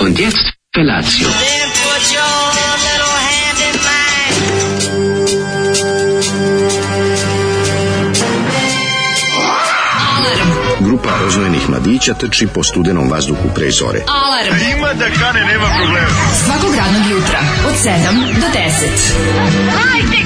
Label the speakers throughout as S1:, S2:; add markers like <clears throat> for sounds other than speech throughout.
S1: Und jetzt Felatio.
S2: Then put your little hand in mine.
S3: Grupa rozvojenih mladića trči po studenom vazduhu pre zore.
S4: Alarm. Ima da kane, nema problema. Svakog radnog jutra, od 7 do 10.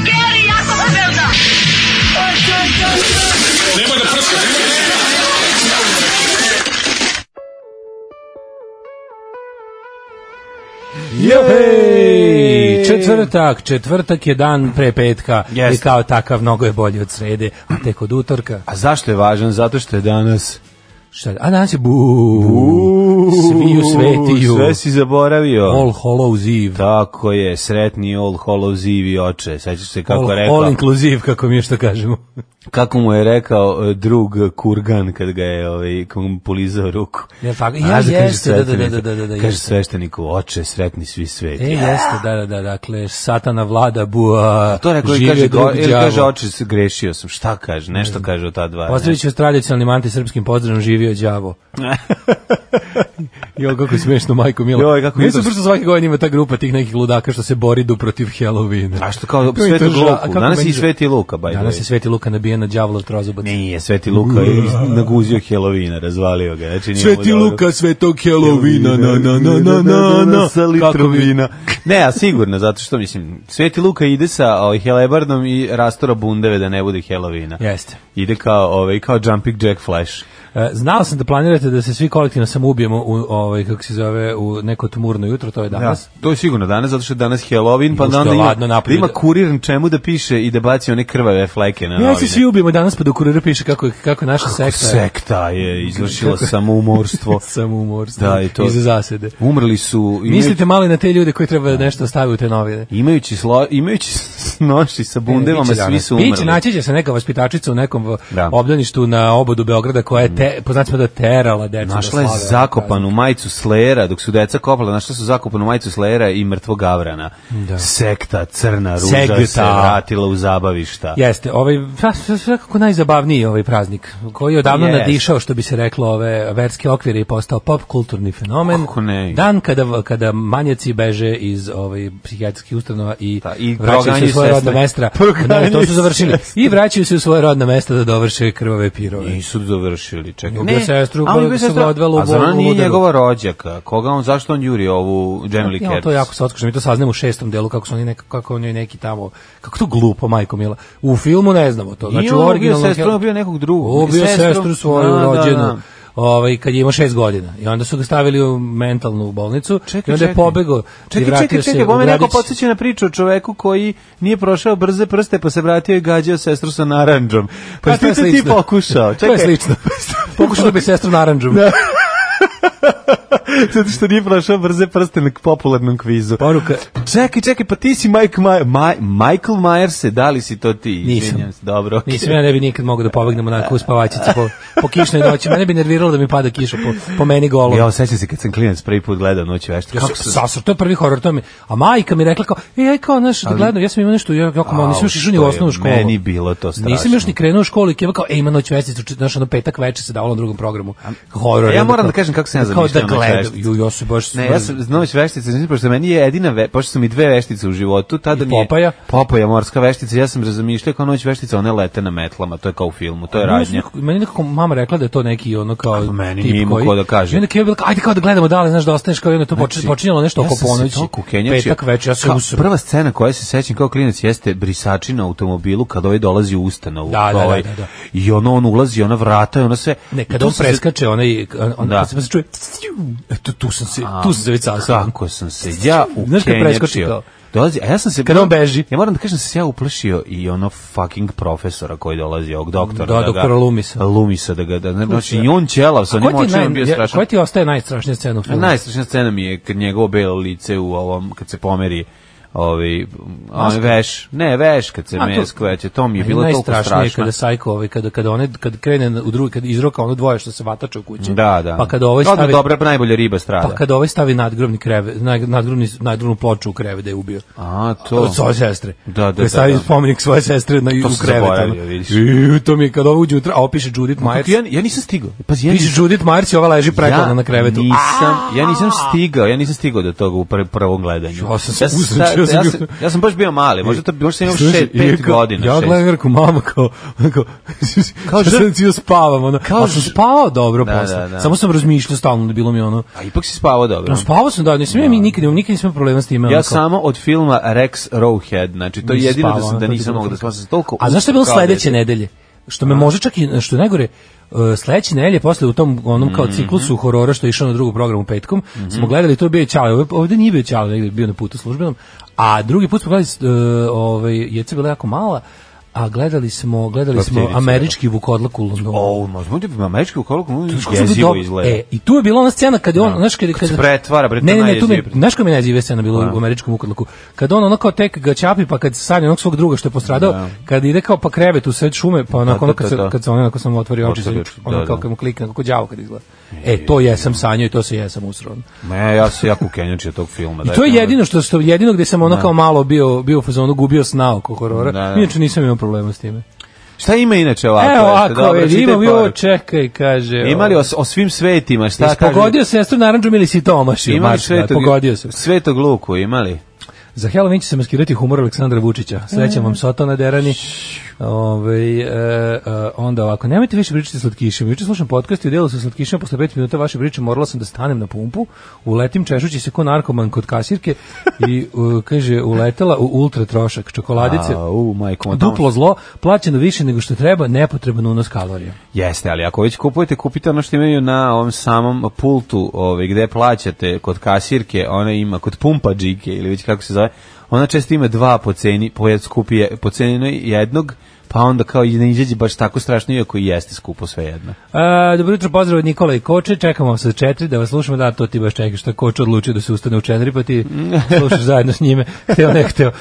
S5: Juhej! Četvrtak, četvrtak je dan pre petka
S6: Jeste.
S5: i kao takav mnogo je bolji od srede, a tek od utorka.
S6: A zašto je važan? Zato što je danas...
S5: Šta, a danas je bu, svi u svetiju,
S6: Sve si zaboravio.
S5: All Hallows Eve,
S6: Tako je, sretni All Hallows Eve i oče. Sećaš se kako
S5: all,
S6: je rekao,
S5: all inclusive, kako mi je što kažemo.
S6: kako mu je rekao e, drug Kurgan kad ga je ovaj, kako mu polizao ruku.
S5: Je li tako?
S6: Znaš
S5: Ja,
S6: da kaže
S5: jeste, da, da,
S6: svećeniku-
S5: da, da, da, da,
S6: Kaže
S5: jeste.
S6: svešteniku, oče, sretni svi
S5: E,
S6: sveti.
S5: jeste, da, da, da, dakle, satana vlada, bua,
S6: To rekao i
S5: živio
S6: kaže,
S5: drugi
S6: go, ili
S5: đavo.
S6: kaže, oče, s- grešio sam. Šta kaže? Nešto kaže o ta dva. ne?
S5: Pozdravit ću s tradicionalnim antisrpskim pozdravom živio đavo.
S6: <laughs>
S5: jo, kako je smešno, majko Milo.
S6: Joj, kako
S5: je
S6: je to-
S5: smešno. svake godine ima ta grupa tih nekih ludaka što se bori du protiv Halloweena.
S6: A što kao
S5: To je
S6: Sveti
S5: to ža- a
S6: Luku?
S5: kako
S6: Danas
S5: meni
S6: je i
S5: ža-
S6: Sveti Luka, by the
S5: Danas
S6: way.
S5: je Sveti Luka nabijen na đavolov trozobac.
S6: Nije, Sveti Luka je iz- naguzio Helovina, razvalio ga. Znači, nije mu
S5: Sveti
S6: dobro.
S5: Luka, svetog Helovina, na, na, na, na, na, na,
S6: Sa litrom vina. Ne, a sigurno, zato što mislim, Sveti Luka ide sa ovaj, helebardom i rastora bundeve da ne bude helovina.
S5: Jeste.
S6: Ide kao, ovaj, kao Jumping Jack Flash.
S5: E, Znao sam da planirate da se svi kolektivno samoubijemo u, ovaj, kako se zove, u neko tumurno jutro, to je danas.
S6: to je sigurno danas, zato što je danas Halloween, pa
S5: Pošto
S6: da
S5: je
S6: onda ima,
S5: ladno
S6: da
S5: napolju.
S6: ima kurir čemu da piše i da baci one krvave fleke na
S5: Ja
S6: novine.
S5: se svi ubijemo danas, pa do kurira piše kako, kako je naša sekta.
S6: Sekta je izvršila samoumorstvo.
S5: <laughs> Samoumorstvo.
S6: Da, i to-
S5: Iza zasede.
S6: Umrli su... imajući-
S5: Mislite malo i na te ljude koji treba nešto da stave u te novine.
S6: Imajući, slo, imajući s- noši sa bundevama,
S5: Biće
S6: svi
S5: danas.
S6: su umrli.
S5: Biće, naći će se neka vaspitačica u nekom
S6: Da.
S5: obdaništu na obodu Beograda koja je, te, poznat smo da terala decu
S6: Našla
S5: da
S6: je
S5: slave.
S6: zakopanu majicu Slera, dok su deca kopala, našla su zakopanu majicu Slera i mrtvog Gavrana.
S5: Da.
S6: Sekta crna ruža
S5: Sekta.
S6: se vratila u zabavišta.
S5: Jeste, ovaj pa, sve- svakako najzabavniji ovaj praznik koji je odavno
S6: Jeste.
S5: nadišao što bi se reklo ove verske okvire i postao pop kulturni fenomen.
S6: Kako ne?
S5: Dan kada kada manjaci beže iz ovaj psihijatrijskih ustanova i,
S6: Da, i
S5: vraćaju se u
S6: proganjaju
S5: svoje
S6: sestre.
S5: rodna mesta.
S6: Proganjaju
S5: Ne, to su završili.
S6: sestre.
S5: I vraćaju se u svoje rodna mesta da dovrše krvave pirove.
S6: Nisu završili, čekaj.
S5: Ubio sestru,
S6: a on
S5: pa
S6: ubio
S5: su ga
S6: sestru.
S5: odvelo u
S6: A zar ona
S5: bol- u
S6: nije
S5: ludaru?
S6: njegova rođaka? Koga on, zašto on juri ovu Jamie Lee
S5: Ja,
S6: Curtis?
S5: to je jako slatko što mi to saznamo u šestom delu kako su oni neka kako oni neki tamo kako to glupo majko mila. U filmu ne znamo to. Znači
S6: Nije
S5: u
S6: on ubio
S5: originalnom
S6: sestru,
S5: Hel-
S6: on ubio nekog drugog.
S5: Ubio
S6: Sestru.
S5: sestru svoju
S6: Da, da,
S5: rođenu.
S6: da.
S5: Ovaj kad je imao šest godina i onda su ga stavili u mentalnu bolnicu i
S6: Čekaj,
S5: onda je
S6: čekaj.
S5: pobegao. i
S6: Čekaj,
S5: vratio
S6: čekaj,
S5: se
S6: čekaj,
S5: u
S6: bome neko
S5: gradić.
S6: podsjeća na priču o čoveku koji nije prošao brze prste pa se vratio i gađao sestru sa naranđom. Pa
S5: Pa, <laughs> to
S6: što
S5: je
S6: si ti
S5: slično. <laughs>
S6: pokušao?
S5: To je slično. Pokušao da bi sestru naranđom.
S6: <laughs> Zato što nije prošao brze prste na popularnom kvizu.
S5: Poruka
S6: Čekaj, čekaj, pa ti si Mike Ma Ma- Michael Myers, -e, da li si to ti?
S5: Nisam.
S6: Izvinjam se, Dobro, okej.
S5: Nisam ja ne bi nikad mogao da pobegnem onako u spavačici po, po kišnoj noći. Mene bi nerviralo da mi pada kiša po, po meni golom.
S6: Ja osjećam se kad sam klinac prvi put gledao noć vešta.
S5: Ja
S6: Kako
S5: sam
S6: sam...
S5: sasr, to je prvi horor, to mi. A majka mi je rekla kao, ej, aj kao, znaš, da gledam, ja sam imao nešto, ja kao,
S6: Au,
S5: nisam još išao ni u
S6: što je
S5: osnovnu školu.
S6: meni bilo to strašno.
S5: Nisam još ni krenuo u školu i keva kao, ej, ima noć vesticu, čit- znaš, ono petak veče se davalo na drugom programu. Horor.
S6: Ja
S5: I onda
S6: moram
S5: kao-
S6: da kažem kako sam ja
S5: kao da
S6: zamišljao noć
S5: gledam.
S6: vesticu.
S5: Ju, ja se baš...
S6: Ne, ja sam znao veštice, nisam, pošto meni je jedina, ve, pošto su mi dve veštice u životu, tada
S5: I
S6: mi je...
S5: Popaja?
S6: Popaja, morska veštica, ja sam razmišljao kao noć veštica, one lete na metlama, to je kao u filmu, to je
S5: Meni su
S6: radnja.
S5: nekako- Meni nekako mama rekla da je to neki ono kao
S6: A meni
S5: tip
S6: nije imao
S5: koji-
S6: ko da kaže.
S5: I onda Keva bila kao, ajde kao da gledamo dale, znaš da ostaneš kao i onda to poč-
S6: Znači,
S5: počinjalo nešto oko
S6: sam se
S5: ponoći.
S6: toliko ukenjačio.
S5: Petak večer, ja se
S6: Kao
S5: usro.
S6: Prva scena koja se sećam kao klinac jeste brisači na automobilu kad ovaj dolazi u ustanovu.
S5: Da, da,
S6: Kao
S5: da,
S6: ovaj-
S5: da, da.
S6: I ono, on ulazi, ona vrata, i ona sve...
S5: Ne,
S6: I
S5: kada
S6: tu
S5: on
S6: sam se-
S5: preskače, onaj, on,
S6: Da.
S5: da. se čuje, eto, tu sam se, tu sam se već sasao.
S6: Kako sam se ja
S5: Znaš kad preskoči
S6: ukenjačio.
S5: kao?
S6: Dolazi, a ja sam se...
S5: Kad on beži.
S6: Ja moram da kažem da sam se ja uplašio i ono fucking profesora koji dolazi, ovog doktora.
S5: Da,
S6: ga-
S5: doktora Lumisa.
S6: Lumisa, da ga... Da, znači, i on ćelav sa njim
S5: Koja ti,
S6: očima
S5: naj,
S6: on bio
S5: je-
S6: strašan.
S5: koja ti ostaje najstrašnija scena u filmu?
S6: Najstrašnija scena mi je kad njegovo belo lice u ovom, kad se pomeri ovaj a,
S5: Maska.
S6: veš, ne, veš kad se
S5: A, to-
S6: mesko, veće, to mi je
S5: Meni
S6: bilo toliko
S5: najstrašnije je
S6: strašno.
S5: kada Sajko ovaj kada kada one kad krene na- u drugi kad izroka ono dvoje što se vatače u kući.
S6: Da, da.
S5: Pa kada ovaj
S6: Odmah
S5: stavi
S6: dobra, najbolja riba strada.
S5: pa kada ovaj stavi nadgrobni krevet, naj- nadgrobni nadgrobnu ploču u krevet da je ubio.
S6: A, to.
S5: Od svoje sestre.
S6: Da, da,
S5: Koji
S6: da,
S5: stavi
S6: da.
S5: spomenik svoje sestre na
S6: To
S5: u
S6: sam
S5: krevet.
S6: zaboravio,
S5: ono.
S6: vidiš.
S5: Iu, to mi je kad ovo uđe utra, a opiše Judith Myers.
S6: Kako ja, ja nisam stigao. Pazi, ja nisam-
S5: Piše Judith Myers i ova leži preklana na krevetu.
S6: Nisam, ja nisam stigao, ja nisam stigao do toga u pr prvom gledanju.
S5: Ja sam se
S6: sa-
S5: uzručio, ja sam
S6: ja,
S5: bio-
S6: sam, ja sam baš bio mali, možda, to, možda sam imao
S5: Slušaj,
S6: šest,
S5: i
S6: pet
S5: kao-
S6: godina.
S5: Ja
S6: šest.
S5: gledam Jerku mama kao,
S6: <laughs>
S5: kao, <laughs> kao
S6: žrt-
S5: sam cijel spavam, ono,
S6: kao
S5: kao sam
S6: žrt-
S5: spavao dobro
S6: Da,
S5: posle.
S6: da, da.
S5: Samo sam razmišljao stalno da bilo mi ono,
S6: A ipak si spavao dobro.
S5: No, spavao sam, da, nisam ja mi nikad, nikad nisam imao problema s time. ono
S6: Ja
S5: kao-
S6: samo od filma Rex Rowhead, znači to je
S5: Nisam
S6: jedino da,
S5: spavao,
S6: sam, da
S5: to ti je
S6: nisam
S5: bilo
S6: mogao da
S5: tako.
S6: spavam, sam se toliko...
S5: A zašto je bilo
S6: uspao kao
S5: sledeće
S6: dete.
S5: nedelje? Što me može čak i, što je najgore, e, sledeće nedelje posle u tom onom
S6: Mhm.
S5: kao ciklusu horora što je išao na drugu programu petkom, smo gledali, to je bio i Ćale, ovde, ovde nije bio Ćale, negde je bio na putu službenom, a drugi put smo gledali, e, ovaj, Jeca je bila jako mala, a gledali smo, gledali smo
S6: Papirice,
S5: američki vukodlak u Londonu.
S6: O, možda mu ti američki ukolog, mu
S5: Znaš kako su bili
S6: jezivo
S5: dobro-
S6: izgleda.
S5: E, i tu je bila ona scena kad je on,
S6: Da.
S5: znaš, kad,
S6: Kad se pretvara, bre, to
S5: ne, ne, ne, tu mi,
S6: najjezivije.
S5: znaš koja mi je najjezivija scena bila u američkom ukodlaku? Kad on onako tek ga ćapi, pa kad sanja onog svog druga što je postradao, kad ide kao pa krevet u sred šume, pa onako,
S6: Da,
S5: ono
S6: da,
S5: kad,
S6: da,
S5: se,
S6: da.
S5: kad se on onako samo otvori oči,
S6: Otvori
S5: za-
S6: oči,
S5: ono
S6: da,
S5: kao
S6: da.
S5: kad mu klikne, kako đavo kad izgleda. E, to jesam sanjao i to se jesam usrao.
S6: Ne, ja se jako kenjačio tog filma.
S5: I
S6: daj,
S5: to je
S6: ono-
S5: jedino što, što jedino gde sam ono kao malo bio, bio u fazonu, gubio sna oko horora.
S6: Da, da.
S5: Inače nisam imao problema s time.
S6: Šta ima inače ovako?
S5: Evo,
S6: jeste?
S5: ako,
S6: Dobro, čitaj
S5: ima, jo,
S6: poruku.
S5: čekaj, kaže.
S6: Ima li
S5: ovaj.
S6: o, o svim svetima, šta
S5: Jesi
S6: kaže?
S5: Pa pogodio sestru narandžom ili si to omašio?
S6: Ima li
S5: Marko, da,
S6: svetog,
S5: Pogodio sam.
S6: svetog luku, imali?
S5: Za Halloween će se maskirati humor Aleksandra Vučića. Srećan vam Soto na derani. Ove, e, e, onda ovako, nemojte više pričati sa slatkišima. Juče slušam podcast i udjelo sa slatkišima. Posle 5 minuta vaše priče morala sam da stanem na pumpu. Uletim češući se ko narkoman kod kasirke i, e, kaže, uletela u ultra trošak čokoladice.
S6: A, u, majko, ma tamo-
S5: Duplo zlo, plaćeno više nego što treba, nepotreban unos kalorija.
S6: Jeste, ali ako već kupujete, kupite ono što imaju na ovom samom pultu ovaj, gde plaćate kod kasirke, ona ima kod pumpa džike ili već kako se zove, ona često ima dva po ceni, po jed, skupi je, po ceni jednog, pa onda kao i ne izađe baš tako strašno, iako i jeste skupo sve jedno.
S5: E, dobro jutro, pozdrav od Nikola i Koče, čekamo vas od četiri da vas slušamo, da, to ti baš čekaš, što Koče odlučio da se ustane u četiri,
S6: <laughs>
S5: pa ti slušaš zajedno s njime, hteo ne hteo.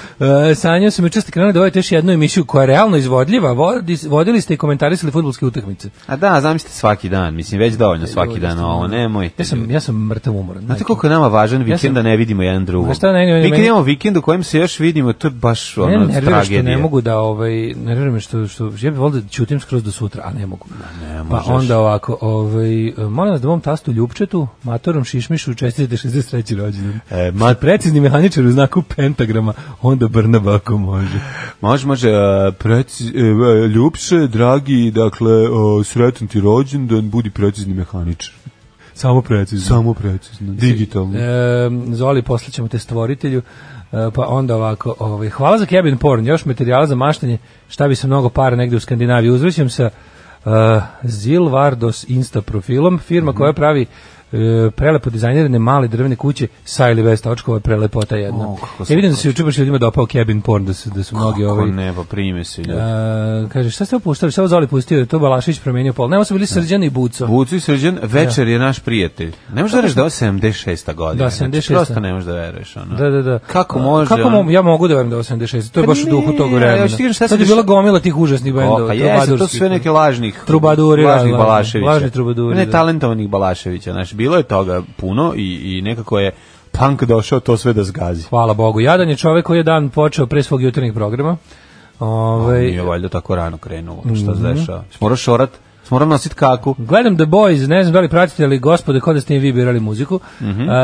S5: E, sanjao sam juče ste krenuli da vodite još jednu emisiju koja je realno izvodljiva, Vodi, vodili ste i komentarisali futbolske utakmice.
S6: A da, zamislite svaki dan, mislim, već dovoljno svaki dan ovo, nemojte.
S5: Ja sam, ja sam mrtav umoran. Znači,
S6: Znate
S5: majke.
S6: koliko je nama važan vikend
S5: sam-
S6: da ne vidimo jedan drugog.
S5: Znaš šta, ne, ne, ne,
S6: vikend
S5: meni-
S6: imamo vikend u kojem se još vidimo, to je baš ono,
S5: Mene nervira što
S6: tragedija.
S5: ne mogu da ovaj nervira me što što ja bih volio da ćutim skroz do sutra, a ne mogu.
S6: ne
S5: pa
S6: možeš.
S5: onda ovako, ovaj molim vas da mom tastu Ljupčetu, matorom Šišmišu čestitite 63. rođendan.
S6: E,
S5: E,
S6: ma-
S5: ma precizni mehaničar u znaku pentagrama, onda Brnaba ako može.
S6: Može, može, e, preci, e, e, Ljupše, dragi, dakle, e, sretan ti rođendan, budi precizni mehaničar.
S5: Samo precizni.
S6: Samo precizno, digitalno.
S5: E, Zoli, posle ćemo te stvoritelju. E, pa onda ovako, ovaj, hvala za cabin porn, još materijala za maštanje, šta bi se mnogo para negde u Skandinaviji. Uzvraćam sa uh, Zilvardos Insta profilom, firma koja pravi e, prelepo dizajnirane male drvene kuće sa ili bez točkova prelepota jedna.
S6: O, kako
S5: ja vidim da
S6: slatko.
S5: se juče baš ljudima dopao cabin porn, da su, da su mnogi
S6: Kako
S5: ovaj,
S6: ne, pa prime se ljudi.
S5: e, kaže, šta ste opuštali, šta je Zoli pustio, je to Balašić promenio pol. Nemo su bili Srđan i Buco.
S6: Bucu i Srđan, večer je naš prijatelj. Ne možeš da reći da je ovo 76. godina.
S5: Da,
S6: Znači,
S5: 76..
S6: prosto ne možeš da veruješ. Ono.
S5: Da, da, da.
S6: Kako
S5: A,
S6: može?
S5: Kako
S6: ono?
S5: mo ja mogu da verujem da je 86. To je
S6: Pa
S5: baš u duhu
S6: ne,
S5: tog
S6: ali
S5: vremena.
S6: hoćeš ti kažeš šta se
S5: Sad je
S6: dešava-
S5: bila gomila tih užasnih bendova.
S6: O, pa jesu, to su sve neke lažnih
S5: Trubaduri,
S6: lažnih
S5: la- la-
S6: Balaševića.
S5: lažni trubaduri,
S6: Ne
S5: da.
S6: talentovanih Balaševića, znači bilo je toga puno i i nekako je punk došao to sve da zgazi.
S5: Hvala Bogu. Jadan je čovek koji je dan počeo pre svog jutarnjeg programa. Ovaj, Ove,
S6: Nije valjda tako rano krenulo, pa šta
S5: Mhm.
S6: se dešava? Moraš šorat, moram nosit kaku.
S5: Gledam The Boys, ne znam da li pratite, ali gospode, kod da ste i vi birali muziku.
S6: Mhm.
S5: A,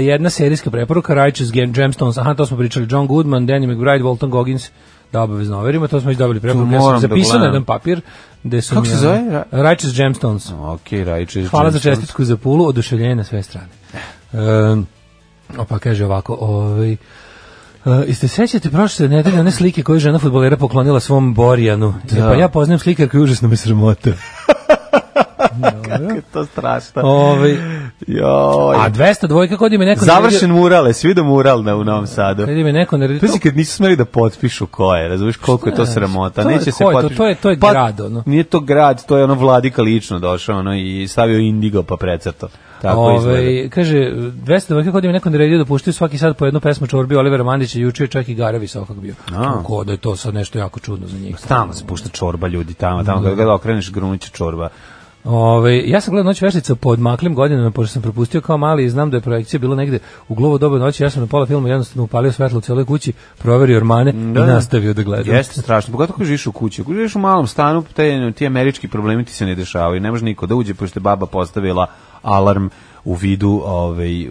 S5: jedna serijska preporuka, Righteous Gem- Gemstones, aha, to smo pričali, John Goodman, Danny McBride, Walton Goggins, da obavezno overimo, to smo već dobili preporuku. Ja
S6: moram
S5: sam
S6: da
S5: zapisao na
S6: gledam.
S5: jedan papir. Gde su
S6: Kako
S5: mi,
S6: se
S5: ono,
S6: zove? Ra-
S5: Righteous Gemstones.
S6: Okej, Rajčić.
S5: Hvala za
S6: Jameson.
S5: čestitku za pulu, oduševljenje na sve strane. Um, pa kaže ovako, ovaj, e, jeste sećate prošle nedelje one slike koje je žena futbolera poklonila svom Borjanu? E, pa ja poznajem
S6: Pa
S5: slikar koji užasno me sramota.
S6: <laughs> Kako je to strašno.
S5: Ovaj,
S6: Joj.
S5: A 200 dvojka kod ime neko
S6: Završen mural, je, svi vidio mural na, u Novom Sadu.
S5: Kad ime neko naredio.
S6: Pazi kad nisu smeli da potpišu ko je, razumiješ koliko je to sramota.
S5: to je-
S6: Neće se
S5: ko je to?
S6: potpišu.
S5: To je- to je grad, ono.
S6: Nije to grad, to je ono vladika lično došao ono, i stavio indigo pa precrto. Tako izgleda.
S5: Ove, Ovaj, kaže, 200 dvojka kod ime neko naredio da puštaju svaki sad po jednu pesmu Čorbi Olivera Mandića, juče je čak i Gara Visokog bio.
S6: A.
S5: Kako da je to sad nešto jako čudno za njih.
S6: Stalno se pušta čorba ljudi tamo, tamo kada ga okreneš grunuće čorba.
S5: Ove, Ovaj, ja sam gledao Noć veštica po odmaklim godinama, pošto sam propustio kao mali i znam da je projekcija bila negde u glovo doba noći, ja sam na pola filma jednostavno upalio svetlo u cijeloj kući, proverio ormane i nastavio da gledam.
S6: Jeste strašno, pogotovo ako živiš u kući. Ako živiš u malom stanu, te, ti američki problemi ti se ne dešavaju. Ne može niko da uđe, pošto je baba postavila alarm u vidu ovaj, m,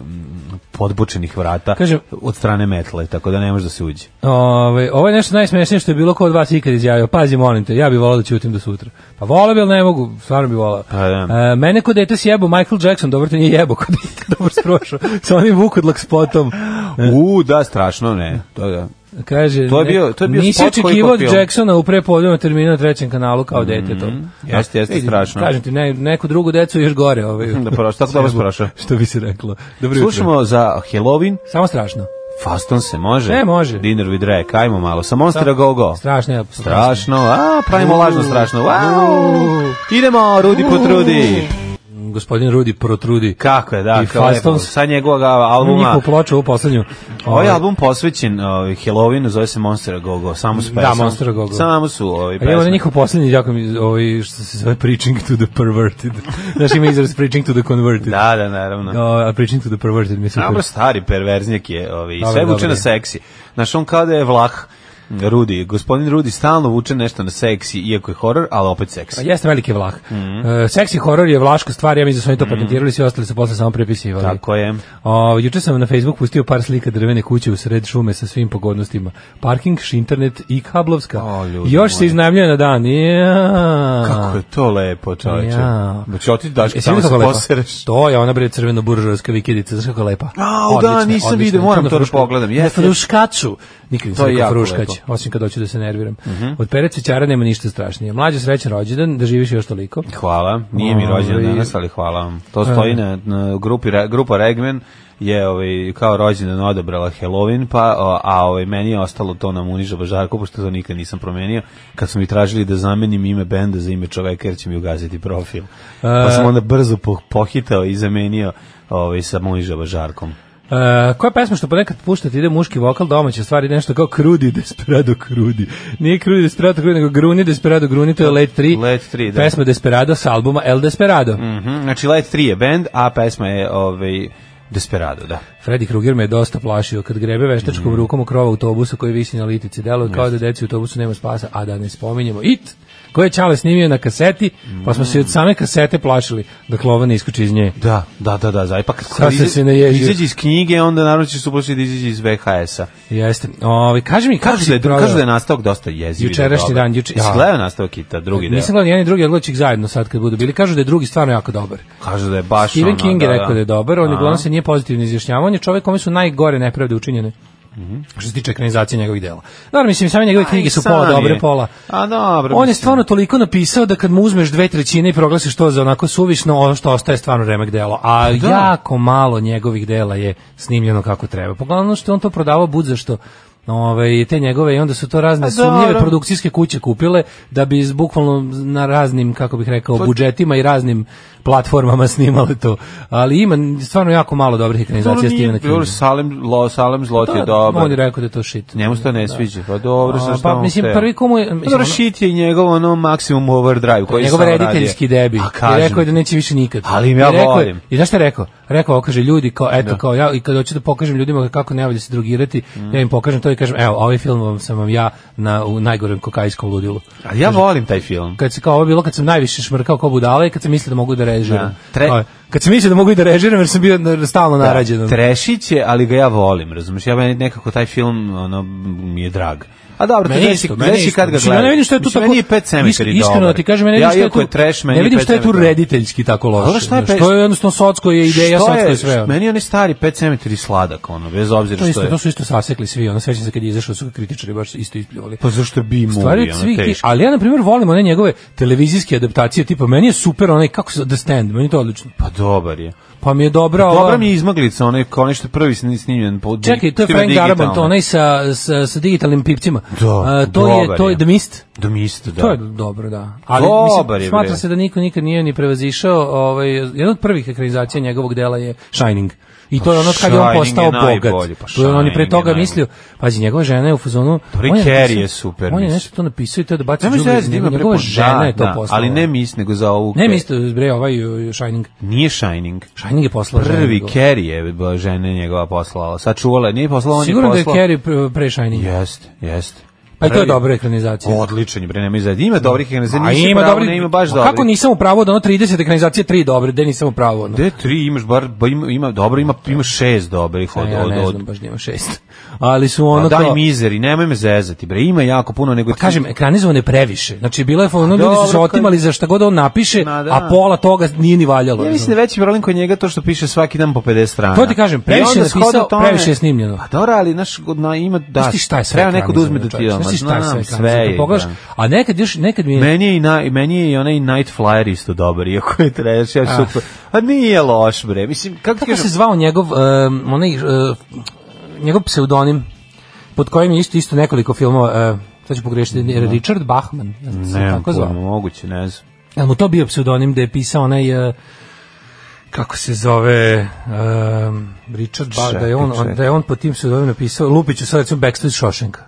S6: podbočenih vrata
S5: Kažem-
S6: od strane metle, tako da ne može da se uđe.
S5: Ove, Ovaj, ovo je nešto najsmešnije što je bilo ko od vas ikad izjavio. Pazi, molim te, ja bih volao da ćutim do sutra. Pa volao bi, ali ne mogu, stvarno bih volao.
S6: Pa da.
S5: E, mene kod dete sjebo Michael Jackson, dobro te nije jebo, kod dete <laughs> dobro sprošao, sa onim vukodlak spotom. E.
S6: U, da, strašno, ne. To, da.
S5: Kaže,
S6: To je bio- to je bio
S5: nisi
S6: spot koji je Mhm.
S5: očekivao od
S6: kod filma.
S5: Jacksona u prepodnevnom terminu na trećem kanalu kao dete to.
S6: jeste, jeste,
S5: Vidi,
S6: strašno.
S5: Kažem ti, ne, neku drugu decu još gore. Ovaj,
S6: <laughs> Da prošao, tako dobro prošao.
S5: Što bi se reklo. Dobro jutro.
S6: Slušamo za Halloween,
S5: Samo strašno.
S6: Faston se može.
S5: E, može.
S6: Dinner with Drake, ajmo malo. Sa Monstera Go Go.
S5: Strašno je.
S6: Strašno, a, pravimo lažno strašno. Wow. Idemo, Rudi potrudi.
S5: Gospodin Rudi protrudi.
S6: Kako je, da,
S5: I
S6: kao lepo.
S5: Fastons.
S6: Sa njegovog albuma.
S5: Njihovu ploču u poslednju.
S6: Ovaj album posvećen ovaj, Halloweenu, zove se Monstera Go Go. Samo su
S5: Da,
S6: pesama-
S5: Monstera Go Go.
S6: Samo su ovaj,
S5: Ali
S6: pesme.
S5: evo na njihov poslednji, jako mi, ovaj, što se zove preaching to the
S6: <laughs>
S5: perverted. Znaš, ima izraz preaching to the converted.
S6: Da, da, naravno.
S5: O, a preaching to the perverted mi je super.
S6: Dobro, stari perverznjak je, ovaj,
S5: Dobro,
S6: sve vuče
S5: dobro
S6: na
S5: je.
S6: seksi. Znaš, on kao da je vlah Rudi. Gospodin Rudi stalno vuče nešto na seksi, iako je horor, ali opet
S5: Pa
S6: seksi.
S5: Jeste veliki vlah. Mm
S6: Mhm.
S5: seksi horor je vlaška stvar, ja mislim da su oni to patentirali, svi ostali su posle samo prepisivali.
S6: Tako je.
S5: O, juče sam na Facebook pustio par slika drvene kuće u sred šume sa svim pogodnostima. Parking, internet i kablovska.
S6: O, ljudi
S5: Još se
S6: moji.
S5: iznajmljuje na dan. Ja.
S6: Kako je to lepo, čoveče.
S5: Ja.
S6: Znači, oti daš
S5: Jesi
S6: tamo
S5: vidio
S6: se
S5: kako je lepa?
S6: posereš.
S5: To je ona bre crveno buržovska vikendica, znaš kako je lepa.
S6: A, u da, nisam vidio, moram to da pogledam,
S5: Ja
S6: jeste.
S5: fruškaču. Nikad
S6: To
S5: nisam
S6: je
S5: rekao
S6: jako
S5: fruškać,
S6: lepo. Mhm.
S5: osim kad hoću da se nerviram. Od pere cvećara nema ništa strašnije. Mlađe srećan rođendan, da živiš još toliko.
S6: Hvala, nije mi rođen
S5: Ovaj. e.
S6: danas, ali hvala vam. To stoji na, na grupi, Re- grupa Regmen je ovaj, kao rođendan odabrala Halloween, pa, o, a ovaj, meni je ostalo to na Muniža Bažarku, pošto to nikad nisam promenio, kad su mi tražili da zamenim ime benda za ime čoveka, jer će mi ugasiti profil.
S5: E.
S6: Pa sam onda brzo po- pohitao i zamenio ovaj, sa Muniža Bažarkom.
S5: E, koja pesma što ponekad puštate ide muški vokal domaća stvari nešto kao krudi desperado krudi. Nije krudi desperado krudi nego gruni desperado gruni to je Let 3.
S6: Let 3, da.
S5: Pesma desperado sa albuma El Desperado.
S6: Mhm, Znači, Light 3 je band, a pesma je ovaj, Desperado, da.
S5: Freddy Krueger me je dosta plašio kad grebe veštačkom
S6: Mhm.
S5: rukom u krova autobusa koji visi na litici. Delo je kao da deci u autobusu nema spasa, a da ne spominjemo it koje je Čale snimio na kaseti, pa smo se i od same kasete plašili da klova ne iskuči iz nje.
S6: Da, da, da, da, zaista. Pa kad
S5: Sad se
S6: iza-
S5: se naježio.
S6: izađe iz knjige, onda naravno ćeš se uplašiti da izađe iz VHS-a.
S5: Jeste. Ovi, kaži mi, kako
S6: Kažu
S5: si
S6: da, je,
S5: proveo?
S6: kažu da je nastavak dosta jeziv. i da je
S5: Jučerašnji
S6: dobar.
S5: dan, juče-
S6: Jesi
S5: ja.
S6: gledao nastavak i ta drugi deo?
S5: Nisam gledao ni jedan ni drugi, ali gledat ću ih zajedno sad kad budu bili. Kažu da je drugi stvarno jako dobar.
S6: Kažu da je baš
S5: Stephen
S6: ono,
S5: King je
S6: da,
S5: rekao da je dobar, on
S6: Aha.
S5: uglavnom se nije pozitivno izjašnjavao, on je čovjek kome su najgore nepravde učinjene.
S6: Mhm.
S5: Što se tiče ekranizacije njegovih dela. Naravno, mislim, same njegove knjige su
S6: Pa sam
S5: pola
S6: je.
S5: dobre, pola.
S6: A, dobro,
S5: On je
S6: mislim.
S5: stvarno toliko napisao da kad mu uzmeš dve trećine i proglasiš to za onako suvišno, ono što ostaje je stvarno remek delo. A
S6: Pa Da.
S5: jako malo njegovih dela je snimljeno kako treba. Poglavnom što je on to prodavao bud za što Ove, te njegove i onda su to razne
S6: A
S5: sumnjive
S6: dobro.
S5: produkcijske kuće kupile da bi iz- bukvalno na raznim kako bih rekao
S6: Pa-
S5: budžetima i raznim platformama <laughs> snimale to. Ali ima stvarno jako malo dobrih
S6: Dobro,
S5: ekranizacija
S6: nije-
S5: Stevena Kinga.
S6: dobro, Salem, lo, Salem Zlot je
S5: Da,
S6: dobar.
S5: On je rekao da je to shit.
S6: Njemu se to ne sviđa. Pa dobro,
S5: A,
S6: sa što
S5: pa,
S6: on
S5: mislim,
S6: te-
S5: prvi komu je- mislim,
S6: Dobro,
S5: ono-
S6: shit je njegov ono maksimum overdrive koji
S5: njegov
S6: sam radio.
S5: rediteljski debi.
S6: A
S5: I
S6: kažem.
S5: rekao je da neće više nikad.
S6: Ali im ja
S5: I rekao je-
S6: volim.
S5: I znaš šta je rekao? Rekao, ovo kaže ljudi kao eto kao ja i kad hoću da pokažem ljudima kako ne valja se drogirati,
S6: Mm.
S5: ja im pokažem to i kažem evo, ovaj film vam sam vam ja na u najgorem kokainskom ludilu.
S6: Ali ja volim taj film.
S5: Kad se kao ovo bilo kad sam najviše šmrkao kao budala i kad sam mislio da mogu da režiram.
S6: Da. Tre-
S5: Kao, Kad sam mislio da mogu i da režiram jer sam bio na- stalno narađen.
S6: Trešić je, ali ga ja volim, razumiješ? Ja meni nekako taj film ono, mi je drag. A dobro,
S5: Meni
S6: to
S5: isto,
S6: znaš i-
S5: meni
S6: znaš i
S5: isto.
S6: kad ga
S5: Mislim,
S6: gledam.
S5: Ja ne vidim što je tu
S6: Mislim,
S5: tako.
S6: Meni je Pet Cemetery
S5: Isk- Iskreno
S6: dobar.
S5: ti kažem, ja
S6: ja,
S5: ne vidim što je
S6: iako
S5: tu.
S6: je trash, meni
S5: ne vidim
S6: Pet
S5: što je tu
S6: Sematary dobar.
S5: rediteljski tako
S6: dobro,
S5: loše.
S6: šta je
S5: znaš,
S6: Pet-
S5: To je jednostavno socko je ideja,
S6: Što
S5: socko
S6: je-
S5: je sve. ono.
S6: Meni je onaj stari Pet Cemetery sladak, ono, bez obzira
S5: To,
S6: što
S5: isto,
S6: je.
S5: to su isto sasekli svi, ono, sećam se kad je izašao su ga kritičari baš isto ispljuvali.
S6: Pa zašto bi mu
S5: Stvari od svih tih, ali ja na primjer volim one njegove televizijske adaptacije, tipa meni je super onaj, kako se, The Stand, meni je to odlično.
S6: Pa dobar je.
S5: Pa mi je dobra ova...
S6: Dobra mi je izmaglica, onaj kao nešto prvi sni- snimljen po dig-
S5: Čekaj, to je
S6: snimljen
S5: Frank
S6: digitalno.
S5: Darabont, onaj sa, sa, sa digitalnim pipcima.
S6: Da,
S5: A, to je,
S6: dobar
S5: to je
S6: je.
S5: The Mist.
S6: Do mista, da.
S5: To je dobro, da. Ali
S6: Dobar
S5: mislim,
S6: je, bre.
S5: smatra se da niko nikad nije ni prevazišao, ovaj jedan od prvih ekranizacija njegovog dela je Shining. I to je ono kad je on
S6: Pa Shining je
S5: postao bogat.
S6: najbolji, pa
S5: to je on i pre
S6: Shining je
S5: toga
S6: najbolji.
S5: mislio, pazi, njegova žena je u fazonu...
S6: Tori
S5: on
S6: Carey
S5: napisao-
S6: je super,
S5: On je
S6: mislim.
S5: nešto to napisao i to da baci
S6: Nemoj se
S5: džubre,
S6: jeziti, ima
S5: njegova
S6: prepun-
S5: žena
S6: da,
S5: je to
S6: da,
S5: poslala.
S6: Ali ne mis, nego za ovu...
S5: Ne
S6: ke-
S5: mislio, bre, ovaj uh, Shining.
S6: Nije Shining.
S5: Shining je poslao ženu
S6: Prvi
S5: njegovu.
S6: Carrie je bila žena njegova poslala. Sačuvala je, nije poslala, on je
S5: Sigurno
S6: poslao.
S5: da je Carey pre- pre Shininga.
S6: Jeste, jeste.
S5: Pa i to je
S6: Prvi-
S5: dobra ekranizacija.
S6: Odličan je, bre, nema izgleda. Ima dobrih ekranizacija,
S5: A
S6: nisi
S5: ima
S6: pravo,
S5: dobri,
S6: ne ima baš
S5: a
S6: dobrih.
S5: Kako nisam u pravu da ono 30 ekranizacije 3 dobre, da nisam u pravu ono.
S6: Gde tri imaš bar, ba ima, ima dobro, ima, ima šest dobrih Pa od,
S5: Ja
S6: od,
S5: ne
S6: od,
S5: znam, baš da ima šest. Ali su ono
S6: Pa daj
S5: kao- Pa
S6: mizeri, nemoj me zezati, bre, ima jako puno, nego... ti-
S5: kažem, ekranizovano je previše. Znači, bilo je, ono, ljudi su se
S6: dobro,
S5: otimali za šta god on napiše,
S6: Ma da.
S5: a pola toga nije ni valjalo. ono.
S6: Ja mislim da
S5: razumeš?
S6: je veći problem kod njega to što piše svaki dan po 50 strana.
S5: To ti kažem, previše
S6: I onda
S5: je napisao,
S6: shodno
S5: previše je snimljeno.
S6: Pa dobro, ali naš, na, ima, da,
S5: Znaš ti šta je sve
S6: treba neko da uzme da
S5: ekranizovano,
S6: ti
S5: čoveče?
S6: ono,
S5: Znaš ti šta je sve
S6: znam, sve
S5: ekranizovano? Kad
S6: je,
S5: pogledaš-
S6: da.
S5: A nekad još, nekad mi je...
S6: Meni je, i na, meni je i onaj Night Flyer isto dobar, iako je trash, ja super. A nije loš, bre. Mislim, kako ti
S5: Ah. Kako se
S6: kažem,
S5: zvao njegov, um, onaj, um, njegov pseudonim, pod kojim je isto, isto nekoliko filmova, uh, sad ću pogrešiti, Richard Bachman, ja sam se
S6: ne,
S5: tako zvao.
S6: moguće, ne znam.
S5: Jel mu to bio pseudonim da je pisao onaj e, kako se zove um, Richard ba, da je on
S6: Čekaj,
S5: da je on po tim pseudonimima napisao Lupiću sad recimo Backstreet Shawshanka.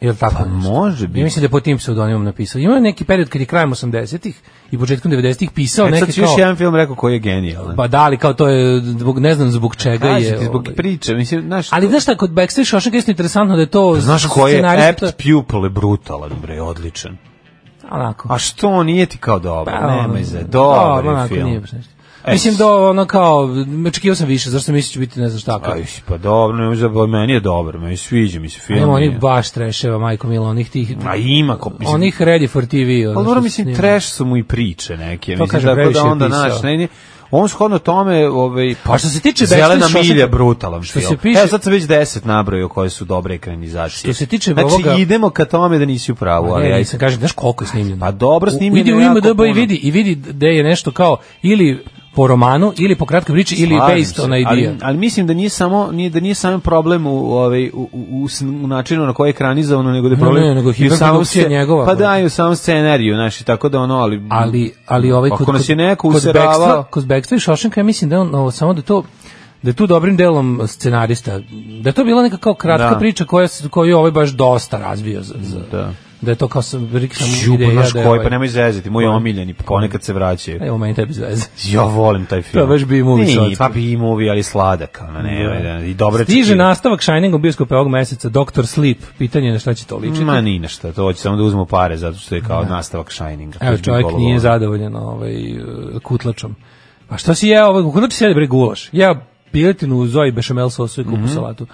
S5: Jel tako? Pa
S6: može biti.
S5: Ja mislim da je po tim pseudonimom napisao. Imao je neki period kad je krajem 80-ih i početkom 90-ih pisao
S6: E, sad
S5: neke
S6: ću još
S5: kao
S6: jedan film rekao koji je genijalan.
S5: pa da, ali kao to je zbog ne znam zbog čega
S6: Kažem
S5: je.
S6: E, ti, zbog
S5: ovaj.
S6: priče, mislim, znaš,
S5: Ali znaš šta kod Backstreet Shawshanka je isto interesantno da je to
S6: Pa Znaš ko je
S5: scenarista
S6: apt
S5: to-
S6: pupil je brutalan, bre, odličan.
S5: onako.
S6: A što nije ti kao dobro?
S5: Pa, ono,
S6: Nemoj za dobar
S5: dobro,
S6: je
S5: onako,
S6: film. E,
S5: nije baš nešto. Mislim da ono kao, očekio sam više, zašto mislio ću biti ne znam šta kao.
S6: Aj, pa dobro, nemoj za pa meni je dobro, meni sviđa mi se film.
S5: Nema onih
S6: nije.
S5: baš treševa, majko milo, onih tih,
S6: A ima ko mislim.
S5: onih Ready for TV.
S6: ali
S5: ono
S6: Pa dobro
S5: što
S6: mislim
S5: snima.
S6: trash su mu i priče neke,
S5: To
S6: mislim
S5: kažem,
S6: tako
S5: previše
S6: da
S5: je
S6: onda
S5: pisao.
S6: naš ne, nije- on shodno tome, ovaj
S5: Pa što se tiče
S6: Zelena
S5: Backstreet Shawshanka-
S6: milja brutalan
S5: što
S6: što
S5: se
S6: film.
S5: piše-
S6: Evo sad sam već 10 nabrojao koje su dobre ekranizacije.
S5: Što se tiče
S6: znači,
S5: ovoga-
S6: idemo ka tome da nisi u pravu, ali
S5: Ne,
S6: ajde.
S5: nisam, kažem, znaš koliko je snimljeno?
S6: Pa dobro,
S5: U-
S6: snimljeno
S5: Idi u
S6: je jako
S5: IMDb i
S6: puno.
S5: vidi, i vidi da je nešto kao, ili po romanu, ili po kratkoj priči, ili
S6: Slažem
S5: based
S6: se,
S5: on idea.
S6: Ali, ali mislim da nije samo nije da nije samo problem u ovaj u, u, u, s- u načinu na koji je ekranizovano nego da je
S5: Ne,
S6: problem
S5: ne, nego
S6: i u samom
S5: hiperprodukcija
S6: sce-
S5: njegova.
S6: Pa da, i u samom scenariju, znači tako da ono, ali
S5: ali ali ovaj
S6: Pa ako nas je neko useravao,
S5: Backstreet- kod Backstreet i Shawshanka ja mislim da je on ovo, samo da je to da je tu dobrim delom scenarista da je to bila neka kao kratka
S6: Da.
S5: priča koja se koju je ovaj baš dosta razvio za, za
S6: Da.
S5: da je to kao sam Rick sam
S6: Ljubo naš
S5: da je
S6: koji,
S5: ovaj-
S6: pa nemoj zezati, moj omiljeni, pa ponekad se vraćaju.
S5: Evo meni tebi zveze.
S6: Ja volim taj film.
S5: To je baš B-movie
S6: Nije,
S5: slatko.
S6: Pa B-movie, ali sladak, ono, ne, da. i dobre
S5: Stiže
S6: četiri.
S5: nastavak Shining u bioskope ovog meseca Dr. Sleep. Pitanje je na šta će to ličiti.
S6: Ma ni na šta, to hoće samo da uzmu pare, zato što je kao nastavak Shininga.
S5: Evo,
S6: koji
S5: čovjek
S6: bi volao.
S5: nije zadovoljan ovaj, e, kutlačom. Pa što si jeo ovaj kutlač? Sjede bre gulaš. Ja piletinu u zoji bešamel sosu i
S6: Mhm.
S5: kupu salatu.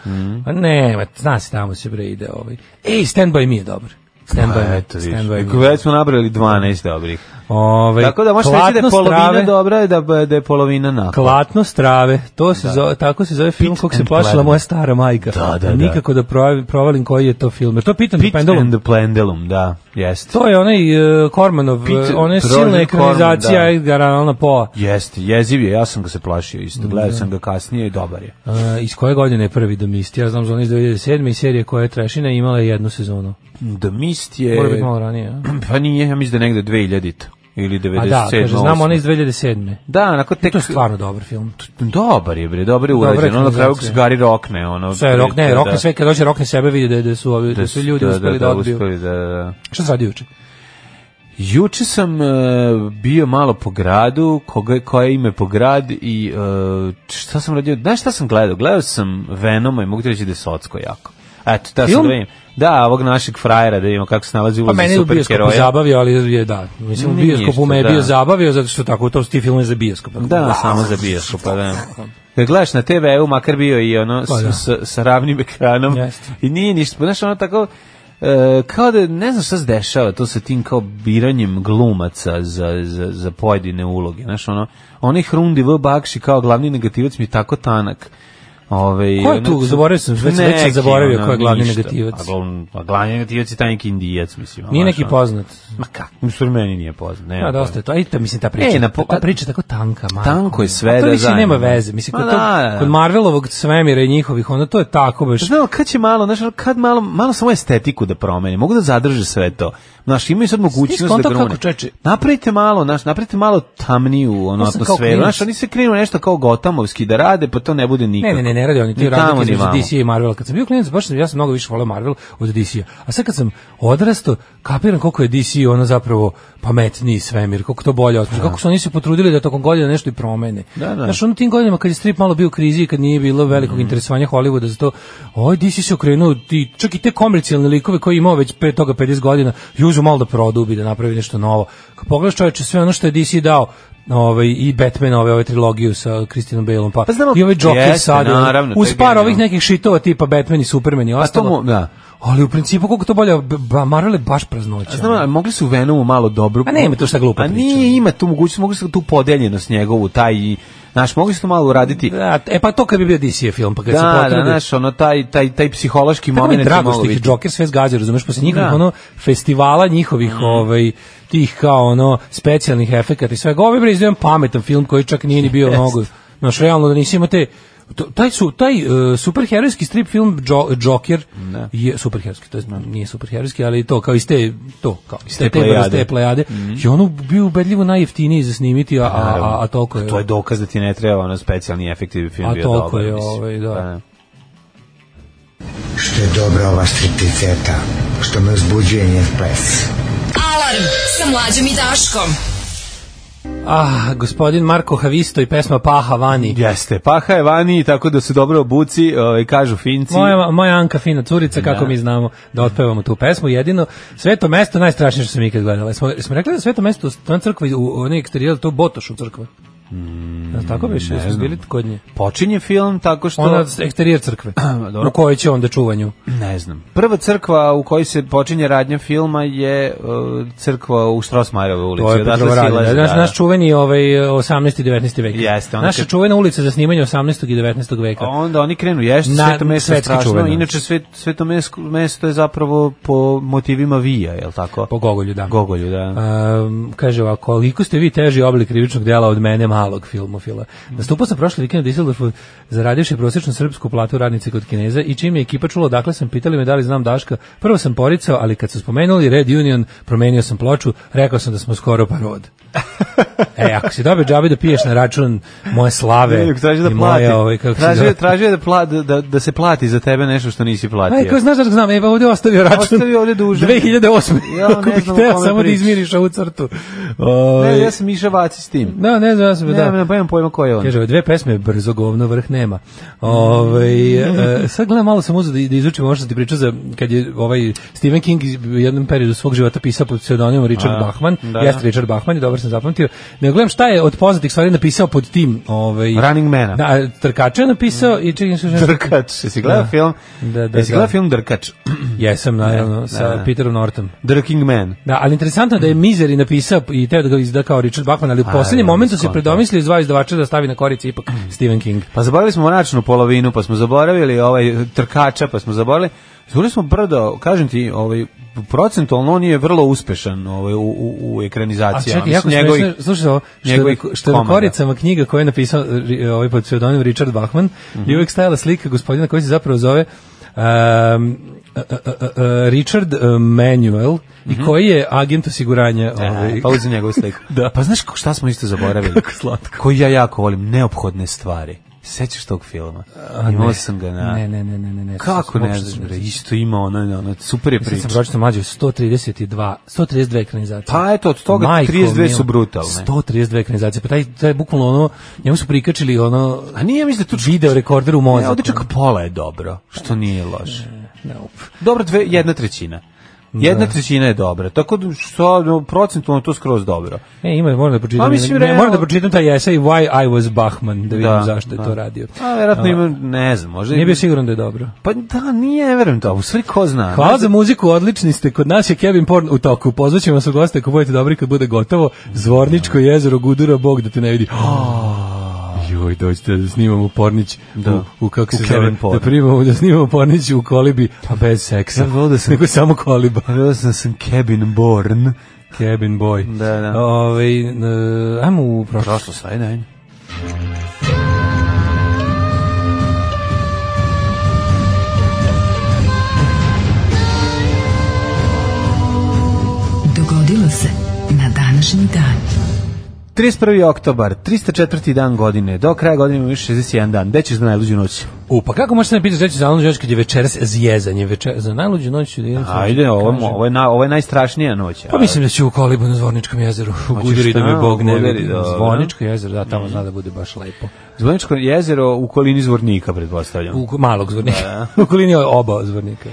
S5: Pa ne, ma, zna se tamo se bre ide ovaj. Ej, stand by me je dobar. Stand by me,
S6: Eto,
S5: stand by
S6: vidiš.
S5: me.
S6: Već smo nabrali 12 dobrih.
S5: Ovaj,
S6: Tako da možeš reći da je
S5: Klatno
S6: polovina
S5: strave-
S6: dobra i da, da je polovina nakon.
S5: Klatno strave, to se zove, tako se zove film
S6: Pit
S5: kog se
S6: and
S5: plašila
S6: Plan.
S5: moja stara majka.
S6: Da, da, da.
S5: Nikako da provalim, provalim koji je to film. Jer to pitam
S6: Pit
S5: Pendulum.
S6: and the Pendulum, da, jeste.
S5: To je onaj uh, Kormanov,
S6: Pit-
S5: uh, ona
S6: Roger
S5: silna
S6: Corman,
S5: ekranizacija
S6: da.
S5: Edgara Allan Poe.
S6: Jeste, jeziv je, ja sam ga se plašio isto, gledao sam ga kasnije i dobar je.
S5: Uh, iz koje godine je prvi Domisti? Ja znam za ono iz 2007. i serije koja je Trešina imala je jednu sezonu.
S6: The Mist
S5: Mora biti
S6: je,
S5: malo ranije. A,
S6: <clears throat> pa nije, ja mislim da je negde 2000 ili 97.
S5: a da, kaže, znam ona iz 2007.
S6: Da, onako tek...
S5: To je stvarno dobar film.
S6: Dobar je, bre, dobar je
S5: Dobra
S6: urađen. Ono na kraju
S5: ekranizacija.
S6: se Gari rokne, ono...
S5: Sve, rok, ne,
S6: da,
S5: rokne sve, kad dođe rokne sebe vidi da, da su, ovi, da, su ljudi uspeli da, odbiju.
S6: uspeli da, da.
S5: Šta se radi juče?
S6: Juče sam e, bio malo po gradu, koga, koje ime po grad i e, šta sam radio, znaš šta sam gledao? Gledao sam Venoma i mogu ti reći da je socko jako. Eto, da
S5: Film?
S6: sam da vidim. Da, ovog našeg frajera, da vidimo kako se nalazi
S5: Pa
S6: ulozi
S5: mene je u bioskopu
S6: superheroja.
S5: zabavio, ali je da. Mislim, u
S6: Nije
S5: bioskopu me je
S6: ništa,
S5: bio
S6: da.
S5: zabavio, zato što tako, to su ti filmi za bioskop.
S6: Da, samo za bioskop, pa da. Kad gledaš na TV-u, makar bio i ono
S5: Pa da.
S6: s, s, sa ravnim ekranom
S5: Jeste.
S6: i nije ništa, pa znaš ono tako e, kao da ne znam šta se dešava to sa tim kao biranjem glumaca za, za, za pojedine uloge, znaš ono onaj Hrundi V. Bakši kao glavni negativac mi je tako tanak Ove,
S5: Ko je tu? Zaboravio sam, već- već sam
S6: neki,
S5: zaboravio
S6: ono,
S5: ko je glavni
S6: ništa.
S5: negativac.
S6: A glavni, a glavni negativac je taj neki indijac, mislim.
S5: Nije
S6: ono,
S5: neki
S6: znaš, ono.
S5: poznat.
S6: Ma kako? Mislim, meni nije poznat. Ne,
S5: Ja, dosta je to. Ajde, mislim, ta priča.
S6: E, na
S5: po...
S6: po-
S5: Ta priča je tako tanka, majko.
S6: Tanko je sve
S5: A to
S6: da
S5: više nema
S6: zanima.
S5: veze. Mislim,
S6: Ma
S5: kod, to,
S6: da, da.
S5: kod Marvelovog svemira i njihovih, ono, to je tako, baš.
S6: Znao, kad će malo, znaš, ono, kad malo, malo samo estetiku da promeni, mogu da zadrže sve to. Znaš, imaju sad mogućnost da
S5: skontao
S6: grune.
S5: kako, čoveče?
S6: Napravite malo, znaš, napravite malo tamniju ono,
S5: Ja sam kao
S6: atmosferu.
S5: klinac.
S6: Znaš, oni se krenu nešto kao gotamovski da rade, pa to ne bude nikako.
S5: Ne, ne, ne, ne radi oni ti
S6: Ni tamo,
S5: razlike
S6: ni
S5: između
S6: vamo.
S5: DC i Marvel. Kad sam bio klinac, baš sam, ja sam mnogo više voleo Marvel od DC-a. A sad kad sam odrastao, kapiram koliko je DC ono zapravo pametniji svemir, koliko to bolje osmišlja, kako su oni se potrudili da tokom godina nešto i promene.
S6: Da, Mhm. da.
S5: Znaš, ono tim godinama kad je strip malo bio u krizi i kad nije bilo velikog interesovanja Hollywooda za to, ovaj DC se okrenuo, ti, čak i te komercijalne likove koje je imao već pre toga 50 godina, juzu malo da produbi, da napravi nešto novo. Kad pogledaš čoveče sve ono što je DC dao, ovaj i Batman ove ove trilogiju sa Christianom Baleom pa,
S6: Pa znamo-
S5: i ovaj Joker
S6: Jeste,
S5: sad, ono,
S6: naravno, to
S5: uz
S6: je
S5: par
S6: genijalno. Pa
S5: ovih nekih šitova tipa Batman i Superman i ostalo.
S6: mu- da.
S5: Ali u principu koliko to bolje, b- ba, Marvel je baš praznoća.
S6: Znam, a mogli su Venomu malo dobro...
S5: A nema tu šta glupa
S6: A
S5: priča.
S6: nije, ima tu mogućnost, mogli su tu podeljenost njegovu, taj, i- znaš, mogli su to malo uraditi.
S5: Da, e pa to kad bi bio DC film, pa kad se
S6: Da, da,
S5: potrudi.
S6: znaš, ono, taj, taj, taj psihološki
S5: Tako mi je
S6: moment
S5: drago što ih je Joker sve zgađa, razumeš, posle njihovih
S6: Da. Mhm.
S5: ono festivala njihovih ovaj tih kao ono specijalnih efekata i svega. Ovo je izdajem pametan film koji čak nije ni
S6: <laughs>
S5: bio mnogo. Znaš, realno da nisi imao te to- taj su taj uh, superherojski strip film jo, Joker je superherojski to je, nije superherojski ali to kao iz te to kao iz te, te
S6: plejade. Mhm.
S5: vrste plejade i ono bio ubedljivo najjeftiniji za snimiti a a, a, a toliko je
S6: To je dokaz da ti ne treba ono specijalni efekti da bi film
S5: A
S6: bio
S5: toliko
S6: dobar.
S5: je,
S6: mislim.
S5: ovaj, da.
S6: Pa,
S1: Što je dobra ova stripticeta, što me uzbuđuje njen ples.
S4: Alarm sa mlađom i Daškom.
S5: ah gospodin Marko Havisto i pesma Paha Vani
S6: Jeste, paha je vani, tako da se dobro obuci, ovaj, kažu finci.
S5: Moja, moja Anka fina curica, kako mi znamo da otpevamo tu pesmu, jedino sveto mesto najstrašnije što sam ikad gledala. Smo, smo rekli da sveto mesto na crkvi, u, u onaj eksterijer, to je Botoš u crkva. Mm, tako biš, jesmo bili kod nje.
S6: Počinje film tako što...
S5: Ona eksterijer crkve,
S6: <clears throat> dobro.
S5: u kojoj će onda čuvanju.
S6: Ne znam. Prva crkva u kojoj se počinje radnja filma je uh, crkva u Štrosmajerove ulici.
S5: To je
S6: odatle
S5: Petrovaradina.
S6: silazi,
S5: Naš,
S6: da,
S5: naš čuveni ovaj, 18. i 19. vek.
S6: Jeste, onda
S5: Naša
S6: kad-
S5: čuvena ulica za snimanje 18. i 19. veka.
S6: A Onda oni krenu, jeste,
S5: Na-
S6: sveto mesto je
S5: svetski
S6: strašno,
S5: čuveno.
S6: inače svet, sveto mesko- mesto je zapravo po motivima Vija, je li tako?
S5: Po Gogolju, da.
S6: Gogolju, da.
S5: Um, kaže ovako, koliko ste vi teži oblik krivičnog dela od mene malog filmofila. Nastupao sam prošli vikend u Düsseldorfu zaradioši prosječnu srpsku platu radnice kod Kineza i čim je ekipa čula odakle sam pitali me da li znam Daška, prvo sam poricao, ali kad su spomenuli Red Union, promenio sam ploču, rekao sam da smo skoro
S6: <laughs>
S5: parod. e, ako si dobio džabe da piješ na račun moje slave
S6: Nego traži
S5: i
S6: da plati.
S5: moje, ovaj, kako se
S6: tražio,
S5: zove-
S6: tražio da, pla, da, da se plati za tebe nešto što nisi platio.
S5: Aj, ko znaš da znam, evo ovdje ostavio račun.
S6: Pa Ostavio ovdje
S5: <laughs>
S6: dužan.
S5: 2008. <laughs>
S6: Ja
S5: ako
S6: ne
S5: bih
S6: znam o
S5: hteo
S6: kome
S5: samo da
S6: pričaš.
S5: izmiriš ovu crtu. Ovaj,
S6: Ne, ja sam Miša Vaci s tim.
S5: Da, ne znam, ja sam,
S6: Ne,
S5: da.
S6: da. ne, pa imam pojma ko je on.
S5: Kaže, ove dve pesme, brzo govno, vrh nema. Ove, e, sad gledam, malo sam uzeo da, da izučim ovo što ti pričao za, kad je ovaj Stephen King iz- u jednom periodu svog života pisao pod pseudonimom Richard
S6: A,
S5: Bachman,
S6: da.
S5: jeste Richard Bachman, i dobro sam zapamtio, nego gledam šta je od poznatih stvari napisao pod tim ovaj,
S6: Running Mana.
S5: Da, Trkača je napisao i čekaj, slušaj, nešto-
S6: Drkač. Jesi gledao
S5: Da.
S6: film?
S5: Da, da,
S6: Jesi
S5: da.
S6: gledao film Drkač? <clears throat>
S5: Jesam, naravno,
S6: Da,
S5: sa
S6: da.
S5: Peterom Nortom.
S6: Drking Man.
S5: Da, ali interesantno je da je Mizeri napisao i teo da ga izda kao Richard Bachman, ali u
S6: A, ja,
S5: poslednjem momentu se
S6: skonto.
S5: predomislio iz dva izdavača da stavi na korici ipak Stephen King.
S6: Pa zaboravili smo mračnu polovinu, pa smo zaboravili ovaj trkača, pa smo zaboravili. Zaboravili smo brdo, kažem ti, ovaj procentualno on je vrlo uspešan ovaj u u, u ekranizaciji.
S5: A čekaj, jako smešno, slušaj ovo, što, je
S6: njegovih
S5: na- što je na
S6: komada.
S5: koricama knjiga koju je napisao ri- ovaj pod pseudonimom Richard Bachman, je uvijek stajala slika gospodina koji se zapravo zove e, um, a- a- a- a- Richard uh, Manuel i koji je agent osiguranja ovaj,
S6: E, pa uzem njegovu sliku.
S5: <laughs> Da.
S6: Pa znaš ko- šta smo isto zaboravili?
S5: Kako slatko.
S6: Koji ja jako volim, neophodne stvari. Sećaš tog filma?
S5: A,
S6: Imao
S5: ne.
S6: sam ga na...
S5: Ne, ne, ne, ne, ne. ne
S6: Kako ne
S5: uopšte
S6: znaš,
S5: sam
S6: bre, isto ima ono, ono, ono super je
S5: Sad
S6: priča.
S5: sam pročitao mlađe 132, 132 ekranizacije.
S6: Pa eto, od toga 32
S5: mila,
S6: su brutalne.
S5: 132 ekranizacije. Pa taj, taj bukvalno ono, njemu su prikačili ono
S6: A nije, mislim da tu čak...
S5: video rekorder u mozak.
S6: Ne, ovdje čak pola je dobro, što nije loše.
S5: Nope.
S6: Dobro, dve, jedna trećina. Jedna trećina je dobra, tako da što, no, procentualno to skroz dobro.
S5: E, ima, moram da pročitam.
S6: Pa, mislim,
S5: ne,
S6: realno-
S5: moram da pročitam taj esej Why I was Bachman, da vidim
S6: Da,
S5: zašto je to
S6: da.
S5: radio.
S6: A vjerojatno ima, ne znam, možda...
S5: Nije bio siguran da je dobro.
S6: Pa da, nije, ne verujem to, u stvari ko zna.
S5: Hvala za muziku, odlični ste. Kod nas je Kevin Porn u toku. Pozvaćemo vas u goste ako budete dobri kad bude gotovo. Zvorničko jezero Gudura, Bog da te ne vidi. joj, dođite da snimamo pornić
S6: Ah. Da.
S5: u, u
S6: U
S5: kako se
S6: Kevin
S5: zove,
S6: Porn.
S5: da, primamo, da snimamo pornić u kolibi, a bez seksa.
S6: Ja bih volio da sam-
S5: <laughs> Nego samo koliba.
S6: Pa vidio sam da sam Kevin Born.
S5: Cabin boy.
S6: Da, da.
S5: Ove, e, ajmo u prošlost.
S6: Prošlo sve, ne?
S4: Dogodilo se na današnji dan.
S6: 31. oktobar, 304. dan godine, do kraja godine imamo još 61 dan. Gde ćeš na najluđu noć?
S5: U, pa kako možete da pitaš reći za najluđu noć kad je večeras zjezanje? Veče, za najluđu noć ću da idem.
S6: Ajde, ovo, je mo- ovo, je, na, ovo je najstrašnija noć.
S5: Pa mislim da ću u kolibu na Zvorničkom jezeru, u Guderi da
S6: šta?
S5: me Bog
S6: U
S5: ne
S6: Guderi,
S5: vidi.
S6: dobro.
S5: Zvorničko jezero, da,
S6: Mhm.
S5: tamo zna da bude baš lepo.
S6: Zvoničko jezero u kolini Zvornika, pretpostavljam.
S5: U k- malog zvornika, <laughs> u kolini oba zvornika.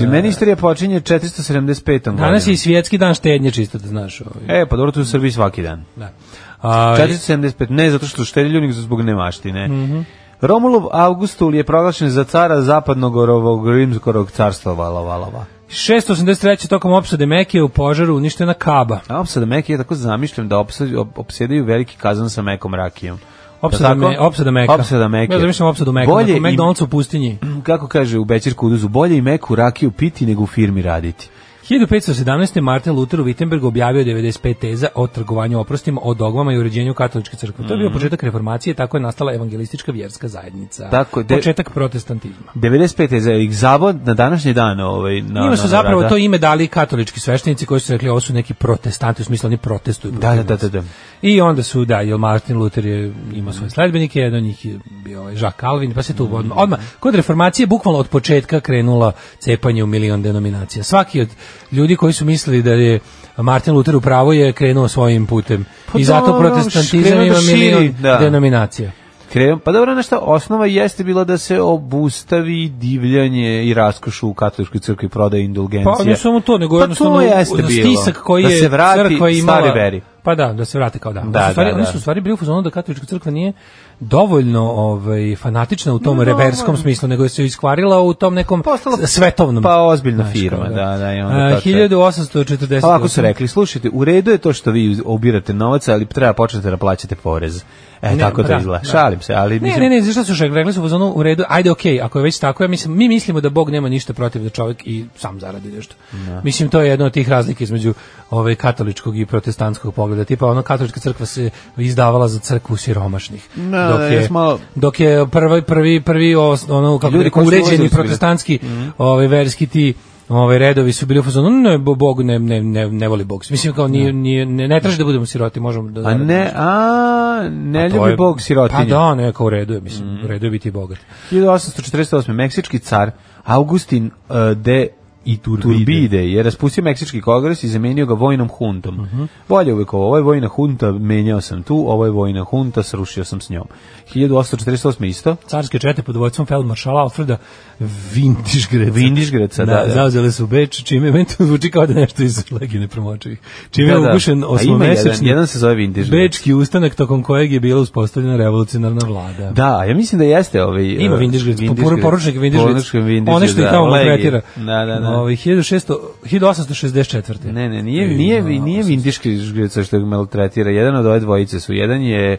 S6: Meni istorija počinje 475.
S5: Danas je
S6: godinom.
S5: i svjetski dan štednje, čisto da znaš. Ovaj.
S6: E, pa dobro, tu u Srbiji svaki dan.
S5: Da. A,
S6: 475, ne zato što štedi ljudi, nego zbog nemaštine.
S5: Mhm.
S6: Romulov Augustul je proglašen za cara zapadnog orovog rimskorog carstva Valavalava.
S5: 683. tokom opsade Mekije u požaru uništena kaba.
S6: A opsada meke je tako zamišljam da opsad- op- opsjedaju veliki kazan sa mekom rakijom.
S5: Opsada,
S6: Je li tako?
S5: me, opsada Meka.
S6: Opsada meke.
S5: Ja zamišljam opsadu Meka.
S6: Bolje
S5: Bolje
S6: i-
S5: McDonald's u pustinji.
S6: Mm, Kako kaže u Bećir Kuduzu, bolje i meku rakiju piti nego u firmi raditi.
S5: 1517. Martin Luther u Wittenbergu objavio 95 teza o trgovanju oprostima, o dogmama i uređenju katoličke crkve. To je bio
S6: Mhm.
S5: početak reformacije, tako je nastala evangelistička vjerska zajednica.
S6: Tako je, de-
S5: Početak protestantizma.
S6: 95. je za ih zavod na današnji dan. Ovaj, na,
S5: Njima
S6: na-
S5: su
S6: na
S5: zapravo
S6: rada.
S5: to ime dali katolički sveštenici koji su rekli ovo su neki protestanti, u smislu oni protestuju.
S6: Da,
S5: protiv
S6: da, da,
S5: nas.
S6: da. da.
S5: I onda su, da, jer Martin Luther je imao svoje sledbenike, jedan od njih je bio ovaj Jacques Calvin, pa se tu
S6: Mm.
S5: odmah, odmah, kod reformacije bukvalno od početka krenula cepanje u milion denominacija. Svaki od ljudi koji su mislili da je Martin Luther upravo je krenuo svojim putem.
S6: Pa dobro,
S5: I zato protestantizam
S6: krenuo da
S5: ima
S6: širi,
S5: milion
S6: da.
S5: denominacija.
S6: Krevom, pa dobro, nešto, osnova jeste bila da se obustavi divljanje i raskoš u katoličkoj crkvi prodaje indulgencije.
S5: Pa ne samo to, nego
S6: Pa
S5: jednostavno
S6: to jeste
S5: u-
S6: bilo.
S5: stisak koji
S6: Da
S5: je
S6: se vrati
S5: crkva imala.
S6: stare veri.
S5: Pa da, da se vrate kao da.
S6: Da,
S5: Oni su u stvari,
S6: da,
S5: Oni
S6: da.
S5: su u stvari bili u fazonu da katolička crkva nije dovoljno ovaj, fanatična u tom reverskom smislu, nego je se iskvarila u tom nekom
S6: Postala-
S5: s- svetovnom.
S6: pa ozbiljna
S5: znaš,
S6: firma,
S5: kao
S6: da, da, i onda
S5: A,
S6: to sve.
S5: 1840.
S6: Pa ovako su rekli, slušajte, u redu je to što vi ubirate novac, ali treba početi da plaćate porez. E,
S5: Ne,
S6: tako
S5: pa
S6: to
S5: da,
S6: izgleda.
S5: da.
S6: Šalim se, ali...
S5: Ne,
S6: mislim-
S5: ne, ne, zašto su rekli? Rekli su u fazonu u redu, ajde, okej, ako je već tako, ja mislim, mi mislimo da Bog nema ništa protiv da čovjek i sam zaradi nešto. Mislim, to je jedna od tih razlika između ove, katoličkog i protestantskog pogleda. Tipa, ono, katolička crkva se izdavala za crkvu siromašnih.
S6: Da,
S5: dok,
S6: da,
S5: je,
S6: još malo-
S5: dok je prvi, prvi, prvi os- ono, kako
S6: Ljudi
S5: Ljudi
S6: koji su ulazili
S5: uređeni
S6: su bili. Mhm.
S5: protestantski ovaj, verski ti Ove redovi su bili u fazonu, ne, bo- Bog ne, ne, ne, ne voli Bog. Mislim kao nije, nije, ne, ne traži da budemo siroti, možemo da
S6: A
S5: zaradimo
S6: ne, a, ne
S5: a to
S6: ljubi
S5: je-
S6: Bog Mhm. sirotinje.
S5: Pa da, neka u redu je, mislim, u redu je biti bogat.
S6: 1848. Meksički car Augustin e, de Iturbide. je raspustio Meksički kongres i zamenio ga vojnom huntom.
S5: Mhm.
S6: Bolje uvijek ovo, ovo je vojna hunta, menjao sam tu, ovo je vojna hunta, srušio sam s njom. 1848. isto,
S5: Carske čete pod vojstvom feldmaršala Alfreda Vindišgreca.
S6: Vindišgreca, da, da.
S5: Zauzele su Beč, čime meni to zvuči kao da je nešto iz Legine promočivih. Čime je
S6: Da, da.
S5: ugušen
S6: A ima jedan,
S5: osmomesečni
S6: jedan se zove Vindišgreca.
S5: Bečki ustanak tokom kojeg je bila uspostavljena revolucionarna vlada.
S6: Da, ja mislim da jeste ovaj...
S5: Ima
S6: e,
S5: Vindišgrec, Vindišgrec. poručnik Vindišgrec.
S6: Poručnik Vindišgrec,
S5: One što ih
S6: da,
S5: tamo
S6: legije.
S5: maltretira.
S6: Da, da, da.
S5: Ovaj, 1600 1864.
S6: Ne, ne, nije, nije, vi- nije Vindišgrica što ga maltretira. Jedan od ove dvojice su. Jedan je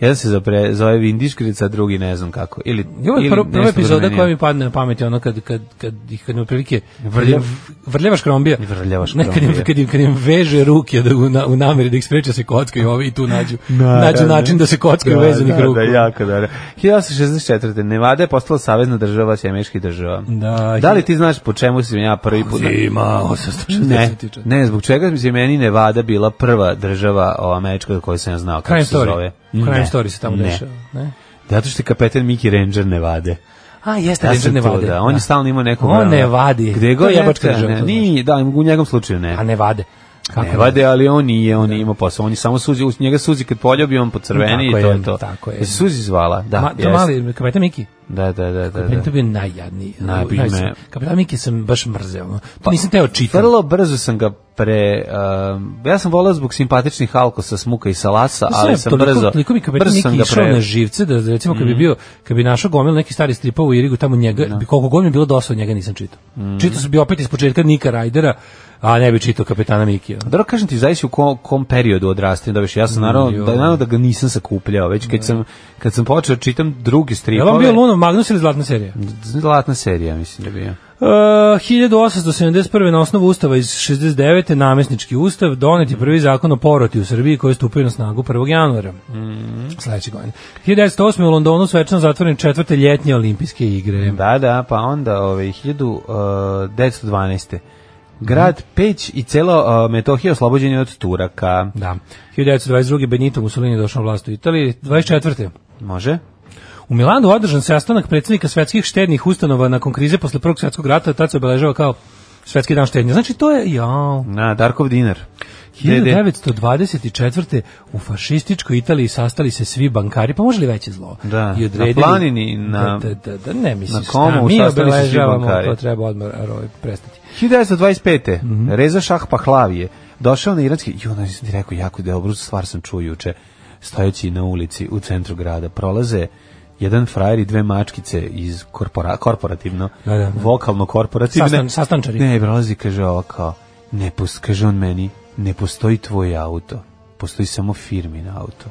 S6: jedan se zapre, zove Vindišgrica, a drugi ne znam kako. Ili,
S5: I ovo je
S6: ili
S5: prva, prva
S6: nešto
S5: epizoda
S6: promenio.
S5: koja mi padne na pamet, je ono kad, kad, kad, ih- kad mi otprilike
S6: Vrlja-
S5: vrljavaš krombija.
S6: Vrljavaš
S5: Ne, kad, im,
S6: krombija.
S5: kad, im, kad im veže ruke da, u, na, u nameri da ih spreče se kockaju ovi i tu nađu,
S6: Da,
S5: nađu
S6: da, da.
S5: način da se kockaju vezanih
S6: da,
S5: ruku.
S6: Da, jako dobro. 1864. Nevada je postala savezna država sjemeških država.
S5: Da,
S6: da li ti znaš po čemu sam ja prvi put...
S5: Zima, 860
S6: Ne,
S5: tiče.
S6: ne, zbog čega mi se meni Nevada bila prva država o, američka za koju sam ja znao kako
S5: Crime
S6: se zove.
S5: story. Crime
S6: Ne,
S5: story se tamo
S6: ne.
S5: dešava. Ne?
S6: Zato što je kapetan Miki Ranger Nevade.
S5: A, jeste,
S6: Ja
S5: Ranger
S6: sam to,
S5: Nevade.
S6: Da, on je stalno imao nekog...
S5: On
S6: ono,
S5: ne vadi.
S6: Gde
S5: To
S6: god
S5: je
S6: je
S5: jebačka država, to znaš.
S6: Nije, da, u njegovom slučaju ne.
S5: A ne vade. Kako
S6: Ne vade, ali on nije, on nije imao posao. On je samo suzi, uz njega suzi kad poljubi, on po crveni i
S5: Tako
S6: to
S5: je,
S6: je to.
S5: tako je.
S6: Jesi Suzi zvala, da.
S5: Ma, to
S6: jest.
S5: mali, kapetan Miki.
S6: Da, da, da, da.
S5: Meni to
S6: da.
S5: bio najjadniji.
S6: Najbolji me. Pa,
S5: Kapetan Miki sam baš mrzeo. ono. To nisam teo čitati.
S6: Vrlo brzo sam ga pre um, ja sam volao zbog simpatičnih alkosa, smuka i salasa,
S5: Mislim,
S6: Pa, ali sam
S5: ono, toliko-
S6: brzo
S5: Toliko mi kao
S6: brzo
S5: neki
S6: sam ga Mm.
S5: išao
S6: pre.
S5: na živce da da recimo kad bi bio kad bi našao gomil neki stari stripova u Irigu tamo njega bi koliko god mi je bilo dosta od njega nisam čitao.
S6: Mm.
S5: Čitao sam bi opet ispočetka Nika Rajdera, a ne bi čitao kapetana Mikija.
S6: Dobro, kažem ti, zavisi u kom, kom periodu odrastao da više. Ja sam naravno,
S5: joj.
S6: da, naravno da ga nisam sakupljao, već kad sam, kad sam počeo čitam drugi
S5: Je li on
S6: stripove.
S5: bio Lunov Magnus ili Zlatna serija?
S6: Mm. Zlatna serija, mislim da je bio.
S5: Uh, 1871. na osnovu ustava iz 69. namesnički ustav donet
S6: Mm.
S5: je prvi zakon o poroti u Srbiji koji je stupio na snagu 1. januara
S6: Mm.
S5: sledeće godine. 1908. u Londonu svečano zatvoren četvrte ljetnje olimpijske igre.
S6: Da, da, pa onda ovaj, 1912. Grad Peć i celo uh, Metohija oslobođen je od Turaka.
S5: Da. 1922. Benito Mussolini je došao na vlast u Italiji. 24.
S6: Može?
S5: U Milanu održan sastanak predsjednika svetskih štednih ustanova nakon krize posle Prvog svjetskog rata, tad se obeležava kao Svetski dan štednje. Znači to je, jao,
S6: Na, Darkov dinar. DD.
S5: 1924. u fašističkoj Italiji sastali se svi bankari, pa može li veće zlo?
S6: Da,
S5: I odredili,
S6: na planini, na-
S5: Da, da, da, da, ne mislim,
S6: na komu
S5: šta, mi
S6: sastali se svi
S5: obeležavamo,
S6: bankari.
S5: to treba odmah ovaj, prestati.
S6: 1925.
S5: Mhm.
S6: Reza Šah Pahlavije došao na iranski, i onda ti rekao jako dobru stvar sam čuo juče, stojeći na ulici u centru grada, prolaze jedan frajer i dve mačkice iz korpora, korporativno,
S5: Da, da, da.
S6: vokalno korporativne.
S5: Sastan- sastančari.
S6: Ne, prolazi, kaže ovo kao, ne, pus- kaže on meni, ne postoji tvoj auto, postoji samo firmin auto.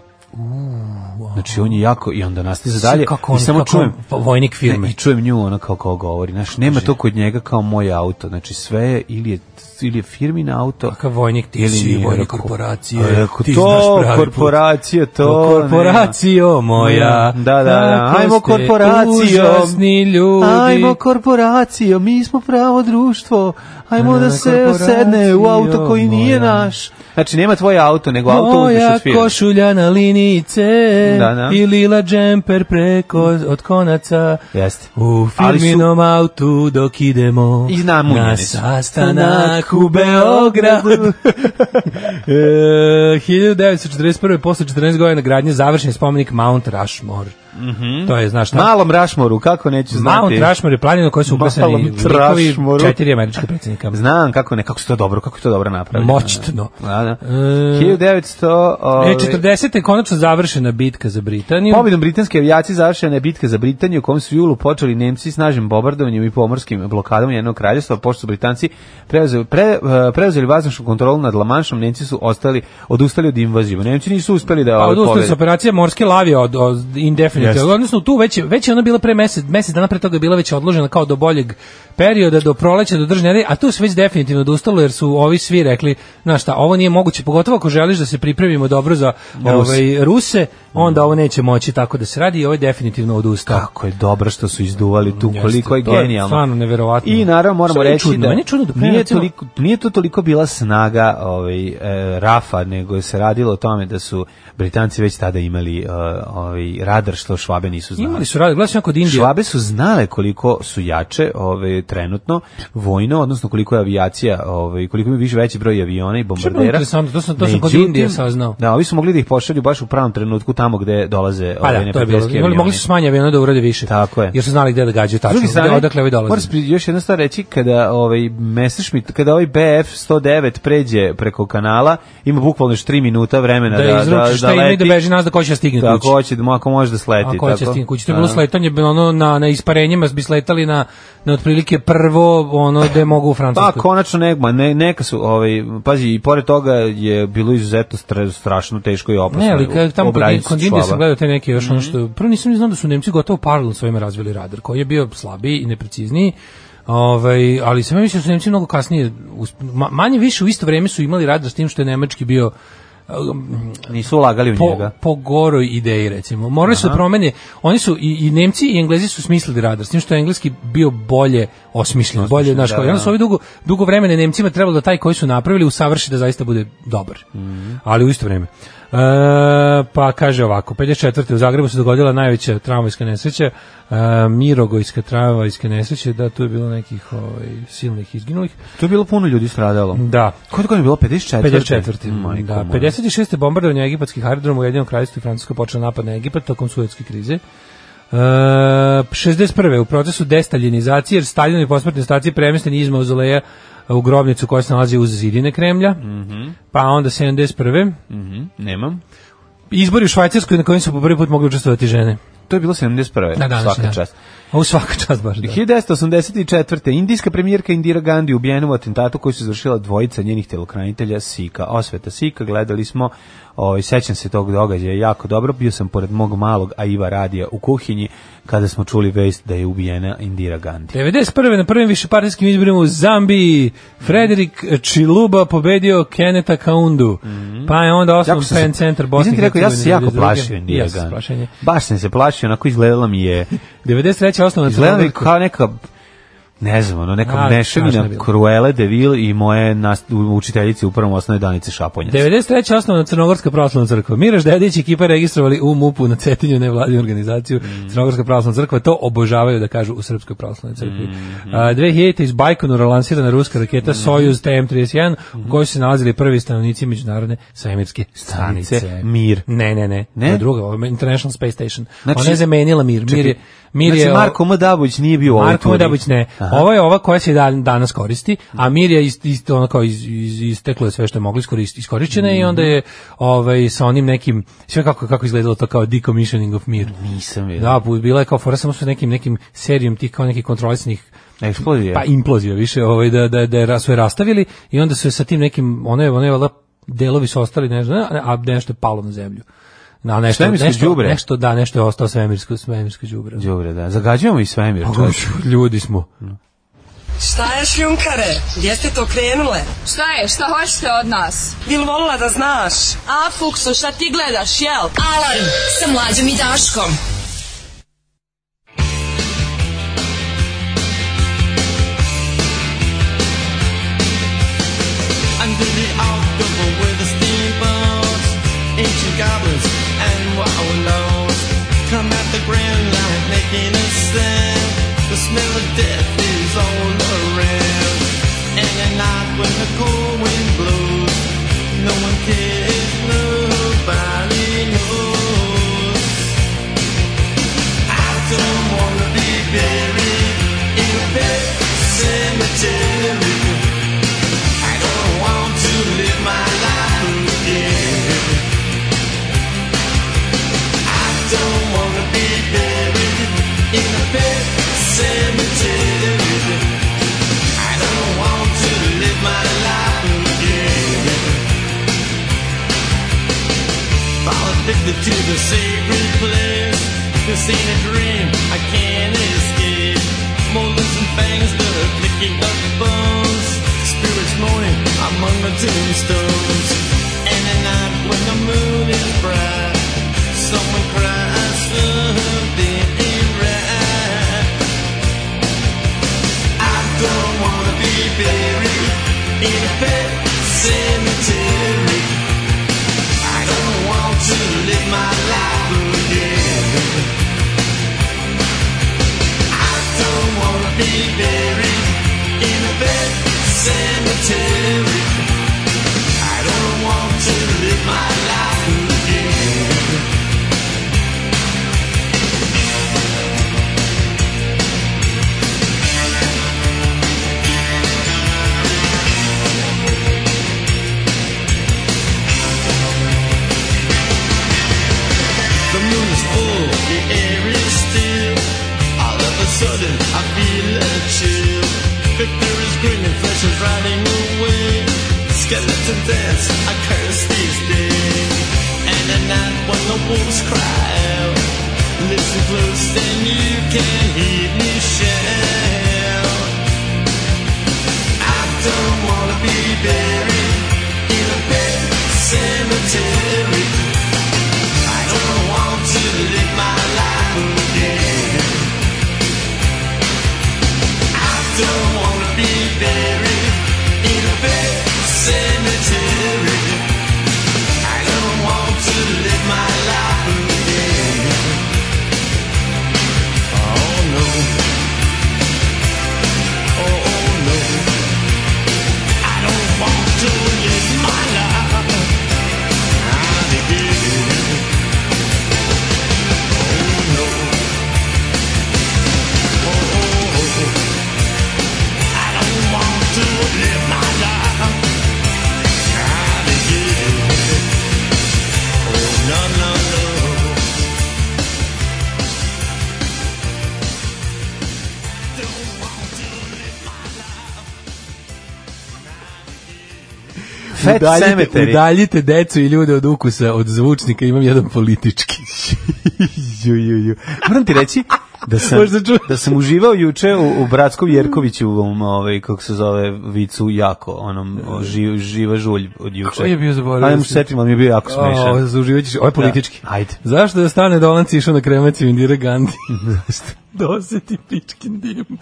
S6: Znači on je jako i onda nastaje
S5: Sve
S6: dalje
S5: kako
S6: i
S5: on-
S6: samo
S5: kako
S6: čujem
S5: on vojnik firme.
S6: Ne, i čujem nju ona kao kao govori znaš nema to kod njega kao moj auto znači sve je ili je ili je firmin auto
S5: Kakav vojnik ti
S6: ili
S5: si,
S6: nije,
S5: vojnik
S6: rekao.
S5: korporacije,
S6: A, rekao,
S5: ti
S6: to,
S5: znaš pravi put. Pa
S6: korporacija, to, nema.
S5: korporacijo moja.
S6: Da, da, da.
S5: kako
S6: Ajmo
S5: ste
S6: korporacijom.
S5: Užasni ljudi.
S6: Ajmo korporacijo, mi smo pravo društvo. Ajmo da se
S5: Korporacijo
S6: sedne u auto koji nije
S5: moja.
S6: naš. Znači nema tvoj auto, nego auto uzmeš
S5: Moja
S6: od firme.
S5: košulja na linice
S6: ono. Da, da.
S5: i lila džemper preko od konaca.
S6: Jeste.
S5: U
S6: Ali su-
S5: firminom autu dok idemo
S6: I namunjeni
S5: na
S6: su.
S5: sastanak u Beogradu. <laughs> e, 1941. posle 14 godina gradnje završen je spomenik Mount Rushmore.
S6: Mhm.
S5: To je, znaš šta?
S6: Malom Rašmoru, kako neću znati.
S5: Mount Rushmore je planino koje su uklesani
S6: Malom
S5: likovi
S6: Rushmoreu.
S5: četiri američka predsjednika.
S6: Znam kako ne, kako su to dobro, kako je to dobro napravljeno.
S5: Moćno.
S6: Da, ovaj, da.
S5: E,
S6: 1900...
S5: E,
S6: Ove,
S5: 40. je konačno završena bitka za Britaniju.
S6: Pobjedom britanske avijacije završena je bitka za Britaniju u kom su u julu počeli Nemci snažnim bombardovanjem i pomorskim blokadama njenog kraljestva, pošto su Britanci preuzeli, pre, e, preuzeli vazdušnu kontrolu nad Lamanšom, Nemci su ostali, odustali od invazije. Nemci nisu uspeli da...
S5: Pa
S6: ove,
S5: odustali
S6: pobede.
S5: su operacija morske lavije od, od indefinite.
S6: Jeste.
S5: Odnosno tu već, je- već je ona bila pre mesec, mesec dana pre toga je bila već odložena kao do boljeg perioda, do proleća, do držanja, nedelje, a tu se već definitivno odustalo jer su ovi svi rekli, znaš šta, ovo nije moguće, pogotovo ako želiš da se pripremimo dobro za ovaj, Ruse, onda ovo neće moći tako da se radi i ovo je definitivno odustao.
S6: Kako je dobro što su izduvali tu,
S5: Jeste,
S6: koliko je
S5: to je
S6: genijalno.
S5: stvarno neverovatno.
S6: I naravno moramo
S5: Samo je
S6: reći
S5: čudno,
S6: da,
S5: meni je čudno da pre
S6: nije,
S5: recimo-
S6: toliko, nije to toliko bila snaga ovaj, e, Rafa, nego se radilo o tome da su Britanci već tada imali e, ovaj, radar što Švabe nisu znali.
S5: Imali su radi, gledaj sam ja kod Indije.
S6: Švabe su znale koliko su jače ovaj, trenutno vojno, odnosno koliko je avijacija, ovaj, koliko ima više veći broj aviona i
S5: Što je bilo
S6: bombardera.
S5: interesantno, to sam, to sam kod
S6: Međutim,
S5: Indije saznao.
S6: Da, ovi su mogli da ih pošalju baš u pravom trenutku tamo gde dolaze
S5: Pa
S6: ovaj,
S5: da, to je bilo.
S6: neprijateljski
S5: Imali, mogli
S6: avioni.
S5: su smanje aviona da urade više.
S6: Tako je.
S5: Jer su znali gde da gađaju
S6: S
S5: tačno.
S6: druge strane,
S5: gde- odakle ovi dolaze.
S6: moram spi- još jedna stvar reći, kada ovaj Messerschmitt, kada ovaj BF 109 pređe preko kanala, ima bukvalno još 3 minuta vremena da,
S5: da izručiš šta ima i da beži nas da ko će da stigne
S6: Tako
S5: kući.
S6: hoće, da mu ako može da sleti.
S5: Ako hoće
S6: tako.
S5: da stigne kući. To je bilo
S6: Da.
S5: sletanje, bilo ono na, na isparenjima bi sletali na, na otprilike prvo ono gde mogu u
S6: Pa,
S5: Francusku.
S6: konačno nek, ma, ne, neka su, ovaj, pazi, i pored toga je bilo izuzetno stra, strašno teško i opasno.
S5: Ne, ali ka- tamo kod,
S6: obraditi
S5: kod Indije sam
S6: Švaba.
S5: gledao te neke još
S6: Mhm.
S5: ono što... Prvo nisam ni znao da su Nemci gotovo paralelno s ovima razvili radar, koji je bio slabiji i neprecizniji. Ovaj, ali sam ja mislio da su Nemci mnogo kasnije, usp- ma- manje više u isto vrijeme su imali radar s tim što je nemački bio
S6: Nisu ulagali u
S5: po,
S6: njega.
S5: po goroj ideji recimo. Morali su da promene, oni su i, i Nemci i Englezi su smislili radar, s tim što je engleski bio bolje osmišljen, bolje
S6: Osmišljen,
S5: znaš
S6: da,
S5: kao. I onda
S6: da.
S5: su ovi dugo dugo vremena Nemcima trebalo da taj koji su napravili usavrši da zaista bude dobar.
S6: Mhm.
S5: Ali u isto vrijeme. E, pa kaže ovako, 54. u Zagrebu se dogodila najveća tramvajska nesreća, e, Mirogojska tramvajska nesreća, da tu je bilo nekih ovaj, silnih izginulih.
S6: Tu je bilo puno ljudi stradalo.
S5: Da,
S6: Koje je godine bilo? 54.
S5: 54.
S6: Majko
S5: Mm. da,
S6: moja.
S5: 56. bombardovanje egipatskih aerodroma u Jedinom kraljestvu i Francuska počela napad na Egipat tokom sujetske krize. E, 61. u procesu destaljinizacije, jer Stalin je posmrtne stacije premješten iz mauzoleja e, u grobnicu koja se nalazi uz zidine Kremlja,
S6: Mhm.
S5: pa onda 71.
S6: Nemam.
S5: Izbori u Švajcarskoj na kojim su po prvi put mogli učestvovati žene.
S6: To je bilo 71.
S5: Na današnji
S6: svaka
S5: dan.
S6: čast.
S5: A u svaka čast baš da.
S6: 1984. Indijska premijerka Indira Gandhi ubijena u atentatu koji su izvršila dvojica njenih telokranitelja Sika. Osveta Sika, gledali smo, ovaj, sećam se tog događaja jako dobro, bio sam pored mog malog Aiva radija u kuhinji kada smo čuli vest da je ubijena Indira Gandhi.
S5: 91. na prvim višepartijskim izborima u Zambiji Frederik Čiluba pobedio Keneta Kaundu. Pa je
S6: Mhm. Jako
S5: onda osnovan
S6: sam se-
S5: pen centar Bosne
S6: Nisam
S5: i
S6: ti rekao,
S5: Hercegovine.
S6: ja sam se jako
S5: 92..
S6: plašio Indira
S5: Jesam,
S6: Gandhi.
S5: plašenje.
S6: Baš sam se plašio, onako izgledala mi
S5: <laughs>
S6: je,
S5: 93. osnovna
S6: izgledala mi je kao neka ne znam, ono, neka
S5: Ali, strašno je
S6: mešavina
S5: bilo.
S6: Cruella de Vil i moje nas, učiteljice u prvom osnovi Danice Šaponjac.
S5: 93. osnovna Crnogorska pravoslavna crkva. Miraš Dedić i ekipa registrovali u MUP-u na Cetinju nevladinu organizaciju
S6: Mhm.
S5: Crnogorska pravoslavna crkva. To obožavaju da kažu u Srpskoj pravoslavnoj crkvi.
S6: Mhm.
S5: A, 2000. iz Bajkonura lansirana ruska raketa Sojuz TM-31
S6: Mhm.
S5: u kojoj su se nalazili prvi stanovnici međunarodne svemirske stanice.
S6: Stanice Mir.
S5: Ne, ne, ne.
S6: Ne?
S5: To je druga, ovo je International Space Station.
S6: Znači-
S5: Ona je zamenila Mir. Mir je, mir
S6: znači,
S5: je o-
S6: Marko M. Dabuć nije bio u ovoj
S5: Marko
S6: turi.
S5: Medabić ne.
S6: Aha.
S5: Ovo je ova koja se dan, danas koristi, a Mirja isto ist, ono kao iz, iz, isteklo je sve što je moglo iskoristiti, iskorišćeno je i onda je ovaj sa onim nekim sve kako kako izgledalo to kao decommissioning of Mir.
S6: Nisam vidio.
S5: Da, bu- bila je kao fora samo sa nekim nekim serijom tih kao nekih kontrolisanih
S6: Eksplodija.
S5: pa implozija više, ovaj da da da je ras- su je rastavili i onda su je sa tim nekim one one valjda delovi su ostali ne znam, a nešto je palo na zemlju. Na nešto
S6: Svemirsko
S5: nešto,
S6: đubre.
S5: nešto da nešto je ostalo svemirsko svemirsko đubre.
S6: Đubre, da. Zagađujemo i svemir. čovječe.
S5: Ljudi smo.
S7: Šta je šljunkare? Gdje ste to krenule?
S4: Šta je? Šta hoćete od nas?
S7: Bil volila da znaš?
S4: A, Fukso, šta ti gledaš, jel? Alarm sa mlađom i Daškom.
S8: Under the October with the steamboats, ancient goblins and wallows come at the grand line making a sound. The smell of death is all around, and at night when the cold wind blows, no one cares, nobody knows. I don't wanna be buried in a pet cemetery. I don't want to live my life again. I don't wanna be buried in a big cemetery. I don't want to live my life again. Fall addicted to the sacred place. This ain't a dream, I can't escape. Moldings and fangs, the clicking of bones. Spirits moaning among the tombstones. And at night when the moon is bright, someone cries something ain't right. I don't wanna be buried in a pet cemetery. I don't want to live my life again. I don't wanna be buried in a bed cemetery. I don't want to live my life again. The moon is full, the air is still. All of a sudden, I feel a chill. Victor is grinning, flesh is riding away. Skeleton dance, I curse these days. And at night when the wolves cry out, listen close, then you can hear me shout. I don't wanna be buried in a big cemetery. I don't want to live my life again. I don't wanna be buried in a big cemetery. I don't want to live my life again. Oh no. Oh no. I don't want to live my life again. I don't want to live
S6: Pet Cemetery.
S5: udaljite decu i ljude od ukusa, od zvučnika, imam jedan politički.
S6: <laughs> ju, ju, ju. Moram ti reći da sam,
S5: Možda ču-
S6: da sam uživao juče u, u Bratskom Jerkoviću, um, ovaj, kako se zove, vicu jako, onom o, ži, živa žulj od juče.
S5: Koji je bio, zaboravio
S6: Ajde mu
S5: sam.
S6: setim, ali mi je bio jako
S5: O,
S6: smešan.
S5: ovo zauživat ćeš, ovo je politički.
S6: Da, ajde.
S5: Zašto da stane Dolanci išao na kremaciju Indira Gandhi? <laughs> Doseti pičkin dim. <laughs>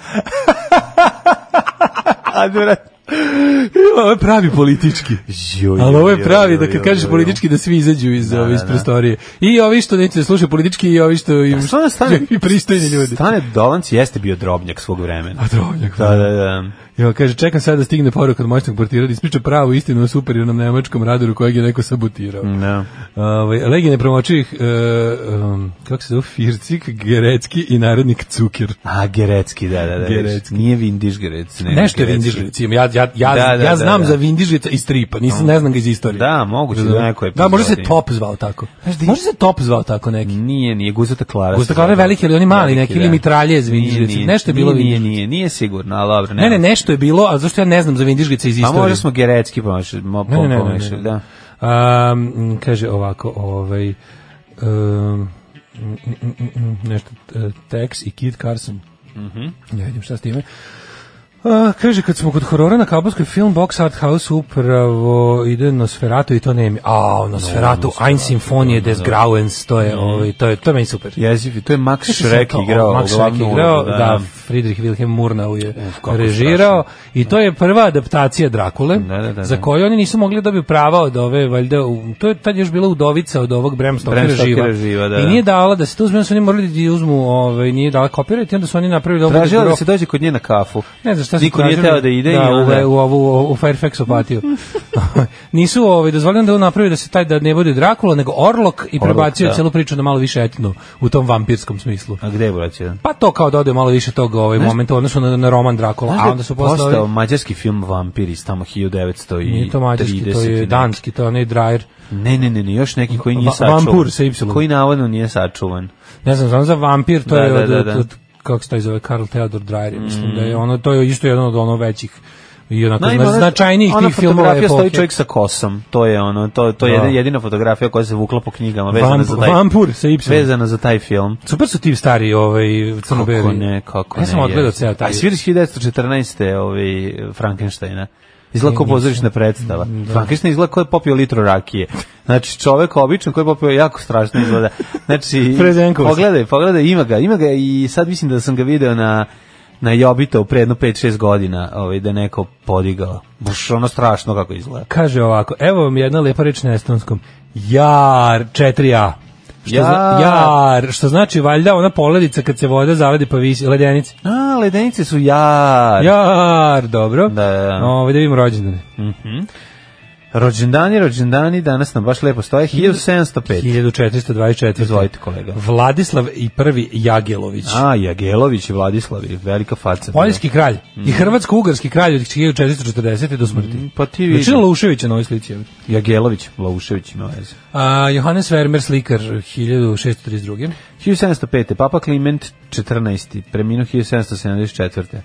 S6: Ajde, vrat.
S5: Ovo je pravi politički.
S6: Ju, ju,
S5: Ali ovo je
S6: ju,
S5: pravi,
S6: ju,
S5: da kad
S6: ju,
S5: kažeš
S6: ju, ju.
S5: politički da svi izađu iz, da, iz prostorije. I ovi što neće da slušaju politički i ovi što im,
S6: Stvarno <laughs> stane,
S5: <laughs> i pristojni ljudi.
S6: Stane Dolanc jeste bio drobnjak svog vremena.
S5: A drobnjak.
S6: Da, da, da.
S5: Jo, kaže, čekam sad da stigne poruka od moćnog portira da ispriča pravu istinu o superiornom nemačkom radaru kojeg je neko sabotirao.
S6: Da.
S5: Ovaj Legije nepromočivih e, um, kako se zove Fircik, Gerecki i narednik Cuker.
S6: A, Gerecki, da, da, da.
S5: Gerecki.
S6: Nije Vindiš Gerec. Ne,
S5: Nešto je
S6: E, Gerecki.
S5: Vindižlic, imam, ja, ja, ja,
S6: Da, da,
S5: ja znam
S6: da, da.
S5: za Vindižlica iz stripa, nisam, ne znam ga iz istorije.
S6: Da, moguće da
S5: Razumem?
S6: neko je
S5: Da, može se
S6: epizodi.
S5: Top zvao tako.
S6: Znaš da-
S5: Može se Top zvao tako neki.
S6: Nije, nije Guzeta Klara.
S5: Guzeta Klara je veliki, ali oni mali neki, ili mitraljez Vindižlic, nešto je bilo
S6: Nije, nije,
S5: Vindižlic.
S6: nije, nije sigurno, ali dobro.
S5: Ne, ne, nešto je bilo, a zašto ja ne znam za Vindižlica iz
S6: Pa
S5: istorije?
S6: možda smo Gerecki pomešali, mo,
S5: Ne, ne, ne, ne,
S6: pomešali,
S5: ne.
S6: da.
S5: Um, kaže ovako, ovaj, um, mm, mm, mm, mm, nešto, eh, Tex i Kid Carson.
S6: Mhm.
S5: Ne vidim šta s time. A, kaže, kad smo kod horora na kabelskoj film Box Art House upravo ide Nosferatu i to ne mi. A, Nosferatu, Ein Sinfonije des Grauens, to
S6: Mhm.
S5: je, ovaj, to je, to je meni super.
S6: Jezivi, to je Max Schreck
S5: To,
S6: igrao.
S5: Max Schreck
S6: glavnu
S5: igrao,
S6: ulogu,
S5: da, Friedrich Wilhelm Murnau je
S6: kako
S5: režirao i to je prva adaptacija Drakule
S6: Da, da, da,
S5: za
S6: da.
S5: koju oni nisu mogli da bi prava od ove valjda u- to je tad još bila udovica od ovog Bram Stokera
S6: Bram Stokera
S5: živa.
S6: živa, da,
S5: I
S6: da.
S5: nije dala da se to uzme, onda su oni morali da je uzmu, ovaj nije dala kopirati, i onda su oni napravili ovu
S6: Tražila da se dođe kod nje na kafu.
S5: ne znam šta su
S6: Niko nije
S5: tražili.
S6: teo da ide
S5: da,
S6: i onda...
S5: u, u, ovu, u Fairfax opatiju.
S6: <laughs>
S5: Nisu ovaj, dozvoljeno da on napravi da se taj da ne bude Drakula, nego Orlok i prebacio
S6: da.
S5: celu priču na malo više etnu u tom vampirskom smislu.
S6: A gde je braće?
S5: Pa to kao dodaju malo više tog ovaj momenta u odnosu na, na roman Drakula, a onda su posle
S6: postao
S5: ovi-
S6: mađarski film Vampir iz tamo 1900 i
S5: Nije to mađarski, to je danski, to je onaj Dreyer.
S6: Ne, ne, ne, ne, još neki koji nije
S5: Va-
S6: sačuvan.
S5: Vampur sa Y.
S6: Koji navodno nije sačuvan.
S5: Ne znam, znam za vampir, to
S6: Da,
S5: je
S6: da,
S5: od,
S6: da,
S5: od-
S6: da. Mm.
S5: od- kako se taj zove, Karl Theodor Dreyer, mislim da je ono, to je isto jedan od ono većih i onako
S6: Naime,
S5: zna-
S6: ona-
S5: značajnijih
S6: ona
S5: tih filmova
S6: fotografija stoji
S5: epohe.
S6: čovjek sa kosom. To je ono, to to je
S5: Da.
S6: jedina- jedina fotografija koja se vukla po knjigama vezana
S5: Vamp,
S6: za taj
S5: vampur sa Y.
S6: vezana za taj film.
S5: Super su ti stari ovaj, crnobeli.
S6: Kako ne, kako ne.
S5: Ja sam odgledao
S6: jezivo.
S5: ceo taj.
S6: A sviriš 1914. ovi Frankensteina. Izgleda kao
S5: nisam.
S6: pozorišna predstava. Frankenstein izgleda kao je popio litru rakije. Znači, čovek običan koji je popio jako strašno izgleda. Znači,
S5: <laughs> Fred Jankovic.
S6: pogledaj, pogledaj, ima ga. Ima ga i sad mislim da sam ga video na na Jobita u predno 5-6 godina ovaj, da je neko podigao. Baš ono strašno kako izgleda.
S5: Kaže ovako, evo vam jedna lepa reč na estonskom. Jar, 4A. Što
S6: Jar.
S5: Zna, jar, što znači valjda ona poledica kad se voda zavadi pa visi, ledenice.
S6: A, ledenice su jar.
S5: Jar, dobro.
S6: Da, da, da.
S5: Ovaj, da vidimo rođendane.
S6: Rođendani, rođendani, danas nam baš lepo stoje. 1705.
S5: 1424.
S6: Izvolite, kolega.
S5: Vladislav i prvi Jagelović.
S6: A, Jagelović i Vladislavi, velika faca.
S5: Poljski kralj i hrvatsko-ugarski kralj od 1440. do smrti. Mm,
S6: Mm. pa ti vidi.
S5: Većina Lauševića na ovoj slici. evo.
S6: Jagelović, Laušević ima veze.
S5: A, Johannes Vermeer slikar 1632.
S6: 1705. Papa Kliment 14. preminuo 1774.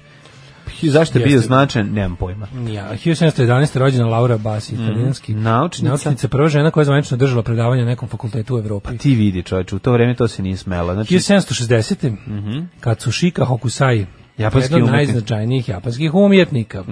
S6: Hi- Zašto je bio
S5: Jeste.
S6: značajan, nemam pojma.
S5: Ja, 1711. rođena Laura
S6: Mm.
S5: Bassi, italijanski
S6: Naučnica.
S5: naučnica, prva žena koja je zvanično držala predavanje na nekom fakultetu u Evropi.
S6: Pa Ti vidi čoveče, u to vreme to se nije smela. Znači,
S5: 1760. Mm -hmm. Katsushika Hokusai,
S6: Mhm. Japanski
S5: jedan od
S6: umetnik.
S5: najznačajnijih japanskih umjetnika.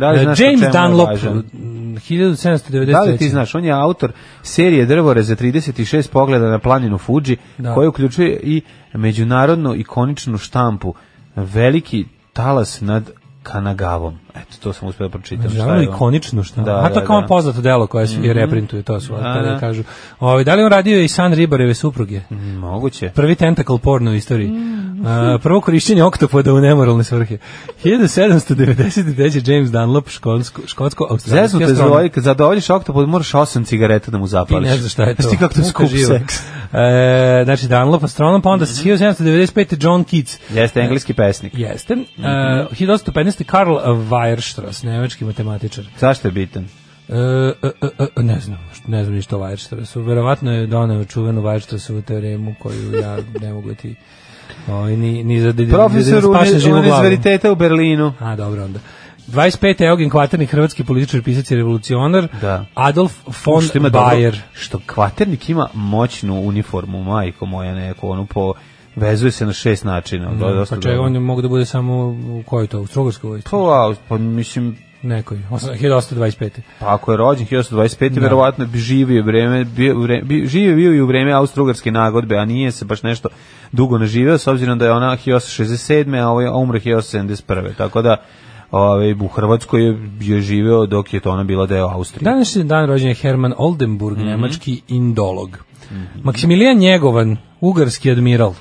S6: da li
S5: E,
S6: znaš po
S5: James
S6: čemu je
S5: Dunlop,
S6: važan?
S5: mm, 1793.
S6: Da li ti znaš, on je autor serije drvore za 36 pogleda na planinu Fuji,
S5: Da.
S6: koja uključuje i međunarodnu ikoničnu štampu. Veliki talas nad Kanagavom. Eto, to sam uspio da pročitam. šta je
S5: Žalno
S6: on.
S5: ikonično šta.
S6: Da,
S5: Da, A to
S6: da,
S5: kao
S6: da. Mhm.
S5: poznato delo koje se reprintuje, to su da,
S6: da. Mhm.
S5: da. kažu. Ovaj da li on radio i San Ribareve supruge?
S6: Moguće.
S5: Prvi tentacle porno u istoriji.
S6: Mhm.
S5: A, prvo korišćenje oktopoda u nemoralne svrhe. 1793. James Dunlop, školsko, škotsko, australijski
S6: Zezno te
S5: astronom.
S6: zadovolji, kad zadovoljiš oktopod, moraš osam cigareta da mu
S5: Ti
S6: zapališ.
S5: ne znaš šta je to.
S6: Znaš ti kako to je
S5: Muka
S6: skup
S5: živa. <laughs>
S6: seks. Mhm.
S5: E, znači, Dunlop, astronom, pa onda 1795. John Keats.
S6: Jeste engleski pesnik.
S5: Jeste. Mm -hmm. uh, 1815. Karl Weierstrass, nemački matematičar.
S6: Zašto je bitan?
S5: E, e, e, e, ne znam, ne znam ništa o Weierstrassu. Verovatno je doneo čuvenu Weierstrassovu teoremu koju ja ne mogu ti ovaj, ni, ni za da, da, da, da
S6: Profesor
S5: spašem
S6: uni-
S5: živu glavu.
S6: univerziteta u Berlinu.
S5: A, dobro onda. 25. Eugen Kvaternik, hrvatski političar, pisac i revolucionar.
S6: Da.
S5: Adolf von
S6: što ima
S5: Bayer.
S6: Dobro, što kvaternik ima moćnu uniformu, majko moja neko, onu po vezuje se na šest načina. Da, dosta
S5: Pa čaj,
S6: dobro.
S5: on je mogu da bude samo u kojoj to, u Strugarskoj vojsci?
S6: Pa, wow, pa mislim,
S5: Nekoj, osam- 1825.
S6: pa ako je rođen 1925, verovatno bi živio vreme, bio, vre, bi, živio bio i u vreme austrougarske nagodbe, a nije se baš nešto dugo naživeo, s obzirom da je ona 1867. a ovaj umre 1871. Tako da, ovaj, u Hrvatskoj je, je živeo dok je to ona bila deo Austrije.
S5: Današnji dan rođen je Herman Oldenburg,
S6: Mhm.
S5: nemački indolog. Maksimilijan Njegovan, ugarski admiral.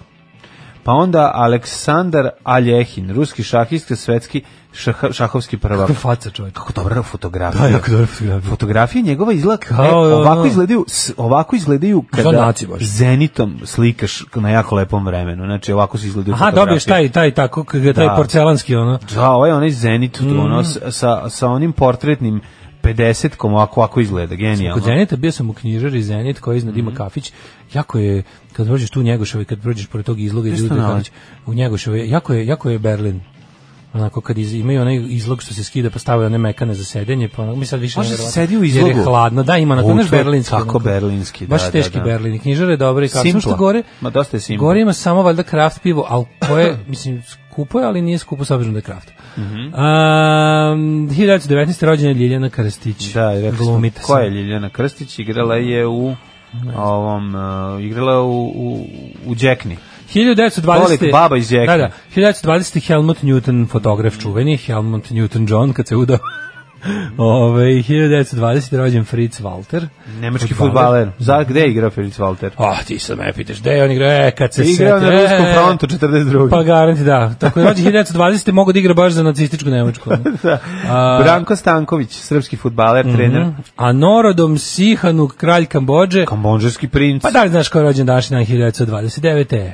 S6: Pa onda Aleksandar Aljehin, ruski šahista, svetski šaha- šahovski prvak.
S5: <laughs> Kako faca čovjek.
S6: Kako <laughs> dobra fotografija.
S5: Da, jako dobra fotografija.
S6: Fotografije njegova izgleda kao,
S5: Kao, ono-
S6: ovako izgledaju s- ovako izgledaju kada
S5: Zanaci baš.
S6: zenitom slikaš na jako lepom vremenu. Znači ovako se izgledaju
S5: Aha, dobiješ taj, taj, tako, k- taj
S6: Da.
S5: porcelanski, ono.
S6: Da, ovaj onaj zenit
S5: Mm.
S6: ono, s- sa, sa onim portretnim 50-kom ovako, ovako izgleda, genijalno.
S5: Kod Zenita bio sam u knjižari Zenit koji iznad
S6: Mhm.
S5: ima kafić. Jako je kad prođeš tu u Njegoševoj, kad prođeš pored tog izloga iz
S6: Gde se to
S5: Udruge
S6: nalazi?
S5: kafić, u Njegoševoj, jako je jako je Berlin. Onako kad iz, imaju onaj izlog što se skida pa stavaju one mekane za sedenje, pa onako mi sad više
S6: Može
S5: ne
S6: se
S5: verovatno,
S6: sedi u
S5: Jer
S6: izlogu.
S5: je hladno, da ima na
S6: U,
S5: to naš
S6: to je
S5: berlinski.
S6: tako
S5: onako.
S6: berlinski, da,
S5: Baš
S6: da,
S5: teški
S6: da.
S5: Berlin. I Knjižara je dobra i kafić. Samo što
S6: Simpla.
S5: gore.
S6: Ma, dosta je simpla.
S5: Gore ima samo valjda kraft pivo, al koje <clears throat> mislim skupo je, ali nije skupo s obzirom da je kraft. Mhm. 1919. rođena je Ljiljana Krstić.
S6: Da, i rekli smo,
S5: Glumite
S6: koja je Ljiljana Krstić, igrala je u ovom, uh, igrala je u, u, u Džekni.
S5: 1920.
S6: Kolik baba iz Jekne.
S5: Da, da. 1920. Helmut Newton, fotograf čuveni, Helmut Newton John, kad se udao. <laughs> Ove, 1920. rođen Fritz Walter.
S6: Nemački
S5: Fudbaler.
S6: futbaler. Za gde igra Felix Walter?
S5: Ah, ti sad me pitaš, gde je on igrao? E, kad se
S6: Igrao
S5: seti,
S6: na ruskom
S5: e,
S6: frontu 42.
S5: Pa garanti, da. Tako je rođen 1920. mogo da igra baš za nacističku
S6: <laughs>
S5: Nemačku. da. A, Mhm.
S6: Branko Stanković, srpski futbaler, trener.
S5: a Norodom Sihanuk, kralj Kambođe.
S6: Kambonžarski princ.
S5: Pa da li znaš ko je rođen današnji dan 1929.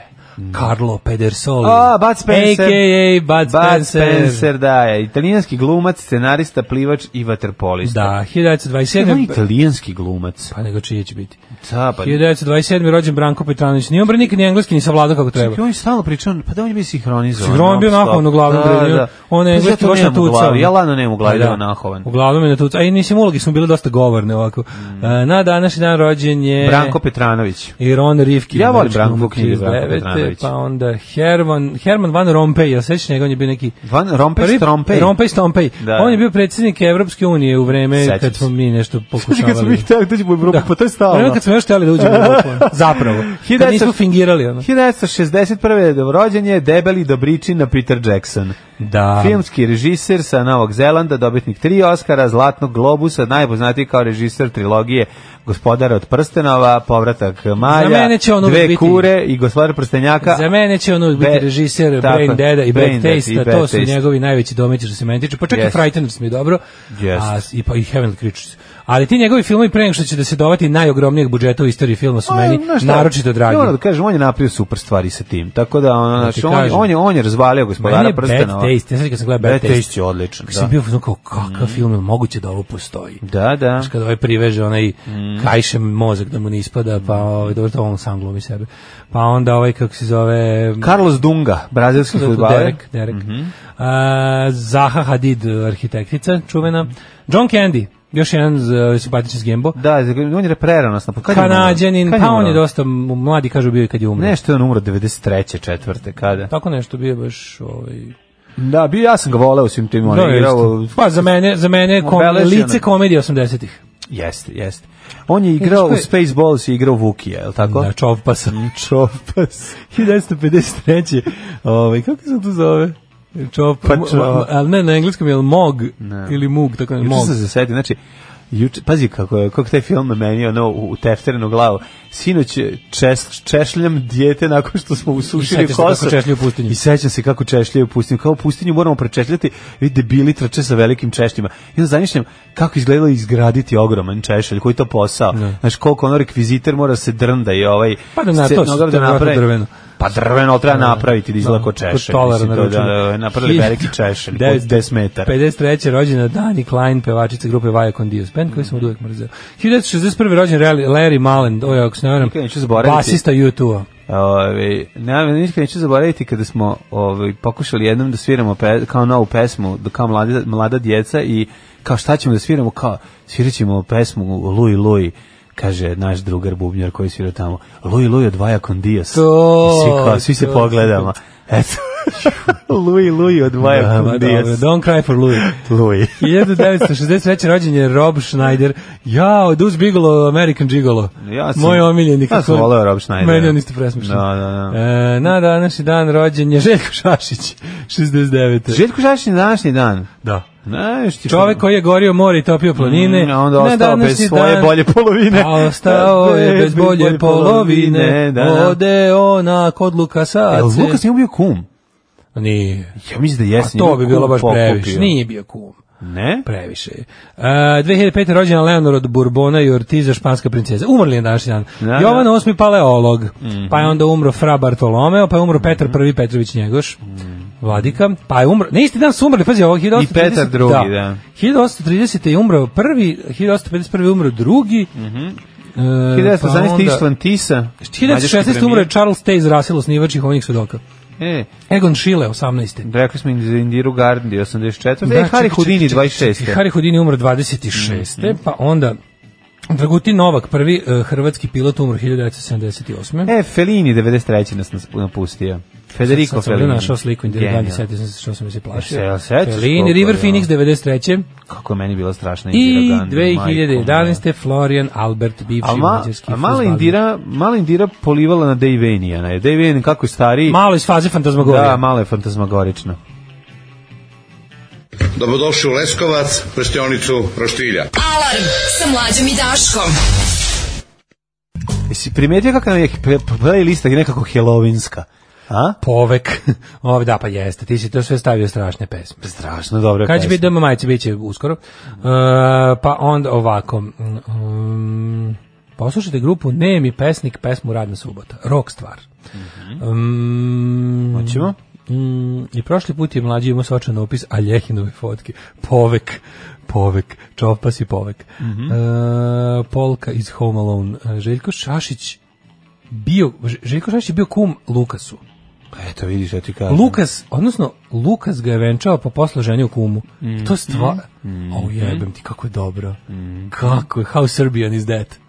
S5: Carlo Pedersoli.
S6: A, Bud Spencer.
S5: A.k.a. Bud
S6: Bud
S5: Spencer.
S6: Spencer, da je. Italijanski glumac, scenarista, plivač i vaterpolista.
S5: Da,
S6: Je on
S5: 1927.
S6: italijanski glumac.
S5: Pa nego čije će biti.
S6: Da, pa...
S5: 1927. rođen Branko Petranović. Nije on bre nikad ni engleski, ni savladao kako treba.
S6: Čekaj, on je stalno pričao, pa da on je bio sinhronizovan.
S5: Sigurno on bio
S6: non-stop.
S5: nahovan uglavnom.
S6: Da,
S5: bre,
S6: da.
S5: On je
S6: Pa
S5: engleski
S6: zato
S5: baš
S6: nemam u
S5: natucao.
S6: glavi, Ja lano nemam u glavi
S5: Pa
S6: da je on nahovan.
S5: Uglavnom je natucao. A i mislim, ulogi smo bile dosta govorne ovako. E, Na današnji dan rođen je...
S6: Mm. Branko Petranović.
S5: I Ron Rifkin.
S6: Ja volim
S5: znači,
S6: Branku
S5: glumac
S6: knjigu Branka
S5: 1939.,
S6: Petranović.
S5: Pa onda Herman, Herman Van Rompuy, ja sećaš njega, on je bio neki...
S6: Van Rompej
S5: Prvi-
S6: Strompej.
S5: Rompej Stompej.
S6: Da.
S5: On je bio predsjednik Evropske unije u vreme
S6: Sećam
S5: kad
S6: se.
S5: smo mi
S6: <laughs>
S5: nešto pokušavali.
S6: htjeli dođemo u <laughs> Evropu,
S5: Da. Vreme Pa kad smo još htjeli da uđemo u
S6: <laughs>
S5: Europu, zapravo. Kad nismo fingirali, ono.
S6: 1961. rođen je debeli dobričina Peter Jackson.
S5: Da.
S6: Filmski režiser sa Novog Zelanda, dobitnik tri Oscara, Zlatnog globusa, najpoznatiji kao režiser trilogije Gospodara od prstenova, Povratak Maja,
S5: Za mene će on uvek
S6: Dve
S5: biti-
S6: kure i Gospodar prstenjaka.
S5: Za mene će on uvijek
S6: ono Be-
S5: biti režiser
S6: tako,
S5: Brain Deda i
S6: Brain
S5: Bad
S6: Dead i
S5: Taste,
S6: Bad
S5: to su
S6: Taste.
S5: njegovi najveći domaći što se meni tiče. Pa čak
S6: Jest.
S5: i Frighteners mi je dobro,
S6: Jest.
S5: a, i, pa, i Heavenly Creatures. Ali ti njegovi filmovi pre nego što će da se dovati najogromnijeg budžeta u istoriji filma su meni
S6: A, Pa, znaš šta,
S5: naročito dragi.
S6: Ja moram da kažem, on je napravio super stvari sa tim. Tako da, ono, znaš,
S5: ti
S6: on, je-
S5: kažem.
S6: on, je, on je razvalio
S5: Meni
S6: Gospodara
S5: je Bad
S6: prstenova.
S5: Taste, ja sad kad sam gledao
S6: Bad
S5: Bad
S6: Taste
S5: Taste,
S6: je odličan,
S5: kako
S6: da. Mm.
S5: sam bio u fazonu kao kakav film, jel moguće da ovo postoji.
S6: Da, Mm. da.
S5: Znaš, kad ovaj priveže onaj kajšem mozak da mu ne ispada,
S6: Mm.
S5: pa ovaj, dobro to on sam glumi sebe. Pa onda ovaj, kako se zove...
S6: Carlos Dunga, brazilski fudbaler.
S5: Pa Derek, Derek.
S6: Mhm.
S5: A, Zaha Hadid, arhitektica, čuvena. John Candy, još jedan z- ovaj, simpatičan s Gembo.
S6: Da, on je preranost. Kad je umro?
S5: Kanadjanin,
S6: Kad je
S5: pa on
S6: umro?
S5: je dosta m- mladi, kažu bio je kad je umro.
S6: Nešto je on umro 93. četvrte, kada?
S5: Tako nešto bio je baš ovaj
S6: Da, bio ja sam ga voleo u svim tim, on
S5: Da,
S6: je igrao...
S5: jeste. pa za mene za mene je kom,
S6: Obeležio
S5: lice
S6: nam.
S5: komedije 80-ih.
S6: Jeste, jeste. On je igrao
S5: Znaš ko
S6: u
S5: je-
S6: Spaceballs i igrao Vukija, je li tako?
S5: Da, čovpa
S6: Mm.
S5: sam. <laughs>
S6: Čopas.
S5: 1953. Ovaj kako se to zove? Čop,
S6: Pa čop.
S5: ali ne na engleskom je li mog ili mug, tako ne,
S6: Juče
S5: mog.
S6: sam se setio, znači, juče, pazi kako, je- kako taj film na meni, ono, u, u tefterenu glavu. Sinoć je čes, češljam dijete nakon što smo usušili
S5: I sećaš se
S6: kosu.
S5: kako češlja u pustinji.
S6: I sećam se kako češljaju u pustinju. Kao u pustinju moramo prečešljati, vidi debili trče sa velikim češljima. I onda zamišljam kako izgledalo izgraditi ogroman češelj, koji je to posao. Znaš, koliko ono rekvizitor mora se drnda i ovaj...
S5: Pa da na to
S6: scenogram
S5: se- to je verovatno drveno.
S6: Pa drveno, ali treba
S5: Da,
S6: napraviti da izgleda
S5: da,
S6: ko
S5: kod
S6: češelj.
S5: tolara
S6: mislim, to da,
S5: naručili.
S6: da, napravili veliki češelj, od 10 metara.
S5: 53. rođena Dani Klein, pevačica grupe Viacon Dios Band, koji sam od uvek mrzeo. 1961. rođen Larry, Larry Mullen, oj, ako se ne varam,
S6: Nikad neću zaboraviti.
S5: basista U2-a.
S6: Ove, Ovaj, ne, nikad neću zaboraviti kada smo ove, pokušali jednom da sviramo pe, kao novu pesmu, da kao mlada, mlada djeca i kao šta ćemo da sviramo, kao svirat ćemo pesmu Luj Luj, kaže naš drugar bubnjar koji svira tamo, Luj Luj od Vajakon Dias.
S5: To,
S6: I svi, kao, svi se
S5: to,
S6: pogledamo.
S5: <laughs>
S6: Eto, Luj Luj od
S5: Ovaj, Da, ma,
S6: Vajakon Dias.
S5: dobro, Don't cry for Louis.
S6: Luj.
S5: 1963. rođen je Rob Schneider. Jao, Deuce Bigelow, American Gigolo.
S6: Ja sam-
S5: Moj omiljeni.
S6: ja sam
S5: kako-
S6: voleo Rob Schneidera.
S5: Meni on isto presmišljen.
S6: Da, da, da.
S5: E, na današnji dan rođen je Željko Šašić, 69.
S6: Željko Šašin je današnji dan.
S5: Da.
S6: Znaš ti
S5: Čovek koji je gorio more i topio planine.
S6: Mm, a onda ostao
S5: na
S6: bez
S5: današnji
S6: svoje
S5: dan-
S6: bolje polovine.
S5: A
S6: <laughs>
S5: ostao je bez bolje polovine.
S6: Da, da.
S5: Ode ona kod Lukasa.
S6: Jel Lukas nije bio kum?
S5: Nije.
S6: Ja mislim da
S5: A
S6: jesi.
S5: to
S6: njemu
S5: bi
S6: kum
S5: bilo baš
S6: pokupio.
S5: previše. Nije bio kum.
S6: Ne?
S5: Previše je. Uh, 2005. rođena Leonor od Bourbona i Ortiza, španska princeza. Umrli je današnji dan.
S6: Da, Mhm.
S5: Jovan VIII paleolog, pa je onda umro Fra Bartolomeo, pa je umro Petar I Petrović Njegoš, vladika, pa je umro, na isti dan su umrli, pazi ovo, 1830,
S6: Mhm. I Petar II, da.
S5: 1830. je umro prvi, 1851. je umro drugi,
S6: Mhm.
S5: mm -hmm.
S6: 1918. Ištvan Tisa. mađarski
S5: 1916. umro je
S6: premijer.
S5: Charles Taze Russell, osnivač Ovnih sudoka.
S6: E,
S5: Egon Schiele, 18.
S6: rekli smo za Indiru Gardner 84.
S5: Da,
S6: e,
S5: čekaj,
S6: Harry
S5: čekaj,
S6: Houdini
S5: čekaj, čekaj,
S6: 26.
S5: Harry Houdini umro 26. Pa onda Dragutin Novak, prvi eh, hrvatski pilot, umro 1978.
S6: E, Fellini 93. nas nas napustio. Federico
S5: Sad sam ovdje
S6: Fellini.
S5: našao sliku Indira
S6: Genijal.
S5: Gandhi, setio sam se što sam se plašio.
S6: Se, jel sećaš
S5: Fellini,
S6: koliko
S5: River
S6: je
S5: Phoenix,
S6: ono?
S5: 93.
S6: Kako je meni bila strašna
S5: I
S6: Indira Gandhi. majko moja.
S5: 2011. Florian Albert, bivši
S6: A, ma,
S5: mađarski
S6: a mala
S5: fudbaler.
S6: Indira, mala Indira polivala na Dave Vanijana. Je Dave Vanijan kako je stariji.
S5: Malo iz faze fantazmagorije.
S6: Da, malo je fantazmagorično.
S9: Dobrodošli u Leskovac, prštionicu Roštilja.
S4: Alarm sa mlađom i Daškom.
S6: Jesi primetio kakva nam je pe- pe- playlista nekako helovinska? A?
S5: Povek. <laughs> Ovo, da, pa jeste, ti si to sve stavio strašne pesme.
S6: Strašno dobra
S5: Kad će
S6: pesma.
S5: biti doma majice, bit će uskoro. E, pa onda ovako. Um, poslušajte grupu Nemi pesnik, pesmu Radna subota. Rok stvar. Um,
S6: Hoćemo?
S5: Mm, I prošli put je mlađi imao sočan opis Aljehinove fotke. Povek, povek, čopas i povek. E, Polka iz Home Alone. E, Željko Šašić bio, Ž- Željko Šašić je bio kum Lukasu.
S6: Eto, vidiš, ja ti kažem.
S5: Lukas, odnosno Lukas ga je venčao pa posle ženio kumu.
S6: Mm.
S5: To stva, au jebem ti kako je dobro.
S6: Mm.
S5: Kako je How Serbian is that?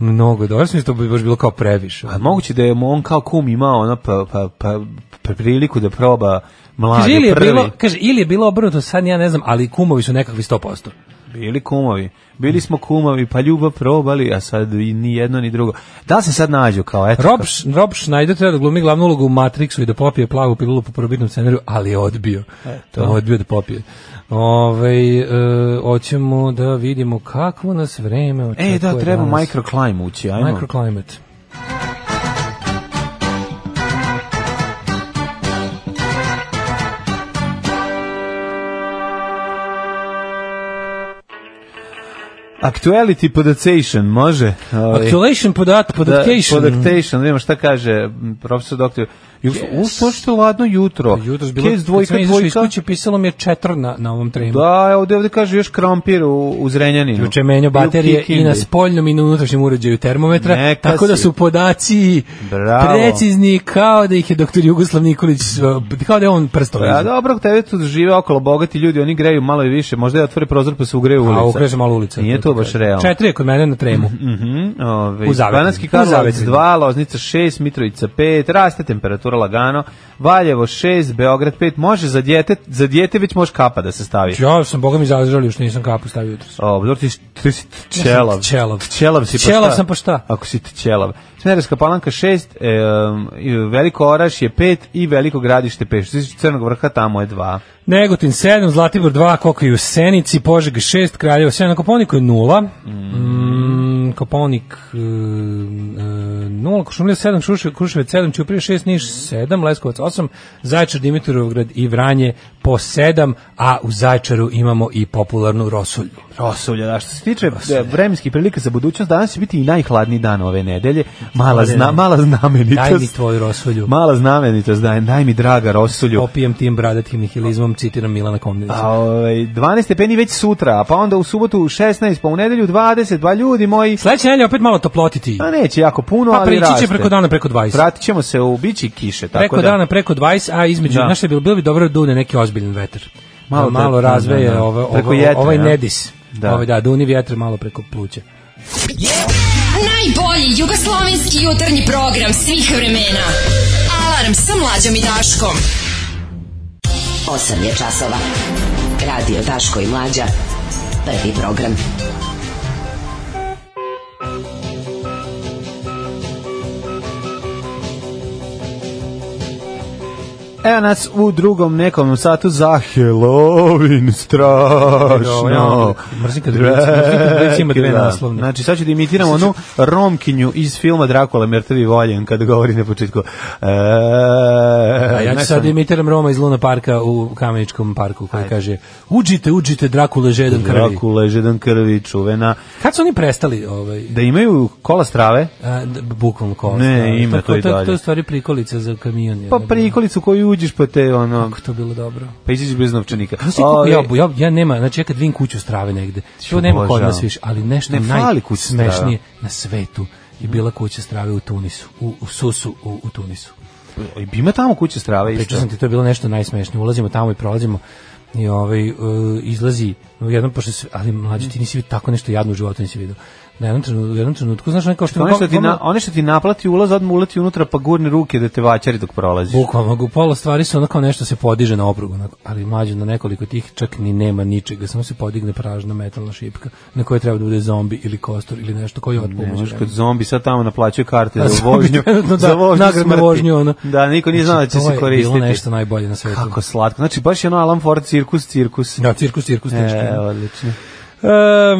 S5: Mnogo je dobro, mislim da bi baš bilo kao previše.
S6: Mhm. A moguće da je mu on kao kum imao ono pa, pa, pa, pa priliku da proba mladi
S5: Kaže ili je
S6: prvi.
S5: bilo, kaže ili je bilo obrnuto, sad ja ne znam, ali kumovi su nekakvi 100%.
S6: Bili kumovi. Bili smo kumovi, pa ljubav probali, a sad i ni jedno ni drugo. Da se sad nađu kao, eto.
S5: Rob,
S6: kao-
S5: Sch- Rob Schneider treba da glumi glavnu ulogu u Matrixu i da popije plavu pilulu po probitnom scenariju, ali je odbio. To. Odbio da popije. Ove, e, hoćemo da vidimo kakvo nas vreme očekuje
S6: E, da, treba
S5: danas.
S6: microclimb ući, ajmo.
S5: Microclimate.
S6: Actuality podactation, može? Ovaj.
S5: Actuation podat, podactation.
S6: Da, podactation, vidimo šta kaže m, profesor doktor. Jus, yes. to što je ladno jutro.
S5: Jutros Pa bilo,
S6: Kec
S5: kad
S6: dvojka,
S5: sam izašao iz
S6: dvojka.
S5: kuće, pisalo mi je četvr na, na ovom tremu.
S6: Da, ovde, ovde kaže još krampir u, u Zrenjaninu.
S5: Juče menjao
S6: I u
S5: baterije i na
S6: Kikindi.
S5: spoljnom i na unutrašnjem uređaju termometra,
S6: Neka
S5: tako da
S6: si.
S5: su podaci
S6: Bravo.
S5: precizni kao da ih je doktor Jugoslav Nikolić, uh, kao da je on prstom.
S6: Pa, Ja,
S5: izvukao.
S6: dobro, tebe tu žive okolo bogati ljudi, oni greju malo i više, možda je otvore prozor pa se ugreju ulica.
S5: A okreže malo ulica.
S6: Nije to baš realno.
S5: Četiri je kod mene na tremu.
S6: Mhm, ovaj,
S5: U Zavetini.
S6: Banatski
S5: U
S6: Karlovac
S5: Zavetini.
S6: 2, Loznica 6, Mitrovica 5, raste temperatura lagano, Valjevo 6, Beograd 5, može za dijete, za dijete već može kapa da se stavi.
S5: Ja sam, boga mi, zazrali, još nisam kapu stavio jutros.
S6: O, dobro, ti, si- ti si tčelav.
S5: tčelav.
S6: Tčelav si pa
S5: Tčelav
S6: šta?
S5: sam pa šta?
S6: Ako si tčelav. Smederska palanka 6, Veliko Oraš je 5 i Veliko gradište 5. Što se tiče Crnog vrha, tamo je 2.
S5: Negotin 7, Zlatibor 2, Koka i u Senici, Požeg 6, Kraljevo 7, na Koponiku je 0, mm. Koponik e, e, 0, Košumlija 7, Kruševac, Kruševac 7, Ćuprije 6, Niš 7, Leskovac 8, Zaječar, Dimitrovgrad i Vranje po 7, a u Zaječaru imamo i popularnu rosulju.
S6: Rosulja, da, što se tiče e, vremenskih prilika za budućnost, danas će biti i najhladniji dan ove nedelje. Mala, zna, mala znamenitost.
S5: Daj mi tvoju rosulju.
S6: Mala znamenitost, daj, daj mi draga rosulju.
S5: Popijem tim bradatim nihilizmom, citiram Milana
S6: A,
S5: Komnenića.
S6: ovaj, 12 stepeni već sutra, a pa onda u subotu 16, pa u nedelju 20, pa ljudi moji,
S5: Sledeće nedelje opet malo toplotiti.
S6: a neće jako puno,
S5: Pa
S6: ali
S5: prići
S6: raste.
S5: će preko dana preko 20.
S6: Vratit ćemo se u bići kiše, tako
S5: preko
S6: da.
S5: dana preko 20, a između,
S6: Da.
S5: znaš šta je bilo, bilo bi dobro da dune neki ozbiljan vetar.
S6: Malo
S5: Malo,
S6: da-
S5: malo razveje
S6: da, da.
S5: ovo, ovo,
S6: Preko jetre,
S5: ovaj
S6: ja.
S5: nedis.
S6: Da.
S5: Da. Ovaj, da, duni vjetar malo preko pluća.
S4: Najbolji jugoslovenski jutarnji program svih vremena. Alarm sa mlađom i Daškom.
S10: 8 je časova. Radio Daško i Mlađa. Prvi program.
S6: Evo E, nas u drugom nekom satu za Halloween,
S5: Evo, evo,
S6: strašno. <laughs>
S5: mrzim kad ulici- mrzim kad ulici ima dve
S6: Dracula.
S5: naslovne.
S6: Znači, sad ću da imitiram onu Romkinju iz filma Dracula, mrtavi voljen, kada govori na početku. E,
S5: A ja ću sad imitiram Roma iz Luna Parka u Kameničkom parku koji kaže uđite, uđite, Drakule žedan krvi.
S6: Dracula, žedan krvi, čuvena.
S5: Kad su oni prestali ovaj,
S6: Da imaju kola strave,
S5: a, d- bukvalno kola?
S6: Ne,
S5: strave?
S6: ima to i
S5: To,
S6: dalje.
S5: to je u stvari prikolica za kamion.
S6: pa
S5: Pa pri...
S6: prikolicu koju uđeš, pa te, ono,
S5: To je bilo dobro.
S6: pa iziđeš bez novčanika.
S5: Znaš ti koliko ja, ja, ja nema, znači ja kad vidim kuću strave negde, to nema kod
S6: obožavam.
S5: nas više, ali nešto
S6: Ne fali kuća strave.
S5: najsmešnije na svetu je bila kuća strave u Tunisu, u, u Susu u, u Tunisu.
S6: Oj, Ima tamo kuće strave isto.
S5: Pričao sam ti, to je bilo nešto najsmešnije. Ulazimo tamo i prolazimo i ovaj, uh, izlazi jednom, pošto se, ali mlađi ti nisi vidio tako nešto jadno u životu nisi vidio. Na jednom trenutku, u jednom trenutku znaš, ono kao što...
S6: Ono što, ti na, ono što ti naplati ulaz, odmah uleti unutra pa gurne ruke da te vaćari dok prolaziš.
S5: Bukvalno, u pola stvari su ono kao nešto se podiže na obrugu, onako, ali mlađe na nekoliko tih čak ni nema ničega, samo se podigne pražna metalna šipka na kojoj treba da bude zombi ili kostor ili nešto koji otpao.
S6: Ne, znaš, kad zombi sad tamo naplaćaju karte
S5: A
S6: za
S5: zombi
S6: vožnju,
S5: trenutno
S6: za
S5: da,
S6: vožnju
S5: nagradnu
S6: smrti.
S5: vožnju, ono.
S6: Da, niko nije znao da će
S5: Znači, To
S6: se
S5: je
S6: koristiti.
S5: bilo nešto najbolje na svetu.
S6: Kako slatko. Znači, baš je ono Alan Ford cirkus, cirkus.
S5: Da, cirkus, cirkus, teško.
S6: E,
S5: E,
S6: odlično.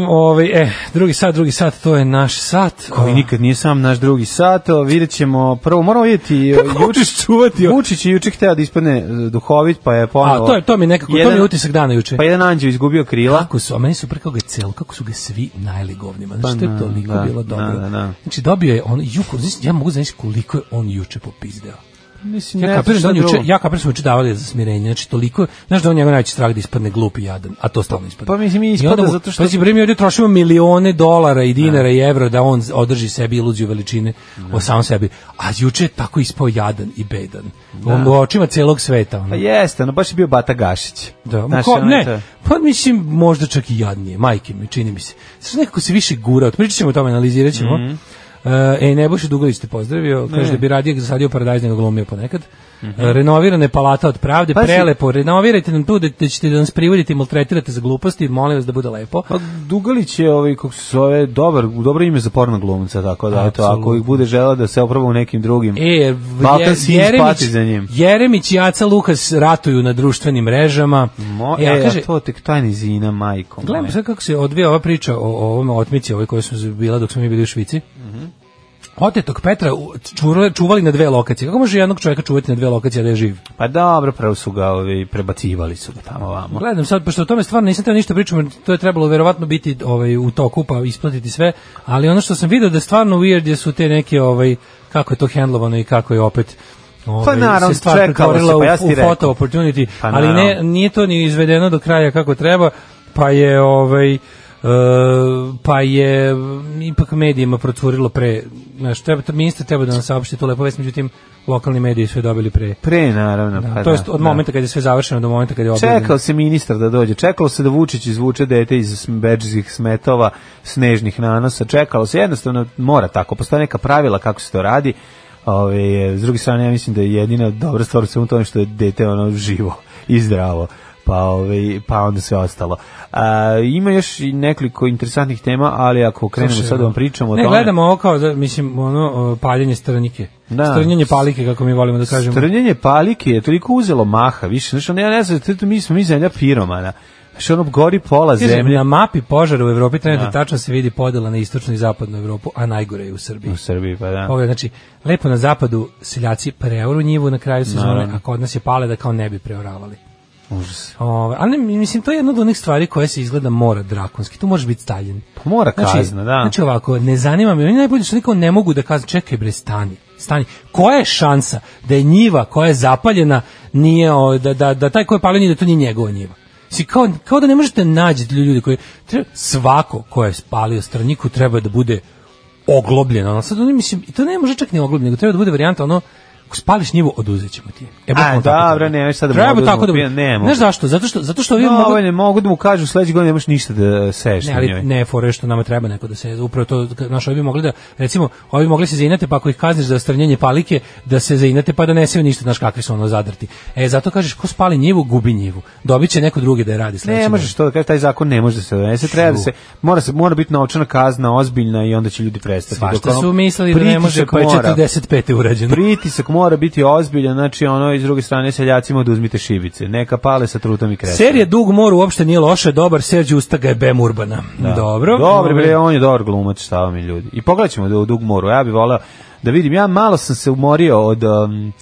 S5: ovaj, e, drugi sat, drugi sat, to je naš sat.
S6: Koji nikad nije sam naš drugi sat, o, vidjet ćemo, prvo moramo vidjeti, o,
S5: Kako
S6: juče,
S5: hoćeš čuvati? ovo?
S6: Vučić je juče hteo da ispadne e, duhovit, pa je ponovo...
S5: A, to je, to mi je nekako, to mi je
S6: Jedan-
S5: utisak dana juče.
S6: Pa jedan anđeo izgubio krila.
S5: Kako su, a meni su pre kako ga je celo, kako su ga svi najeli govnima. Znači, to
S6: Pa
S5: je
S6: na,
S5: toliko
S6: da,
S5: bilo dobro.
S6: da, da, da.
S5: Znači, dobio je on, juko, znači, ja mogu znači koliko je on juče popizdeo.
S6: Mislim,
S5: Ja
S6: ne znam
S5: kapiram da
S6: šta
S5: on juče,
S6: drugo.
S5: ja kapiram da smo juče davali za smirenje, znači toliko, znaš da on njegov najveći strah da ispadne glup i jadan, a to stalno ispada.
S6: pa mislim, i
S5: I
S6: ispada
S5: onda mu-
S6: zato što-
S5: Pa znači, bre, mi ovdje trošimo milione dolara i dinara i evra da on održi sebi iluziju veličine o samom sebi. A juče je tako ispao jadan i bedan. On u očima celog sveta. Ono.
S6: Pa jeste, ono baš je bio Bata Gašić.
S5: Da, ma
S6: Znaš,
S5: ko,
S6: ono je
S5: ne,
S6: to-
S5: pa mislim možda čak i jadnije, majke mi, čini mi se. Sad nekako se više gura, otpričat ćemo o tome, analizirat ćemo.
S6: Mhm.
S5: Mm e, Nebojša Dugović te pozdravio, kaže da bi radije zasadio paradajz nego glumio ponekad. E, renovirana je palata od pravde,
S6: Mhm. Pazi.
S5: prelepo, renovirajte nam tu da, da ćete da nas privodite i maltretirate za gluposti, molim vas da bude lepo.
S6: Pa Dugalić je ovaj kako se zove dobar dobro ime za porno glumca tako da eto ako
S5: Apsolutno.
S6: ih bude želeo da se oproba u nekim drugim.
S5: E,
S6: Balkan
S5: Je-
S6: Sin pati za njim.
S5: Jeremić i Aca Lukas ratuju na društvenim mrežama.
S6: Mo,
S5: E, a
S6: e,
S5: kaže-
S6: a to tek tajni zina majkom.
S5: Gledam sad kako se odvija ova priča o, o ovom otmici ovoj koja su bila dok smo mi bili u Švici. Otetog Petra u- čurle- čuvali na dve lokacije. Kako može jednog čovjeka čuvati na dve lokacije a da je živ?
S6: Pa dobro, prvo su ga ovi, prebacivali su ga tamo vamo.
S5: Gledam sad, pošto o tome stvarno nisam teo ništa pričam, jer to je trebalo verovatno biti ovaj, u toku pa isplatiti sve, ali ono što sam vidio da je stvarno weird je su te neke, ovaj, kako je to handlovano i kako je opet ovaj,
S6: Pa naravno,
S5: se stvar
S6: čekalo se,
S5: pretvorila
S6: pa ja
S5: u,
S6: sam ti
S5: u
S6: rekao.
S5: photo opportunity,
S6: Pa
S5: ali ne,
S6: naravno.
S5: nije to ni izvedeno do kraja kako treba, pa je ovaj, e, pa je m, ipak medijima procurilo pre, znaš, treba, ministar treba da nam saopšti tu lepo vest, međutim, lokalni mediji su je dobili pre.
S6: Pre naravno, pa
S5: to
S6: da,
S5: jest od
S6: da.
S5: momenta kada je sve završeno do momenta kada je objavljeno.
S6: Čekao se ministar da dođe, čekalo se da Vučić izvuče dete iz beđskih smetova, snežnih nanosa, čekalo se, jednostavno mora tako, postoje neka pravila kako se to radi, Ove, s druge strane ja mislim da je jedina dobra stvar u svemu tome što je dete ono živo i zdravo pa, ove, pa onda sve ostalo A, ima još i nekoliko interesantnih tema ali ako krenemo
S5: Slušaj,
S6: sad da vam pričamo o
S5: Ne,
S6: tome
S5: gledamo ovo kao, da, mislim, ono, o, paljenje stranike.
S6: Da.
S5: Strnjenje palike, kako mi volimo da kažemo.
S6: Strljenje palike je toliko uzelo maha, više, znači ono, ja ne znam, to mi smo mi zemlja piromana. Znači ono gori pola
S5: Kaže,
S6: zemlje
S5: Na mapi požara u Evropi trenutno tačno se vidi podela na istočnu i zapadnu Evropu, a najgore je u Srbiji.
S6: u Srbiji, pa da.
S5: Pogledaj, znači, lepo na zapadu seljaci preoru njivu na kraju sezone, a kod nas je pale da kao ne bi preoravali.
S6: Užas.
S5: Ove, ali mislim, to je jedna od onih stvari koje se izgleda mora drakonski. Tu može biti staljen.
S6: Pa mora kazna,
S5: znači,
S6: da.
S5: Znači ovako, ne zanima me. Oni najbolje što nikako ne mogu da kaznu. Čekaj bre, stani. Stani. Koja je šansa da je njiva koja je zapaljena nije, o, da, da, da taj ko je paljen da to nije njegova njiva? Si kao, kao da ne možete nađi ljudi koji... Treba, svako ko je spalio straniku treba da bude oglobljen. Ono, sad, ono, mislim, i to ne može čak ni oglobljen, nego treba da bude varijanta ono ako spališ njivu, oduzet ćemo ti je. E,
S6: A,
S5: bukvalno tako
S6: dobro,
S5: treba.
S6: nemoj sad da mu
S5: Treba
S6: oduzmemo
S5: tako da...
S6: pijan, ne mogu.
S5: Znaš zašto? Zato što, zato što ovi
S6: No,
S5: mnogo-
S6: ovaj ne mogu da mu kažu sledeće godine nemaš ništa da seješ
S5: Ne,
S6: na njoj.
S5: ali ne, fora je što nama treba neko da se upravo to naš ovi bi mogli da recimo ovi bi mogli se zainate pa ako ih kazniš za stranjenje palike da se zainate pa da ne seju ništa znaš kakvi su ono zadrti. E zato kažeš ko spali njivu gubi njivu. Dobiće neko drugi da je radi sledeće.
S6: Ne možeš to da kažeš, taj zakon ne može da se donese, treba da se, mora, se, mora biti novčana kazna ozbiljna i onda će ljudi prestati.
S5: Svašta
S6: Dok ono-
S5: su mislili da ne može
S6: pritisak
S5: pa je
S6: mora.
S5: 45. urađeno.
S6: Pritisak mora biti ozbiljan, znači ono, iz druge strane seljacima oduzmite šibice, neka pale sa trutom i kresom.
S5: Serija Dug mor uopšte nije loša, dobar Serđ Ustaga je Bem Urbana.
S6: Dobro,
S5: Dobro. Ovaj,
S6: bre, on je dobar glumac, šta vam je ljudi. I pogledat ćemo da u dug moru, ja bih volao da vidim. Ja malo sam se umorio od, um,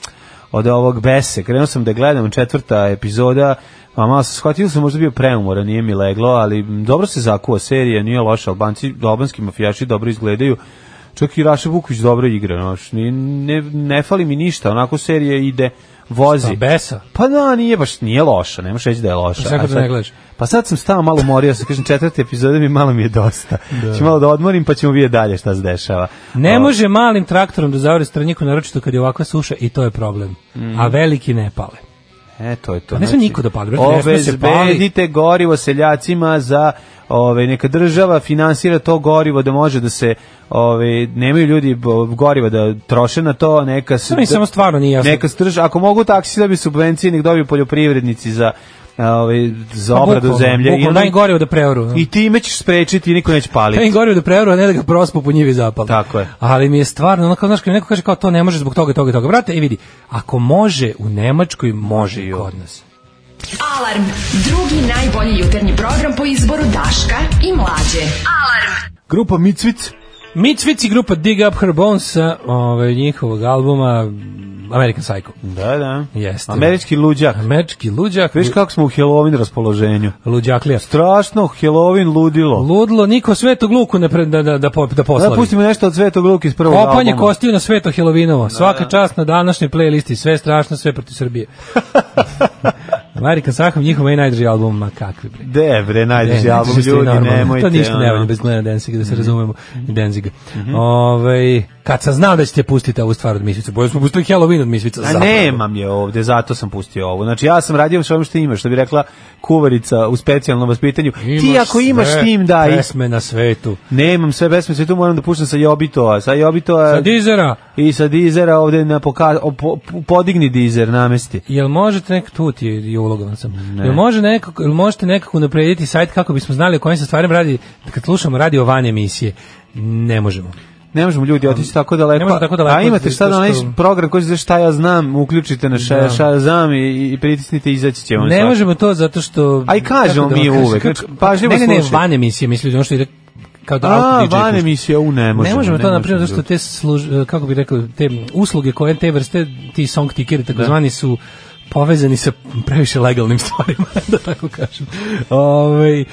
S6: od ovog bese, krenuo sam da gledam četvrta epizoda, a malo sam shvatio sam možda bio preumoran, nije mi leglo, ali m, dobro se zakuva serija, nije loša, albanci, albanski mafijaši dobro izgledaju, čak i Raša Vuković dobro igra, znaš, ni- ne, ne fali mi ništa, onako serija ide, vozi.
S5: Šta, besa?
S6: Pa da, nije baš, nije loša, ne možeš reći da je loša.
S5: Šta kad
S6: A sad-
S5: ne gledaš?
S6: Pa sad sam stao malo morio, sa kažem četvrte epizode mi malo mi je dosta. Ću malo da odmorim pa ćemo vidjeti dalje šta se dešava.
S5: Ne
S6: O,
S5: može malim traktorom da zavore stranjiku, naročito kad je ovakva suša i to je problem.
S6: Mm.
S5: A veliki ne pale.
S6: E, to je to.
S5: Pa ne sme niko da pali, brate, ne sme se pali.
S6: Obezbedite gorivo seljacima za ove, neka država finansira to gorivo da može da se ove, nemaju ljudi bo- goriva da troše na to, neka se...
S5: To mi samo stvarno nije jasno.
S6: Neka se drž- ako mogu taksi da bi subvencije, nek dobiju poljoprivrednici za ove, za obradu
S5: Pa Bukvalno,
S6: zemlje.
S5: Bukvalno,
S6: onda-
S5: daj im gorivo da preoru.
S6: I time ćeš sprečiti i niko neće paliti.
S5: Ja im govorio da preoru, a ne da ga prospu po njivi zapali.
S6: Tako je.
S5: Ali mi je stvarno, ono kao, znaš, kad mi neko kaže kao to ne može zbog toga, toga, toga. Brate, i vidi, ako može u Nemačkoj, može i kod nas.
S4: Alarm. Drugi najbolji jutarnji program po izboru Daška i Mlađe. Alarm.
S6: Grupa Micvic
S5: Mitvici grupa Dig Up Her Bones sa ovaj, njihovog albuma American Psycho.
S6: Da, da.
S5: Jeste.
S6: Američki luđak.
S5: Američki luđak,
S6: Viš kako smo u Halloween raspoloženju.
S5: luđaklija.
S6: Strašno Halloween ludilo.
S5: Ludlo, niko svetog luku ne pre, da, da, da, po- da
S6: Da
S5: poslavi.
S6: pustimo nešto od Svetog Luka iz prvog
S5: Kopanje
S6: albuma.
S5: kostiju na sveto Helovinovo. Svaka čast na današnjoj playlisti. Sve strašno, sve protiv Srbije.
S6: <laughs>
S5: American Sahov, njihov meni najdraži album, ma kakvi bre.
S6: De, bre, najdeži
S5: Ne,
S6: album,
S5: znači što je
S6: ljudi,
S5: normalno.
S6: nemojte.
S5: To ništa ne
S6: ono. Mhm.
S5: valja bez Glena Denziga, da se razumemo. Denziga. Ovaj, kad sam znao da ćete pustiti ovu stvar od Misvica, bolje smo pustili Halloween od Misvica.
S6: A
S5: zapravo.
S6: nemam je ovde, zato sam pustio ovo. Znači, ja sam radio s ovim što imaš, što bi rekla kuvarica u specijalnom vaspitanju. Ti ako imaš
S5: sve
S6: tim, daj.
S5: Pesme na svetu.
S6: Nemam sve besme, sve tu moram da puštam sa Jobitoa. Sa Jobitoa
S5: Sa Dizera,
S6: i sa Dizera ovde na poka... o, po- podigni Dizer, namesti.
S5: Jel možete nekako tu ti je- je ulogovan sam. Jel može nekako jel možete nekako unaprediti sajt kako bismo znali o kojim se stvarima radi kad slušamo radio van emisije. Ne možemo.
S6: Ne možemo ljudi otići tako daleko.
S5: Ne možemo tako daleko,
S6: A imate
S5: zato
S6: šta da
S5: što-
S6: nešto program koji se zove šta ja znam, uključite na šta,
S5: Da.
S6: šta ja znam i, i pritisnite i izaći će on.
S5: Ne možemo to zato što
S6: A i kažemo
S5: kako da vam
S6: mi
S5: kažem,
S6: uvek,
S5: kako-
S6: znači, pažljivo
S5: Ne, ne, ne,
S6: slušaj.
S5: van emisije, mislim ono što ide kao da
S6: A,
S5: auto DJ
S6: van
S5: pušta.
S6: emisija, u ne možemo.
S5: ne možemo to na primjer zato
S6: možemo
S5: što te služ, e, kako bih rekao te usluge koje te vrste ti song tickeri takozvani su povezani sa previše legalnim <laughs> stvarima da tako kažem. Ovaj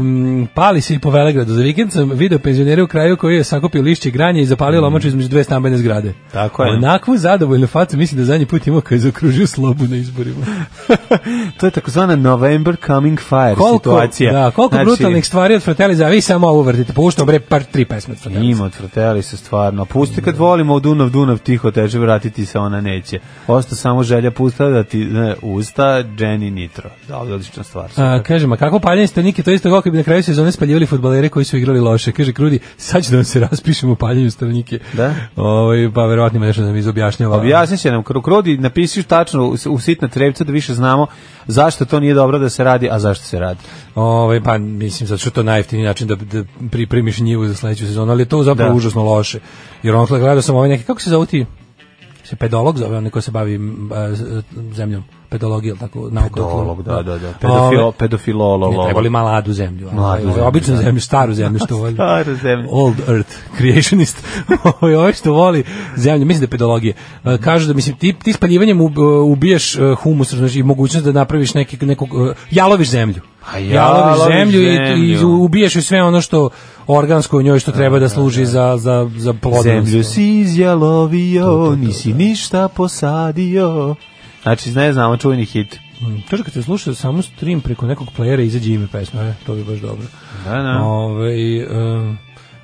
S5: em, pali se i po Velegradu za vikend sam video penzionere u kraju koji je sakopio lišće i granje i zapalio lomaču između dve stambene zgrade.
S6: Mm. Tako je.
S5: Onakvu zadovoljnu facu mislim da zadnji put imao kad je zaokružio slobu na izborima.
S6: <laughs> To je takozvana November Coming Fire situacija.
S5: Da, koliko
S6: Znači,
S5: brutalnih stvari od Fratelli a vi samo ovo vrtite. Puštam bre par tri pesme od Fratelli.
S6: Ima odvrteli se stvarno. Pusti kad volimo u Dunav, Dunav tiho teže, vratiti se ona neće. Osta samo želja pusta da ti ne, usta, Jenny Nitro. Da, odlična stvar.
S5: A, kažem, a kako paljenje strnike, to je isto kako bi na kraju sezone spaljivali fudbalere koji su igrali loše. Kaže Krudi, sad ću da vam se raspišemo u paljenju strnike.
S6: Da.
S5: Ovaj pa verovatno ima nešto da mi izobjašnjava.
S6: Objasnit će nam Kro- Krodi, napisi tačno u, u sitna trepca da više znamo zašto to nije dobro da se radi, a zašto se radi.
S5: Ovaj pa mislim zato što je to najjeftiniji način da, da pripremiš njivu za sledeću sezonu, ali je to zapravo
S6: Da.
S5: užasno loše. Jer on gledao sam ovaj neki kako se zove ti? Se pedolog zove, on koji se bavi m, a, s- zemljom. pedologija, jel tako nauka. Ovaj,
S6: Pedolog, da, da, da. Pedofilo,
S5: Ove,
S6: pedofilolog.
S5: Ne trebali maladu zemlju. ali
S6: Mladu
S5: ovaj,
S6: zemlju,
S5: Običnu
S6: da.
S5: zemlju, staru zemlju
S6: <laughs>
S5: što voli.
S6: Staru zemlju.
S5: Old Earth, creationist. <laughs> Ovaj ovaj što voli zemlju, mislim da je pedologije. E, Kažu da, mislim, ti, ti spaljivanjem ub- ubijaš e, humus, znači i mogućnost da napraviš neki, nekog, e, jaloviš zemlju.
S6: A
S5: jaloviš
S6: jaloviš
S5: zemlju i, i
S6: zemlju.
S5: ubijaš joj sve ono što organsko u njoj što treba da služi za, za, za plodnost.
S6: Zemlju si izjalovio, nisi ništa posadio. Znači, ne znamo čuveni hit.
S5: Mm, Kaže kad se sluša samo stream preko nekog playera izađe ime pesme, e, to bi baš dobro.
S6: Da, da.
S5: Ovaj em,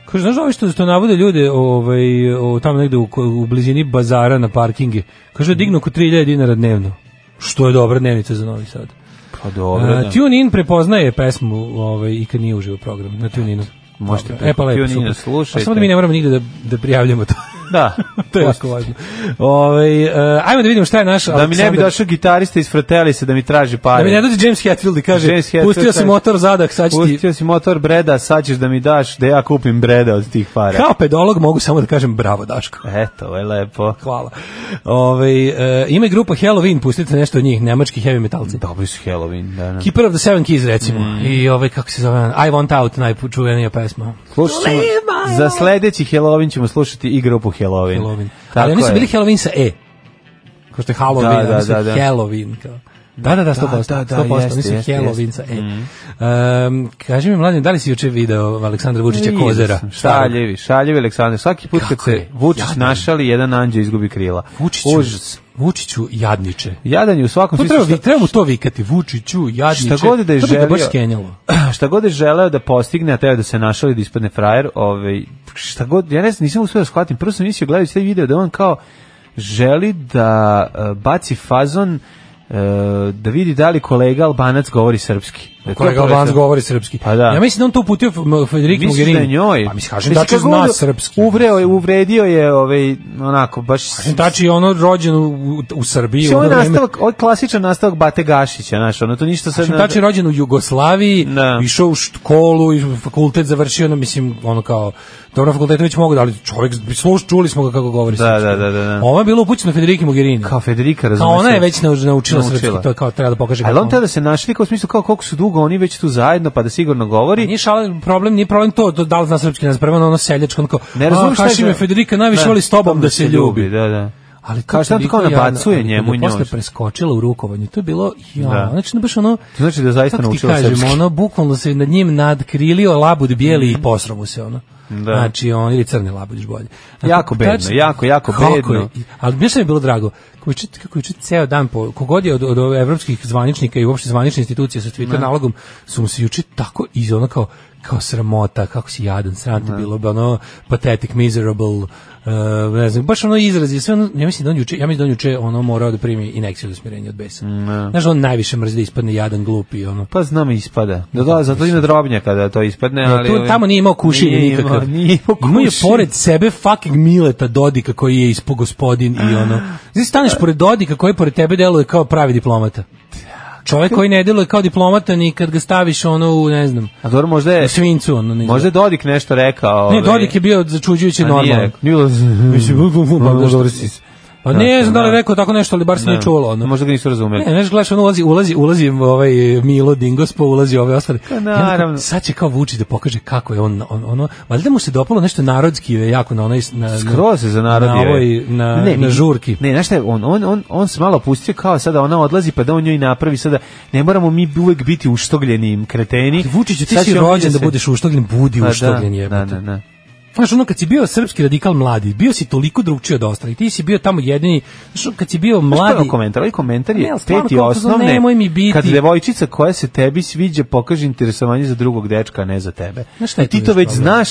S5: kaže znaš ovi što što navode ljude, ovaj o, tamo negde u, ko- u blizini bazara na parkinge. Kaže dignu oko 3000 dinara dnevno. Što je dobra dnevnica za Novi Sad.
S6: Pa dobro,
S5: E,
S6: da.
S5: TuneIn prepoznaje pesmu ovaj, i kad nije uživo program na TuneInu.
S6: Možete
S5: Dobro.
S6: preko
S5: e, pa lepo,
S6: TuneIna
S5: super.
S6: slušajte.
S5: A samo da mi ne moramo nigde da, da prijavljamo to. <laughs>
S6: Da.
S5: to je jako važno. Ovaj, e, ajmo da vidimo šta je naš
S6: Da mi ne bi
S5: Aleksandar-
S6: došao gitarista iz Fratelli se da mi traži pare.
S5: Da mi ne dođe James Hetfield i kaže,
S6: James Hetfield
S5: pustio si
S6: kaže,
S5: motor zadak, sad ću ti...
S6: Pustio si motor Breda, sad ćeš da mi daš da ja kupim Breda od tih para.
S5: Kao pedolog mogu samo da kažem bravo Daško.
S6: Eto, ovo je lepo.
S5: Hvala. Ove, e, ima i grupa Halloween, pustite nešto od njih, nemački heavy metalci.
S6: Dobri su Halloween, da, da.
S5: Keeper of the Seven Keys, recimo.
S6: Mm.
S5: I ovaj, kako se zove, I Want Out, najpočuvenija pesma.
S6: Slušat ćemo, za sledeći Halloween ćemo slušati i grupu Halloween.
S5: Halloween.
S6: Tako
S5: Ali oni su
S6: je.
S5: bili Halloween sa E. Kao što je Halloween,
S6: Da,
S5: da,
S6: da,
S5: da,
S6: da,
S5: da,
S6: da.
S5: Halloween. Kao. Da, da, da, 100%. Da, da, da, 100%,
S6: jeste,
S5: oni su
S6: jeste, Mm.
S5: Halloween
S6: jeste.
S5: sa E. Um, kaži mi, mladim, da li si juče video Aleksandra Vučića
S6: Vidio
S5: Kozera?
S6: sam,
S5: Starog?
S6: Šaljevi, šaljevi Aleksandar. Svaki put kad
S5: Kako
S6: se
S5: je
S6: Vučić
S5: jadan.
S6: našali, jedan anđe izgubi krila. Užas.
S5: Vučiću, Vučiću jadniče.
S6: Jadan je u svakom
S5: To
S6: smislu
S5: treba, vi- treba mu to vikati, Vučiću, jadniče.
S6: Šta god da je
S5: to bi ga baš
S6: želio. Pa
S5: skenjalo.
S6: šta, šta god je želeo da postigne, a teo je da se našao i da ispadne frajer, ovaj, šta god, ja ne znam, nisam uspio da shvatim, prvo sam mislio gledajući taj video da on kao želi da e, baci fazon e, da vidi da li kolega Albanac govori srpski. Da je to
S5: Kolega
S6: prvo
S5: Albanac
S6: što-
S5: govori srpski.
S6: Pa da.
S5: Ja mislim da on to uputio F- Federico
S6: Misliš
S5: Mogherini.
S6: da je njoj?
S5: Pa mislim, kažem da će
S6: kako
S5: zna
S6: god
S5: srpski.
S6: Uvreo je, uvredio je, ovaj, onako, baš...
S5: Dači je ono rođen u, u, u Srbiji.
S6: Mislim,
S5: u
S6: ovo
S5: ono
S6: je
S5: vreme.
S6: nastavak, ovo je klasičan nastavak Bate Gašića, znaš, ono to ništa sad...
S5: Šimtač je rođen u Jugoslaviji,
S6: Da.
S5: išao u školu, i fakultet završio, no mislim, ono kao, dobro fakultet već mogu, da, ali čovjek, sluš, čuli smo ga kako govori.
S6: Da,
S5: srpski.
S6: da, da, da, da.
S5: Ovo je bilo upućeno Federiki Mogherini.
S6: Kao Federika,
S5: Kao
S6: razumiješ.
S5: ona je već naučila, naučila
S6: Naučila.
S5: srpski, to je kao treba da pokaže.
S6: Ali
S5: kako
S6: on tada se našli kao u smislu kao koliko su dugo oni već tu zajedno pa da sigurno govori.
S5: <laughs> Nije šala, problem, nije problem to, to da li zna srpski, ne zna, prvo ono seljačko, onako,
S6: Ne razumem šta je
S5: Hašime
S6: za-
S5: Federika najviše voli s tobom da se ljubi.
S6: Da, da.
S5: Ali to
S6: Kao šta on
S5: toliko
S6: tako
S5: jadno,
S6: nabacuje
S5: ali kad
S6: njemu
S5: je
S6: i
S5: Posle
S6: njoj.
S5: preskočila u rukovanju. To je bilo, ja,
S6: Da.
S5: znači baš ono...
S6: To znači da zaista
S5: kako ti
S6: naučila
S5: kažem,
S6: srpski. Mhm.
S5: ono, bukvalno se nad njim nadkrilio labud bijeli i posro mu se ono.
S6: Da.
S5: Znači, on ili crni labud, još bolje.
S6: Jako bedno, jako, jako
S5: Kako
S6: bedno.
S5: je, ali mi je bilo drago, kako je, kako je ceo dan, po, kogod je od, od ove evropskih zvaničnika i uopšte zvanične institucije sa Twitter nalogom, su mu se juče tako iz ono kao, kao sramota, kako si jadan, sram ti bilo, ono, pathetic, miserable, eh, ne znam, baš ono izrazi, sve ono, ja mislim da on juče, ja mislim da on juče ono morao da primi inekciju za smirenje od besa.
S6: Mm,
S5: Znaš, on najviše mrzi da ispadne jadan, glup i ono.
S6: Pa znam ispada. Da, da, zato i na drobnja kada to ispadne, ali...
S5: tu,
S6: ovaj,
S5: tamo nije imao kušenje
S6: nije imao-
S5: nikakav.
S6: Nije imao
S5: Imao je
S6: kušenje.
S5: pored sebe fucking Mileta Dodika koji je ispo gospodin i
S6: Ah.
S5: ono. Znači staneš pored Dodika koji pored tebe deluje kao pravi diplomata. Čovjek koji ne deluje kao diplomata ni kad ga staviš ono u, ne znam,
S6: A dobro, možda je...
S5: u svincu. Ono, ne,
S6: E, Možda je Dodik nešto rekao. ovaj,
S5: ne, Dodik je bio začuđujući normalan. Mislim, <laughs> bu- bu- bu- bu-
S6: Normalno,
S5: bu-
S6: dobro si.
S5: Pa ne znam da li je rekao tako nešto, ali bar se nije čulo. Ono.
S6: Možda ga nisu razumeli.
S5: Ne, znaš, gledaš, on ulazi, ulazi, ulazi ovaj Milo Dingos, pa ulazi ove ostale.
S6: Pa, naravno.
S5: Jednako, Sad će kao Vučić da pokaže kako je on, on ono, valjda mu se dopalo nešto narodski je jako na onaj... Na, na-
S6: Skroz se za narod
S5: na,
S6: je.
S5: ovoj, na, na
S6: mi-
S5: žurki.
S6: Ne, znaš šta je, on, on, on, on se malo pustio kao sada ona odlazi pa da on njoj napravi sada, ne moramo mi uvek biti uštogljeni kreteni.
S5: Vučiću, ti
S6: Sad
S5: si
S6: ćemo mi
S5: rođen da,
S6: se-
S5: budeš uštogljen, budi
S6: Pa da,
S5: uštogljen jebote.
S6: Da, da, da.
S5: Znaš, ono kad si bio srpski radikal mladi, bio si toliko drugčiji od ostalih, ti si bio tamo jedini, znaš, ono, kad si bio
S6: Mladi,
S5: mladi,
S6: komentar, ovaj komentar je
S5: Ne, ali stvarno,
S6: peti
S5: kao to
S6: osnovne.
S5: nemoj mi biti.
S6: Kad devojčica koja se tebi sviđa pokaže interesovanje za drugog dečka, a ne za tebe.
S5: Znaš šta je
S6: I ti
S5: tu
S6: to
S5: još
S6: već
S5: problem?
S6: znaš,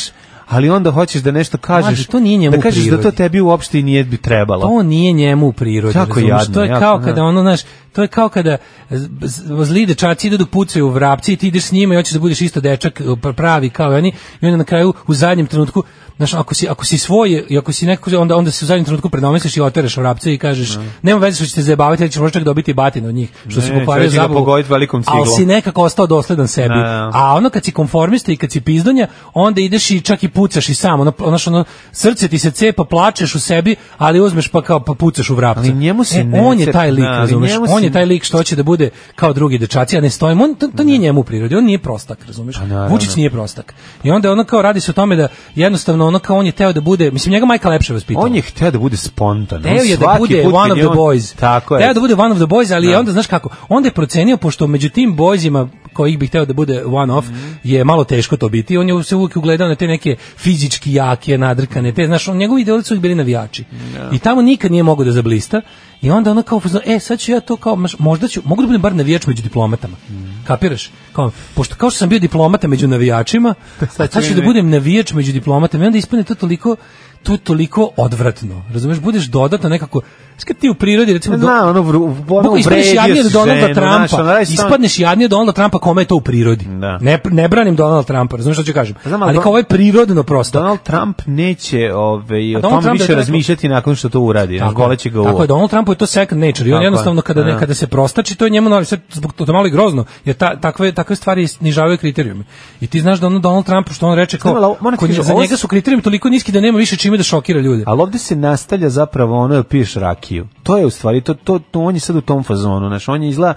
S6: ali onda hoćeš da nešto kažeš.
S5: Mlađe, to nije njemu
S6: Da kažeš
S5: u
S6: da to
S5: prirodi.
S6: tebi uopšte i nije bi trebalo.
S5: To nije njemu u prirodi.
S6: Jako
S5: razumeš?
S6: jadno,
S5: to je
S6: jako,
S5: kao
S6: da.
S5: kada ono, znaš, to je kao kada z- z- zli dečaci idu da pucaju u vrapci i ti ideš s njima i hoćeš da budeš isto dečak pr- pravi kao i oni i onda na kraju u zadnjem trenutku Znaš, ako si, ako si svoj, i ako si neko, onda, onda se u zadnjem trenutku predomisliš i otereš vrapce i kažeš, nema veze što ćete zajebavati, ali ćeš možda čak dobiti i batine od njih, što si
S6: Ne,
S5: pokvario
S6: čovjek će ga
S5: zabavu.
S6: pogoditi velikom ciglom.
S5: Ali si nekako ostao dosledan sebi.
S6: Da, da.
S5: A ono kad si konformista i kad si pizdonja, onda ideš i čak i pucaš i sam, ono, ono, što ono, srce ti se cepa, plačeš u sebi, ali uzmeš pa kao pa pucaš u vrapca.
S6: Ali njemu se
S5: E,
S6: ne
S5: on je
S6: cepa,
S5: taj lik,
S6: da, ali
S5: razumeš?
S6: njemu
S5: On
S6: se
S5: je taj lik što hoće da bude kao drugi dečaci, a ne stojim. On, to, to nije njemu u prirodi, on nije prostak, razumeš?
S6: Pa naravno.
S5: Vučić nije prostak. I onda ono kao radi se o tome da jednostavno ono kao on je teo da bude, mislim njega majka lepše vaspitala.
S6: On je hteo da bude spontan.
S5: Teo
S6: on
S5: je da
S6: svaki
S5: bude
S6: put
S5: one
S6: kad
S5: of
S6: je
S5: the
S6: on-
S5: boys.
S6: Tako je.
S5: Teo da bude one of the boys, ali je onda, znaš kako, onda je procenio, pošto među tim boysima kojih bi hteo da bude one of,
S6: Mhm.
S5: je malo teško to biti. On je se uvijek ugledao na te neke fizički jake, nadrkane, te, znaš, on, njegovi ideoli su uvijek bili navijači. I tamo nikad nije mogao da zablista. I onda ono kao, u fazonu, e, sad ću ja to kao, maš, možda ću, mogu da budem bar navijač među diplomatama.
S6: Mhm.
S5: Kapiraš? Kao, pošto kao što sam bio diplomata među
S6: <laughs>
S5: navijačima, sad, sad ću da budem navijač među diplomatama. I onda ispane to toliko, to je toliko odvratno. Razumeš, budeš dodatno nekako, znaš kad ti u prirodi recimo do,
S6: Na, ono, vru- ono
S5: mogu ispadneš
S6: uvredio
S5: jadnije
S6: si
S5: od Donalda
S6: ženu,
S5: Trumpa.
S6: znaš, ono, radi se tamo-
S5: ispadneš jadnije od Donalda Trumpa kome je to u prirodi.
S6: Da.
S5: Ne, ne branim Donalda Trumpa, razumeš što ću kažem.
S6: Znam, ali
S5: ali
S6: Don-
S5: kao ovo je prirodno prosto.
S6: Donald Trump neće ovaj, o tom
S5: Donald Trump da je
S6: više
S5: to rekao-
S6: razmišljati nakon što to uradi.
S5: Tako,
S6: Tako, će ga u...
S5: tako je, Donald Trumpu je to second nature i
S6: Tako
S5: on
S6: je,
S5: jednostavno kada, ne,
S6: da.
S5: kada se prostači, to je njemu novi, sad zbog to, to malo i grozno, jer ta, takve, takve stvari snižavaju kriterijume. I ti znaš da ono Donald Trump, što on reče,
S6: Znam, ali
S5: kao,
S6: moram ti
S5: kod,
S6: kažem,
S5: za
S6: ovo-
S5: njega su kriterijumi toliko niski da nema više čime da šokira ljude.
S6: Ali ovde se nastavlja zapravo ono da piješ rakiju. To je u stvari, to, to, to on je sad u tom fazonu, znaš, on je izgleda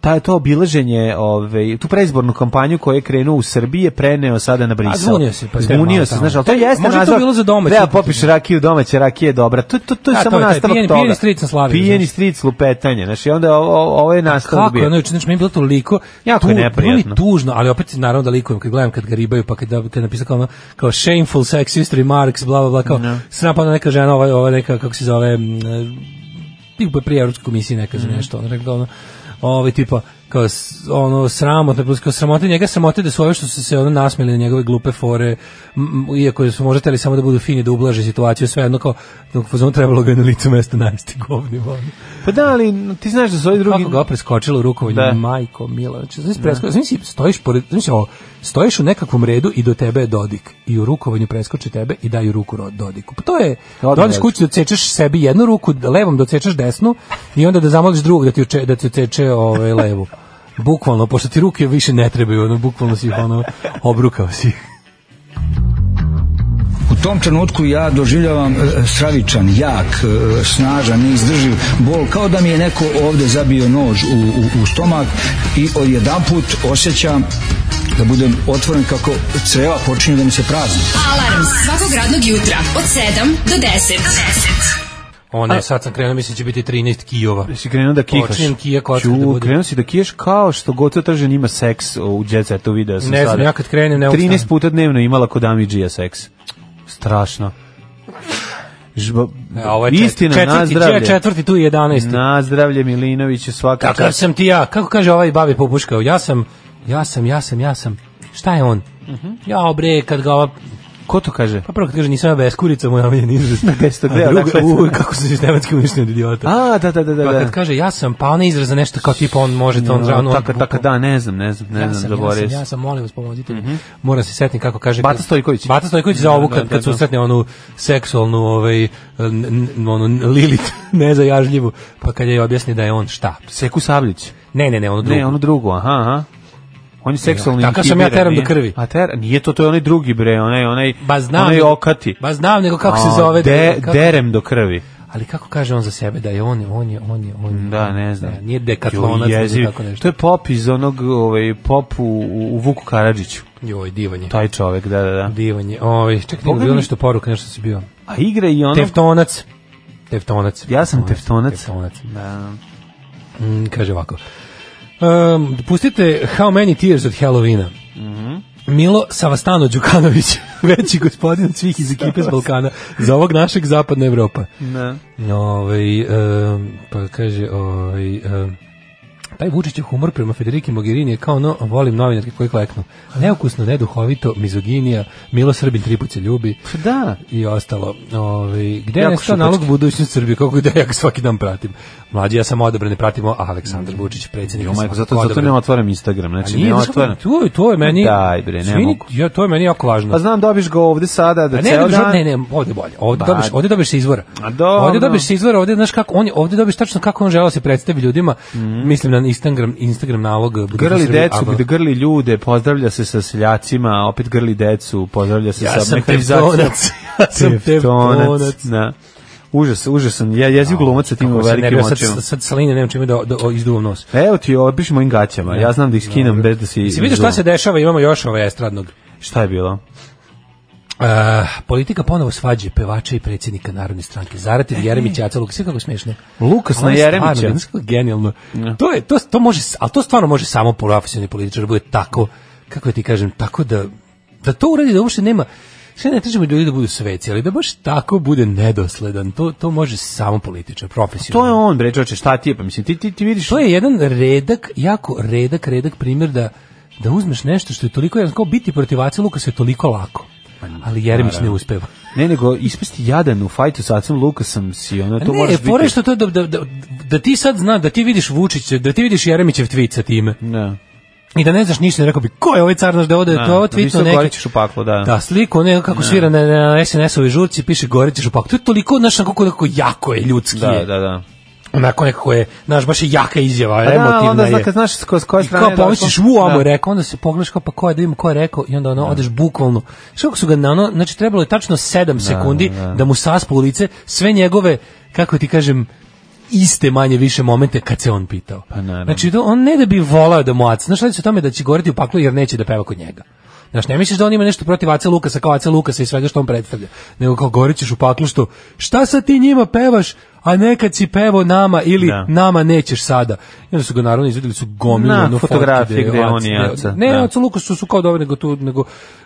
S6: taj to obilaženje, ovaj, tu predizbornu kampanju koja je krenuo u Srbiji je preneo sada na Brisel.
S5: A zvunio se, pa
S6: zvunio
S5: malo
S6: se,
S5: tamo.
S6: znaš, ali to
S5: Čekaj,
S6: jeste
S5: možda je to
S6: nazvao-
S5: bilo za domaće.
S6: Da, popiš rakiju, domaća rakija je dobra. To, to, to je
S5: A,
S6: samo
S5: to je taj
S6: nastavak
S5: pijeni-
S6: toga.
S5: pijeni stric na slavi,
S6: Pijeni
S5: znaš.
S6: stric lupetanje, znaš, i onda ovo, ovo je nastavak
S5: Kako je
S6: bio.
S5: ono, znači, meni je bilo toliko
S6: Jako je neprijatno.
S5: bilo mi tužno, ali opet naravno da likujem kad gledam kad ga ribaju, pa kad, kad napisao kao, ono, kao shameful sexist remarks, bla, bla, bla, kao no. sram, pa onda neka žena, ova, ova neka, kako se zove, m, e, tipa prije Evropske komisije neka za nešto, ono, rekla, ono, ovaj tipa, kao, s- ono, sramotno, plus kao sramote njega, sramote da su ove što su se ono nasmijeli na njegove glupe fore, m, m, iako su možda teli samo da budu fini, da ublaže situaciju, sve jedno kao, dok fazon trebalo ga je na licu mesta najesti govnima, ono.
S6: Pa da, ali ti znaš da su ovi drugi...
S5: Kako ga preskočilo u rukovanju,
S6: Da.
S5: majko mila. Znači, znači, presko, znači stojiš, pored, znači, ovo, stojiš u nekakvom redu i do tebe je Dodik. I u rukovanju preskoči tebe i daju ruku Ro- Dodiku. Pa to je,
S6: Odmah
S5: dođeš
S6: već.
S5: kući, docečeš sebi jednu ruku, da- levom docečeš desnu i onda da zamoliš drugog da ti, uče, da ti oceče ovaj, <laughs> levu. Bukvalno, pošto ti ruke više ne trebaju, ono, bukvalno si ih ono, obrukao si ih.
S11: U tom trenutku ja doživljavam e, stravičan, jak, e, snažan, neizdrživ bol, kao da mi je neko ovde zabio nož u, u, u stomak i odjedanput osjećam da budem otvoren kako creva počinju da mi se prazni.
S4: Alarm svakog radnog jutra od 7 do 10.
S5: Ono, sad sam krenuo, mislim će biti 13 kijova.
S6: Si krenuo da kihaš.
S5: Počinjem kija kod
S6: Ću,
S5: da bude.
S6: krenuo si da kijaš kao što gotovo tržan ima seks u Jet Setu, video sam
S5: Ne znam,
S6: sada.
S5: ja kad krenem, ne
S6: 13
S5: ustanem.
S6: puta dnevno imala kod Amidžija seks. Strašno. Žba,
S5: E, ovo je čet-
S6: istina,
S5: četvrti,
S6: na zdravlje.
S5: Četvrti, tu je 11.
S6: Na zdravlje Milinović je svaka
S5: Kakav
S6: čast.
S5: sam ti ja? Kako kaže ovaj babi popuškao? Ja sam, ja sam, ja sam, ja sam. Šta je on?
S6: Mhm.
S5: Ja bre, kad ga ova...
S6: Ko to kaže?
S5: Pa prvo kad kaže nisam ja beskurica, moj omiljen
S6: <laughs>
S5: izraz.
S6: Testo, gde,
S5: A drugo,
S6: odakle?
S5: uj, kako se sistematski uništio od idiota.
S6: dakle, A, da, da, da, da.
S5: pa
S6: da.
S5: kad kaže ja sam, pa ona izraza nešto kao tipa on može to, on
S6: No,
S5: on...
S6: taka, taka, da, ne znam, ne znam, ne
S5: ja
S6: znam,
S5: sam, ja
S6: zaboravio
S5: sam,
S6: sam. Mhm.
S5: ja sam, molim vas pomozite mi. Moram se setiti kako kaže.
S6: Bata
S5: kad-
S6: Stojković.
S5: Bata Stojković za ovu
S6: Da,
S5: kad,
S6: da,
S5: kad
S6: da.
S5: susretne onu seksualnu, ovaj, n- n- onu Lilit, <laughs> nezajažljivu, pa kad je objasni da je on šta.
S6: Seku Sabljić.
S5: Ne, ne, ne, ono drugo.
S6: Ne, ono drugo, aha, aha. On je seksualni
S5: Takav sam ja
S6: inhibiran,
S5: teram do
S6: nije?
S5: krvi.
S6: A ter, nije to, to je onaj drugi bre, onaj, onaj,
S5: Ba znam.
S6: onaj
S5: nego-
S6: okati.
S5: Ba znam nego kako
S6: A,
S5: se zove.
S6: De,
S5: kako,
S6: derem do krvi.
S5: Ali kako kaže on za sebe da je on, on je, on je, on je.
S6: Da, ne znam.
S5: Ne, nije dekatlonac
S6: Joj,
S5: ili
S6: jeziv.
S5: tako nešto.
S6: To je pop iz onog ovaj, pop u, u Vuku Karadžiću.
S5: Joj, divanje.
S6: Taj čovek, da, da, da.
S5: Divanje. Ovaj, čekaj, nego
S6: Pa- Pogledaj
S5: bilo
S6: mi-
S5: nešto poruka, nešto si bio.
S6: A igra i ono...
S5: Teftonac. Teftonac.
S6: Ja sam teftonac.
S5: Teftonac.
S6: Da.
S5: Mm, kaže ovako. Um, pustite How Many Tears od Halloweena.
S6: Mhm.
S5: Milo Savastano Đukanović, <laughs> veći gospodin od svih iz ekipe s Balkana, za ovog našeg zapadna Evropa.
S6: Da.
S5: Ovaj em, pa kaže, ovaj em, taj Vučićev humor prema Federiki Mogherini je kao no, volim novinarke koje kleknu. Neukusno, neduhovito, mizoginija, Milo Srbin tri put se ljubi
S6: Pa Da.
S5: i ostalo. Ovaj gde je
S6: Jako
S5: nestao
S6: šupački.
S5: nalog budućnosti Srbije, kako da ja ga svaki dan pratim. Mlađi, ja sam odabran, ne pratimo Aleksandar Vučić, predsjednik.
S6: Mm. Jo,
S5: sam
S6: majko, zato,
S5: svakako
S6: zato ne
S5: odabran.
S6: otvaram Instagram,
S5: A
S6: znači
S5: nije,
S6: ne
S5: znaš kako,
S6: otvaram.
S5: To, je- to je meni...
S6: Daj, bre, ne
S5: Svini-
S6: mogu.
S5: Ja, to je meni jako važno.
S6: Pa znam, dobiš ga ovde sada, da
S5: A ne,
S6: ceo
S5: dobiš,
S6: dan...
S5: ne, ne, ovde bolje. Ovde
S6: Ba-
S5: dobiš, ovde dobiš se izvora.
S6: A dobro.
S5: Ovde dobiš se izvora, ovde znaš kako on je, ovde dobiš tačno kako on želeo da se predstavi ljudima. Mislim na jedan Instagram, Instagram nalog. Budućnost
S6: Mhm. Grli
S5: Srbije,
S6: decu,
S5: ABBA.
S6: gde grli ljude, pozdravlja se sa seljacima, opet grli decu, pozdravlja se
S5: Ja
S6: sa
S5: sam
S6: mehanizacijom.
S5: teftonac. <laughs> Ja sam teftonac.
S6: Da. Užas, užasan. Ja jezik glumac sa tim
S5: Kako se
S6: velikim
S5: nervira, sad-
S6: očima.
S5: Sad, sad sa linije nemam čime da, da o- izduvam nos.
S6: Pa Evo ti, obiš mojim gaćama. Ja znam da ih skinem bez da si...
S5: Jesi vidio šta
S6: izduvam.
S5: se dešava, imamo još ovaj estradnog.
S6: Šta je bilo?
S5: Uh, politika ponovo svađe pevača i predsjednika Narodne stranke. Zaratir, Jeremić, Aca, Lukas, sve kako smiješno.
S6: Lukas
S5: Ovo
S6: na
S5: je stvarno
S6: Jeremića.
S5: bilo, kako genijalno. To, je, to, to može, ali to stvarno može samo profesionalni političar da bude tako, kako ti kažem, tako da, da to uradi da uopšte nema, sve ne tražimo ljudi da budu sveci, ali da baš tako bude nedosledan, to, to može samo političar,
S6: To
S5: profesionalni.
S6: je on, bre, čoče, šta ti je? Pa mislim, ti, ti, ti vidiš...
S5: To je jedan redak, jako redak, redak primjer da, da uzmeš nešto što je toliko, jednostavno, kao biti protiv Aca Lukasa je toliko lako, ali Jeremić ne
S6: Pa, naravno.
S5: uspeva.
S6: Ne, nego ispasti jadan u fajtu sa Acem Lukasom si, ono, to
S5: Pa ne, e,
S6: moraš biti...
S5: fora je što to da, da, da, da ti sad zna, da ti vidiš Vučića, da ti vidiš Jeremićev tweet sa time.
S6: Ne.
S5: I da ne znaš ništa, rekao bi, ko je ovaj car naš da ode,
S6: Da,
S5: to je ovo
S6: da
S5: tweetno
S6: mislio
S5: neki.
S6: Gorićeš u paklu, da.
S5: Da, sliku, ne, kako svira na, na SNS-ovoj žurci, piše Gorićeš u paklu. To je toliko, znaš, kako nekako jako je, ljudski
S6: Da,
S5: je.
S6: da, da.
S5: Onako nekako je, znaš, baš je jaka izjava,
S6: Pa da,
S5: emotivna
S6: onda
S5: je.
S6: zna- kad znaš s ko- s koje
S5: I
S6: strane je
S5: Kao pomisliš,
S6: došlo.
S5: u, amo
S6: Da.
S5: je rekao, onda se pogledaš kao, pa ko je, da vidim ko je rekao, i onda ono, odeš bukvalno. Što kako su ga na ono, znači trebalo je tačno 7 sekundi da, mu saspa u lice sve njegove, kako ti kažem, iste manje više momente kad se on pitao.
S6: Pa naravno.
S5: znači, to, on ne da bi volao da mu Aca, znaš, radi se o tome da će goriti u paklu jer neće da peva kod njega. Znaš, ne misliš da on ima nešto protiv Ace Lukasa kao Ace Lukasa i svega što on predstavlja, nego kao gorit ćeš u paklu što šta sad ti njima pevaš, a nekad si pevo nama ili
S6: Da.
S5: nama nećeš sada. I onda su ga naravno izvedili su gomilu
S6: Na,
S5: ono,
S6: fotografije
S5: fotke
S6: gde
S5: je
S6: on
S5: Aca-
S6: i Aca,
S5: Ne,
S6: da.
S5: ne, Aca Lukasu su kao dobro nego tu, nego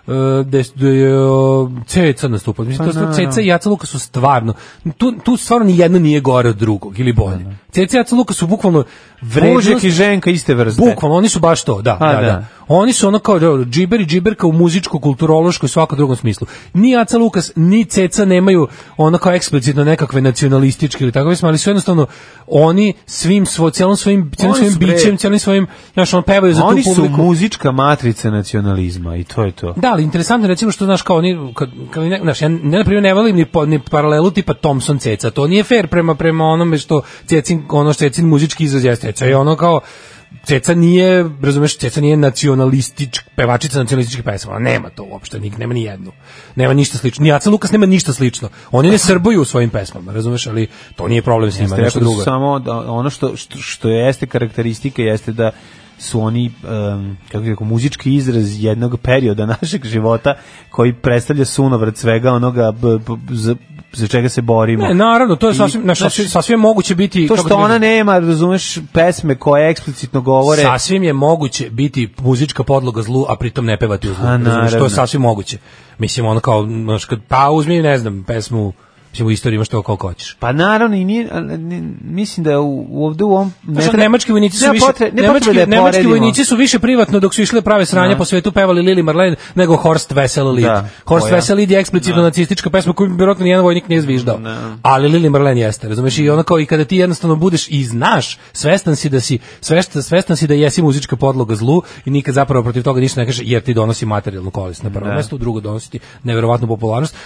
S5: uh, gde s- gde je uh, Ceca nastupao. Mislim,
S6: Pa
S5: to su Ceca i Aca Lukas su stvarno, tu, tu stvarno ni jedno nije gore od drugog ili bolje. Ceca i Aca Lukas su bukvalno
S6: Mužek
S5: vrednost...
S6: i ženka iste vrste.
S5: Bukvalno, oni su baš to, da,
S6: A,
S5: da,
S6: da.
S5: da. Oni su ono kao dobro, džiber i džiberka u muzičko, kulturološko i svakom drugom smislu. Ni Aca Lukas, ni Ceca nemaju ono kao eksplicitno nekakve nacionalističke ili tako, mislim, ali su jednostavno oni svim svo, cijelom svojim, cijelom
S6: Oni
S5: svojim
S6: su, bre-
S5: bićem, cijelim svojim, znaš, on pevaju za
S6: Oni
S5: tu
S6: su
S5: publiku.
S6: muzička matrica nacionalizma i to je to.
S5: Da, ali interesantno je recimo što znaš kao oni kad, kad ne, znaš, ja ne na primjer ne volim ni, po- ni paralelu tipa Thompson Ceca. To nije fair prema prema onome što Cecin ono što Cecin muzički izraz jeste. Ceca je ono kao Ceca nije, razumeš, Ceca nije nacionalističk, pevačica nacionalističkih pesama. Ona Nema to uopšte, nik, nema ni jednu. Nema ništa slično. Ni Aca Lukas nema ništa slično. Oni ne srbuju u svojim pesmama, razumeš, ali to nije problem s njima,
S6: Jeste,
S5: nešto
S6: rekao da su
S5: drugo.
S6: Samo da, ono što, što, što jeste karakteristika jeste da su oni em, kako bih rekao muzički izraz jednog perioda <laughs> našeg života koji predstavlja sunovrat svega onoga b- b- za, za čega se borimo.
S5: Ne, naravno, to je
S6: I,
S5: sasvim, znaš,
S6: znaš,
S5: sasvim, sasvim je moguće biti...
S6: to
S5: kako
S6: što
S5: ti kažem,
S6: ona nema, razumeš, pesme koje eksplicitno govore
S5: Sasvim je moguće biti muzička podloga zlu, a pritom ne pevati u zlu.
S6: A,
S5: razumeš,
S6: naravno.
S5: to je sasvim moguće. Mislim, ono kao, znaš, kad, pa uzmi, ne znam, pesmu, mislim, u istoriji imaš to koliko hoćeš.
S6: Pa naravno i nije, a, ne, mislim da u, u- ovde u ovom...
S5: Znaš,
S6: treba-
S5: nemački vojnici su
S6: nema
S5: više,
S6: potre- ne
S5: nemački,
S6: potrebe da je
S5: nemački
S6: poredimo.
S5: vojnici su više privatno dok su išle prave sranja po svetu pevali Lili Marlene nego Horst Wessel Lied.
S6: Da,
S5: Horst
S6: koja?
S5: Wessel Lied je eksplicitno nacistička pesma koju vjerojatno nijedan vojnik nije zviždao. Ali Lili Marlene jeste, razumeš? I ono kao i kada ti jednostavno budeš i znaš, svestan si da si, svestan, svestan si da jesi muzička podloga zlu i nikad zapravo protiv toga ništa ne kažeš jer ti donosi materijalnu korist na prvo mesto, u drugo donosi ti neverovatnu popularnost.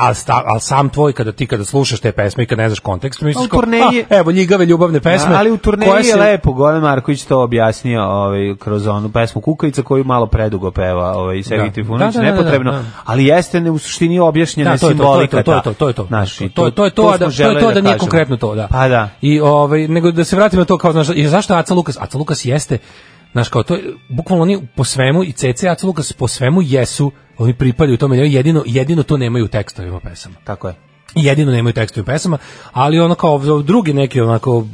S5: Ali, sta, ali sam tvoj, kada ti kada slušaš te pesme i kada ne znaš kontekst,
S6: A u
S5: misliš kao,
S6: turneji-
S5: "Ah, evo, ljigave ljubavne pesme.
S6: ali u turneji
S5: koje
S6: je
S5: se-
S6: lepo, Goran Marković to objasnio ovaj, kroz onu pesmu Kukavica koju malo predugo peva ovaj, Sergij
S5: Da.
S6: Trifunović,
S5: Da, da, da,
S6: nepotrebno,
S5: da, da.
S6: ali jeste ne, u suštini objašnjena
S5: Da, to je to, to je
S6: simbolika.
S5: to, to je
S6: ta.
S5: to, to je to.
S6: Znaš, i
S5: to je to, je to, a
S6: smo
S5: da, to je
S6: želeli
S5: to da nije
S6: kažemo.
S5: konkretno to, da.
S6: Pa da.
S5: I ovaj nego da se vratimo na to kao znaš, i zašto Aca Lukas? Aca Lukas jeste znaš kao to je, bukvalno oni po svemu i CC Aca Lukas po svemu jesu, oni pripadaju tome, jedino jedino to nemaju u tekstovima pesama.
S6: Tako je.
S5: I jedino nemaju tekstove pesama, ali ono kao ov- drugi neki onako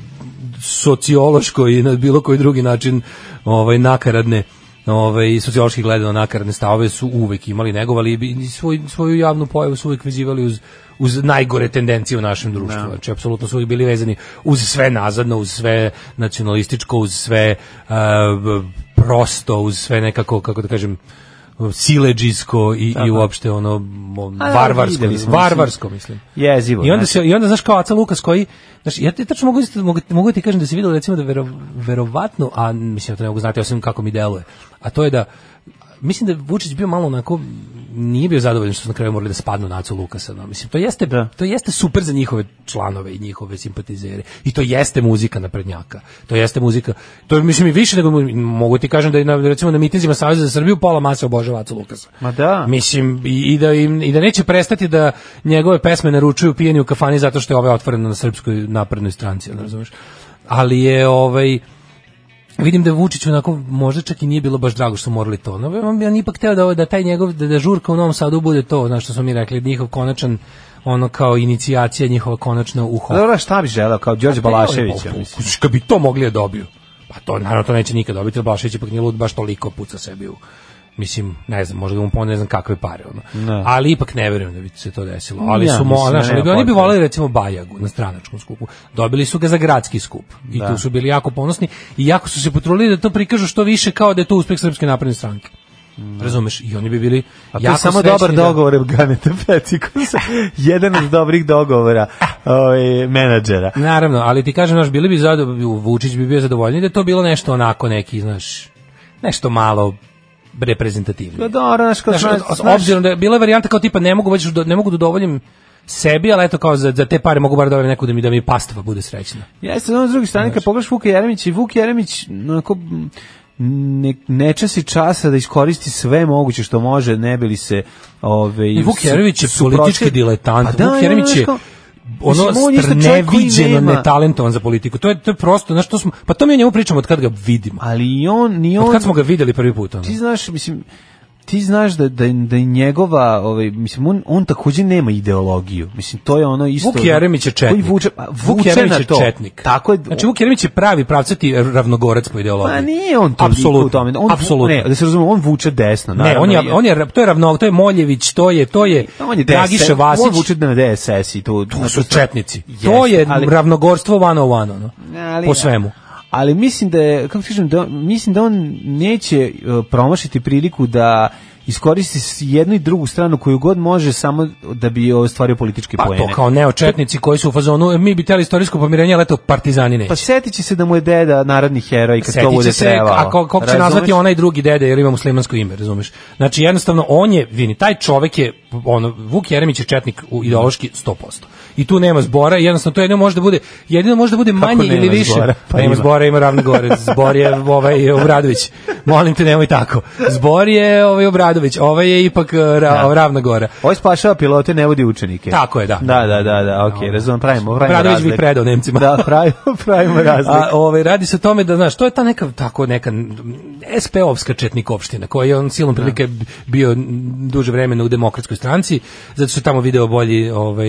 S5: sociološko i na bilo koji drugi način ovaj nakaradne ovaj sociološki gledano nakaradne stavove su uvek imali negovali bi- i svoj, svoju javnu pojavu su uvek vezivali uz uz najgore tendencije u našem društvu. Znači, apsolutno su uvijek bili vezani uz sve nazadno, uz sve nacionalističko, uz sve eh, b- prosto, uz sve nekako, kako da kažem, sileđisko i, i uopšte ono mo-
S6: A,
S5: varvarsko,
S6: videli smo, mislim.
S5: varvarsko mislim.
S6: Jezivo.
S5: I onda
S6: znaš.
S5: se i onda znaš kao Aca Lukas koji znaš ja ti tačno mogu mogu, mogu ti kažem da se videlo recimo da vero, verovatno a mislim ja to ne mogu znati osim kako mi deluje. A to je da mislim da je Vučić bio malo onako nije bio zadovoljan što su na kraju morali da spadnu na Acu Lukasa. No. Mislim, to jeste, to jeste super za njihove članove i njihove simpatizere. I to jeste muzika naprednjaka. To jeste muzika. To je, mislim, i više nego mu- mogu ti kažem da je, na, recimo, na mitinzima Saveza za Srbiju pola masa obožava Acu Lukasa.
S6: Ma da.
S5: Mislim, i, i da, im, i da neće prestati da njegove pesme naručuju pijeni u kafani zato što je ova otvorena na srpskoj naprednoj stranci, ono, razumeš? Ali je, ovaj, vidim da Vučić onako možda čak i nije bilo baš drago što su morali to. No, on bi on ipak teo da, ovo- da taj njegov da, da žurka u Novom Sadu bude to, znaš što smo mi rekli, njihov konačan ono kao inicijacija njihova konačna uho.
S6: Pa Dobro, šta bi želeo kao Đorđe Balašević?
S5: Pa, Kad bi to mogli da dobiju. Pa to, naravno, to neće nikad dobiti, jer Blašević ipak nije lud baš toliko puca sebi u mislim, ne znam, možda da mu pone, ne znam kakve pare, ono.
S6: Da.
S5: Ali ipak ne verujem da bi se to desilo. Ali
S6: Ja
S5: su mo,
S6: mislim da
S5: znaš, ali bi
S6: nema
S5: oni bi
S6: potrebe.
S5: voleli recimo Bajagu na stranačkom skupu. Dobili su ga za gradski skup i
S6: Da.
S5: tu su bili jako ponosni i jako su se potrudili da to prikažu što više kao da je to uspeh Srpske napredne stranke. Razumeš? I oni bi bili
S6: A to je
S5: jako
S6: samo
S5: srećni
S6: dobar
S5: da-
S6: dogovor Ganeta
S5: <laughs>
S6: Petikusa. Jedan od dobrih dogovora ovaj, menadžera.
S5: Naravno, ali ti kažem, znaš, bili bi zadovoljni, Vučić bi bio zadovoljni da je to bilo nešto onako neki, znaš, nešto malo reprezentativno.
S6: Pa dobro, znaš, kao
S5: Znaš,
S6: znaš,
S5: o- obzirom da je bila je varijanta kao tipa ne mogu već do- ne mogu da udovoljim sebi, ali eto kao za, za te pare mogu bar da neku da mi da mi pastava bude srećna.
S6: Jeste, ono s druge strane, kad pogledaš Vuka Jeremića i Vuk Jeremić, onako, m, ne, ne časi časa da iskoristi sve moguće što može, ne bi li se... Ove, Pa
S5: I Vuk Jeremić je politički diletant. Vuk Jeremić je ono neviđeno netalentovan za politiku. To je to je prosto, znaš, to smo, pa to mi o njemu pričamo od kad ga vidimo.
S6: Ali i on, ni on...
S5: Od kad smo ga videli prvi put. Ono.
S6: ti znaš, mislim, ti znaš da da da je njegova, ovaj mislim on on takođe nema ideologiju. Mislim to je ono isto.
S5: Vuk Jeremić je
S6: Koji
S5: četnik.
S6: vuče, a,
S5: Vuk
S6: vuče
S5: Jeremić
S6: na
S5: je
S6: to.
S5: četnik.
S6: Tako je.
S5: Znači, Vuk Jeremić je pravi pravcati ravnogorac po ideologiji.
S6: Pa nije on to
S5: Apsolutno.
S6: u tome. On,
S5: Apsolutno.
S6: Ne, da se razume, on vuče desno.
S5: Ne,
S6: naravno,
S5: on je,
S6: i-
S5: on je, to je ravno, to je Moljević, to je, to je,
S6: on je
S5: Dragiša
S6: DSS,
S5: Vasić,
S6: On vuče na DSS i to.
S5: to su četnici.
S6: Jeste,
S5: to je
S6: ali-
S5: ravnogorstvo one on one, ono,
S6: Ali-
S5: po svemu.
S6: ali mislim da je, kako ti kažem, da, mislim da on neće e, promašiti priliku da iskoristi s- jednu i drugu stranu koju god može samo da bi ostvario političke
S5: Pa
S6: poene.
S5: to kao neočetnici koji su u fazonu, e, mi bi teli istorijsko pomirenje, ali eto, partizani neće.
S6: Pa setit će se da mu je deda narodni heroj kad to
S5: Setit
S6: bude
S5: će se,
S6: trebalo.
S5: a ko- kako će
S6: Razumeš?
S5: nazvati onaj drugi dede, jer ima muslimansko ime, razumeš? Znači, jednostavno, on je, vini, taj čovek je, ono, Vuk Jeremić je četnik u ideološki 100%. I tu nema zbora, i jednostavno, to jedino može da bude, jedino može da bude manje
S6: nema
S5: ili više.
S6: zbora? Pa
S5: Pa ima
S6: ima.
S5: zbora, ima ravni gore, zbor je ovaj Obradović. Molim te, nemoj tako. Zbor je ovaj Obradović, ovaj je ipak eh, ra, ravna gora.
S6: Ovo spašava pilote, ne vodi učenike.
S5: Tako je, da.
S6: Da, da, da, da, okej, razumem, pravimo, pravimo
S5: Obradović bi
S6: razliku.
S5: predao Nemcima.
S6: Da, pravimo, <laughs> pravimo razliku.
S5: A, ovaj, radi se o tome da, znaš, to je ta neka, tako neka SP-ovska četnik opština, koja je on silom prilike bio duže vremena u demokratskoj stranci, zato što je tamo video bolji ovaj,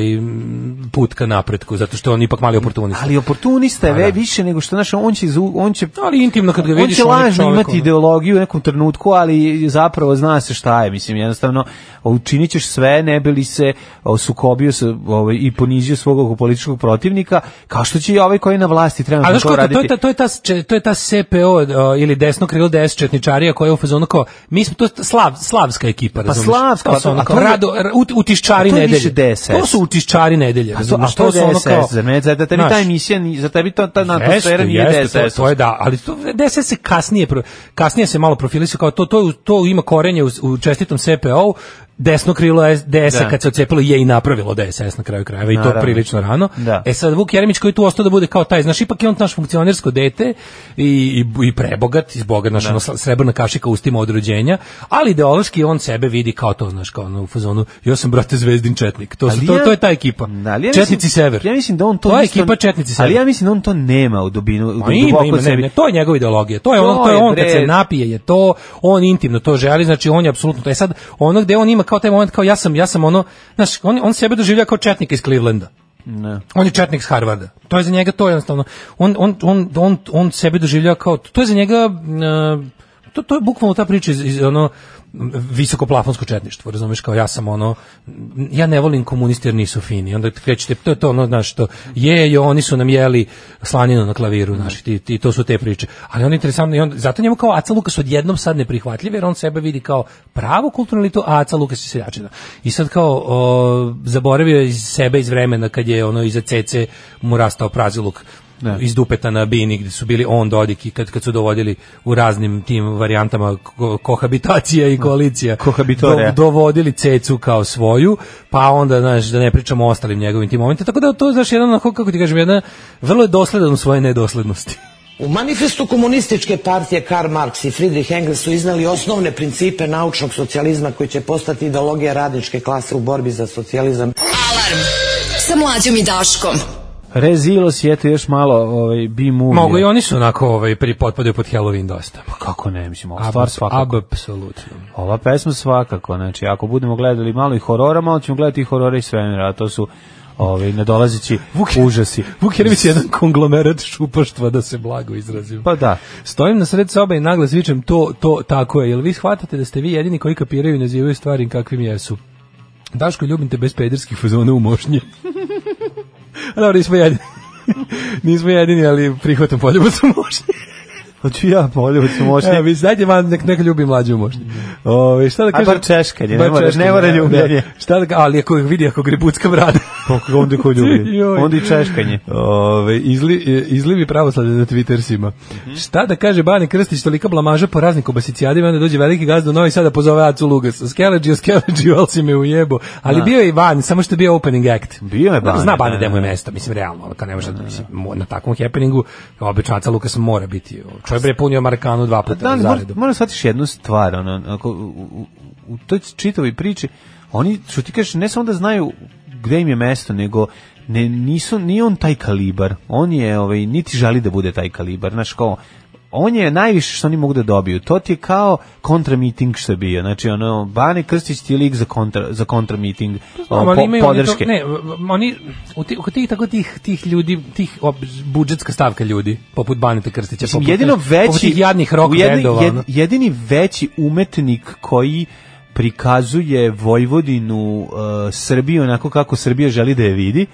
S5: put ka napretku, zato što je on ipak mali oportunist.
S6: Ali oportunista je
S5: Pa da.
S6: ve- više nego što znaš, on će zu- on će
S5: Ali intimno kad ga
S6: on
S5: vidiš,
S6: će
S5: on je
S6: lažno
S5: čovjek,
S6: imati
S5: ono.
S6: ideologiju u nekom trenutku, ali zapravo zna se šta je, mislim jednostavno učinit ćeš sve ne bi li se o, sukobio sa ovaj i ponizio svog oko političkog protivnika, kao što će i ovaj koji je na vlasti
S5: A
S6: trenutno
S5: znaš
S6: to
S5: kako, to je
S6: raditi.
S5: ta, to je ta, če- to je ta CPO uh, ili desno krilo DS četničarija koja je u fazonu kao, mi smo to slav, slavska ekipa, razumiješ?
S6: slavska,
S5: to su
S6: pa to-
S5: ono
S6: a
S5: kao,
S6: to je-
S5: rado, r- ut, utiščari
S6: a to je
S5: nedelje.
S6: više DSS.
S5: To su utiščari nedelje,
S6: A to, a
S5: razumiješ?
S6: to,
S5: su ono
S6: DSS,
S5: kao-
S6: za mene, za tebi
S5: Znaš,
S6: ta emisija, ni- za tebi to, ta
S5: Jeste,
S6: atmosfera nije
S5: jeste, to-
S6: DSS.
S5: To, je da, ali to DSS se kasnije pro- kasnije se malo profilisao kao to to je u- to ima korenje u, u čestitom CPO desno krilo S- DS-a
S6: Da.
S5: kad se ocepilo je i napravilo DSS na kraju krajeva i to
S6: Naravno.
S5: prilično rano.
S6: Da.
S5: E sad Vuk Jeremić koji je tu ostao da bude kao taj, znaš, ipak je on naš funkcionersko dete i, i, i prebogat, iz boga, znaš, ono, srebrna kašika ustima od rođenja, ali ideološki on sebe vidi kao to, znaš, kao ono u fazonu, ja sam, brate, zvezdin četnik. To, su-
S6: Ali
S5: to,
S6: ja-
S5: to je ta ekipa.
S6: Da, ali ja mislim-
S5: Četnici sever.
S6: Ja mislim da on to
S5: To je
S6: isto-
S5: ekipa Četnici sever.
S6: Ali ja mislim da on to nema u dubinu, u
S5: Pa ima,
S6: duboko
S5: ima,
S6: u
S5: ne, ne,
S6: sebi.
S5: to je njegova ideologija. To je ono,
S6: To
S5: to je
S6: je,
S5: on kad
S6: bre.
S5: se napije je to, on intimno to želi, znači on je apsolutno to. E sad ono gde on ima kao taj moment kao ja sam, ja sam ono, znaš, on on sebe doživljava kao četnik iz Clevelanda.
S6: Ne.
S5: On je četnik s Harvarda. To je za njega to jednostavno. On on on on on sebe doživljava kao to je za njega mm, to to je bukvalno ta priča iz, iz ono mm, visokoplafonsko četništvo, razumeš, kao ja sam ono, mm, ja ne volim komuniste jer nisu fini, onda krećete, to je to ono, znaš, to, je, jo, oni su nam jeli slaninu na klaviru, znaš, ti, ti, to su te priče, ali on je interesantno, i on, zato njemu kao Aca Lukas odjednom sad neprihvatljiv, jer on sebe vidi kao pravu kulturnu elitu, a Aca Lukas je seljačina. I sad kao, o, zaboravio je iz sebe iz vremena kad je ono iza CC mu rastao praziluk da. iz Dupeta na Bini gde su bili on Dodik i kad, kad su dovodili u raznim tim varijantama ko, kohabitacija i koalicija
S6: Kohabitoreja.
S5: do- dovodili Cecu kao svoju pa onda znaš da ne pričamo o ostalim njegovim tim momentima tako da to znaš jedan onako, kako ti kažem jedna vrlo je dosledan u svojoj nedoslednosti
S12: U manifestu komunističke partije Karl Marx i Friedrich Engels su iznali osnovne principe naučnog socijalizma koji će postati ideologija radničke klase u borbi za socijalizam.
S4: Alarm sa mlađom i Daškom.
S6: Rezilos je eto još malo ovaj, B-movie.
S5: mogu i oni su onako ovaj, pri, potpadaju pod Halloween dosta pa
S6: kako ne mislim ova
S5: Ab-
S6: stvar svakako.
S5: apsolutno
S6: Ova pesma svakako, znači ako budemo gledali malo i horora, malo ćemo gledati i horore i svemira, a to su ovaj, nadolazeći užasi.
S5: Vuk Jeremić je jedan konglomerat šupaštva da se blago izrazim.
S6: Pa da.
S5: Stojim na sred sobe i naglas vičem to, to, tako je. Jel vi shvatate da ste vi jedini koji kapiraju i nazivaju stvari kakvim jesu? Daško, ljubim te bez pederskih fazona u <laughs> mošnje. A dobro, nismo jedini. <laughs> nismo jedini, ali prihvatam poljubac u mošnje. Pa
S6: Hoću ja poljubac u mošnje.
S5: Evo, vi znajte, van, nek, neka ljubi mlađe u mošnje. Ove, šta da
S6: A
S5: kažem?
S6: bar češkanje, ne mora- ne
S5: češkanje,
S6: mora
S5: da, da.
S6: ljubljenje.
S5: Šta da, ga- ali ako vidi, ako grebuckam rada.
S6: Kako onda ko ljubi?
S5: Joj.
S6: onda i češkanje.
S5: Ove, izli, e, izlivi pravoslade na Twittersima. Šta da kaže Bane Krstić, tolika blamaža po raznim kobasicijadima, onda dođe veliki gazda u Novi Sad da pozove Acu Lugas. Skeleđio, <laughs> skeleđio, ali si me ujebo. Ali
S6: Da.
S5: bio je i Van, samo što je bio opening act.
S6: Bio je Bane,
S5: Zna Bane
S6: da,
S5: da mu je
S6: da.
S5: mesto, mislim, realno. Kad ne može, da, mislim, mo- na takvom happeningu, obično Aca Lukas mora biti. Čovjek bre punio Markanu dva puta
S6: Da,
S5: da,
S6: ali mora,
S5: zaredu.
S6: mora shvatiš jednu stvar, ono, ako, u, u, u toj čitavoj priči, oni, što ti kažeš, ne samo da znaju gde im je mesto, nego ne, nisu, nije on taj kalibar, on je, ovaj, niti žali da bude taj kalibar, znaš, kao, on je najviše što oni mogu da dobiju. To ti je kao kontra meeting što je bio. Znači, ono, Bane Krstić ti je lik za kontra, za kontra meeting
S5: Znam, ali imaju oni to-
S6: Pa, podrške.
S5: ne, m- oni, u ti- kod tih, tako tih, tih ljudi, tih ob, budžetska stavka ljudi, poput Baneta Krstića,
S6: Mislim,
S5: poput,
S6: jedino
S5: poput
S6: veći
S5: tih jadnih rock
S6: u jedni-
S5: bendova,
S6: jed-
S5: ono.
S6: jedini veći umetnik koji prikazuje Vojvodinu uh, Srbiju onako kako Srbija želi da je vidi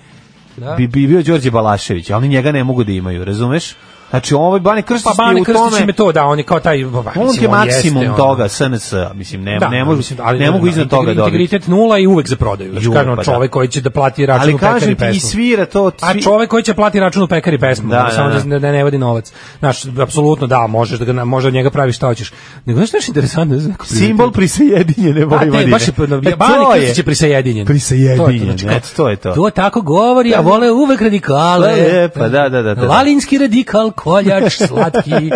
S5: Da.
S6: bi, bi bio Đorđe Balašević ali njega ne mogu da imaju razumeš znači ovaj Bane Krstić
S5: Pa Bane
S6: je u
S5: Krstić
S6: tome
S5: im je to, da, on je kao taj... ba, ba,
S6: on
S5: mislim,
S6: je maksimum
S5: jeste, ono.
S6: toga SNS mislim ne, ne mogu
S5: mislim,
S6: ne mogu
S5: ono,
S6: iznad toga
S5: integri-
S6: dobiti
S5: Integritet nula i uvek za prodaju. Znači,
S6: Ju,
S5: kažem,
S6: pa da.
S5: čovek koji će da plati račun
S6: ali
S5: u pekari
S6: kažem ti i
S5: pesmu.
S6: svira to
S5: A
S6: svi-
S5: čovek koji će plati račun u pekari pesmu,
S6: Da,
S5: ono,
S6: da,
S5: samo da,
S6: da.
S5: ne, ne vadi novac. Znaš, apsolutno da, možeš da ga, na- možeš od njega praviš šta hoćeš. Nego znaš što je interesantno? Znaš, neko
S6: simbol prisajedinjene
S5: Pa,
S6: Vojvodine
S5: te, baš je,
S6: E, to
S5: Bane Krstić je
S6: je
S5: prisajedinjen.
S6: prisajedinjen
S5: znači, kao-
S6: eto, to je to
S5: To tako govori, a vole uvek radikale.
S6: E, pa da, da, da, da.
S5: Lalinski radikal,
S6: <laughs>
S5: koljač, slatki.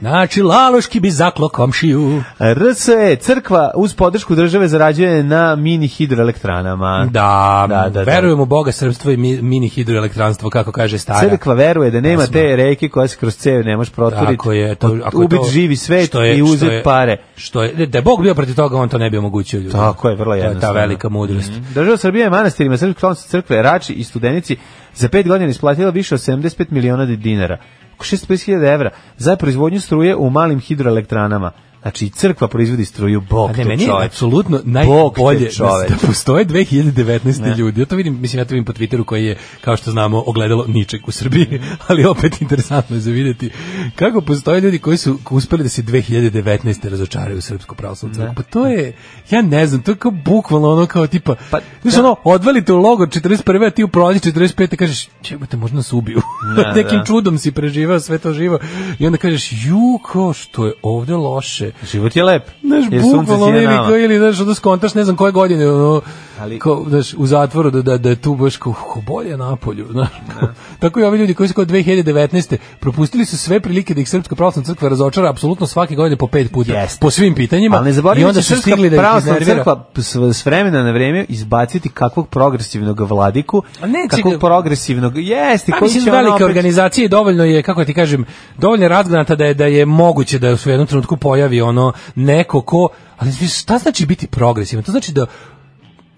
S5: Znači, laloški bi zaklo komšiju.
S6: RSE, crkva uz podršku države zarađuje na mini hidroelektranama.
S5: Da,
S6: Da, da, da.
S5: verujem u Boga, srpstvo i mi- mini hidroelektranstvo, kako kaže stara.
S6: Crkva veruje da nema
S5: Jasno.
S6: te reke koja se kroz cev ne može proturiti,
S5: Tako je, to, ako je
S6: ubiti
S5: to-
S6: živi svet
S5: što je-
S6: i
S5: što
S6: uzeti
S5: je-
S6: pare.
S5: Što je, da je Bog bio protiv toga, on to ne bi omogućio ljudima.
S6: Tako je, vrlo
S5: To je ta
S6: jednostavno. Mhm.
S5: velika mudrost.
S6: Država Srbije je manastirima Srpske pravoslavne crkve Rači i Studenici za pet godina isplatila više od 75 miliona dinara, oko 650.000 evra, za proizvodnju struje u malim hidroelektranama. Znači, i crkva proizvodi struju, bog
S5: A ne,
S6: te
S5: meni je
S6: čoveče.
S5: apsolutno
S6: Bog te
S5: najbolje da,
S6: čoveče.
S5: da postoje 2019.
S6: Ne.
S5: ljudi. Ja to vidim, mislim, ja to vidim po Twitteru koji je, kao što znamo, ogledalo ničeg u Srbiji, <laughs> ali opet interesantno je za vidjeti kako postoje ljudi koji su uspeli da se 2019. razočaraju u Srpsku pravoslavnu crkvu. Pa to je, ja ne znam, to je kao bukvalno ono kao tipa, pa, znaš ono, odvalite u logor 41. a ti u prolazi 45. kažeš, čebate, možda nas ubiju.
S6: Da,
S5: <laughs> Nekim
S6: da.
S5: čudom si preživao sve to živo. I onda kažeš, ju, kao što je ovde loše.
S6: Život je lep.
S5: Znaš,
S6: jer sunce
S5: bukvalno
S6: sije
S5: ono ili,
S6: nama.
S5: ko- ili znaš, onda skontaš ne znam koje godine, ono,
S6: Ali-
S5: kao, znaš, u zatvoru da, da, da je tu baš kao, "Ho, bolje je napolju, znaš, kao. tako i ovi ljudi koji su kao 2019. propustili su sve prilike da ih Srpska pravoslavna crkva razočara apsolutno svake godine po pet puta,
S6: Jeste.
S5: po svim pitanjima,
S6: Ali ne
S5: i
S6: zaboravimo
S5: onda
S6: da
S5: su
S6: Srpska
S5: stigli da ih
S6: pravoslavna
S5: iznervira.
S6: crkva s, s vremena na vreme izbaciti kakvog progresivnog vladiku,
S5: A neće
S6: kakvog
S5: ga-
S6: progresivnog, jeste,
S5: Pa
S6: koji
S5: mislim
S6: će
S5: velike
S6: ono opet-
S5: organizacije dovoljno je kako ti kažem dovoljno je razgranata da je da je moguće da se u jednom trenutku pojavi ono neko ko ali znaš, šta znači biti progresivan to znači da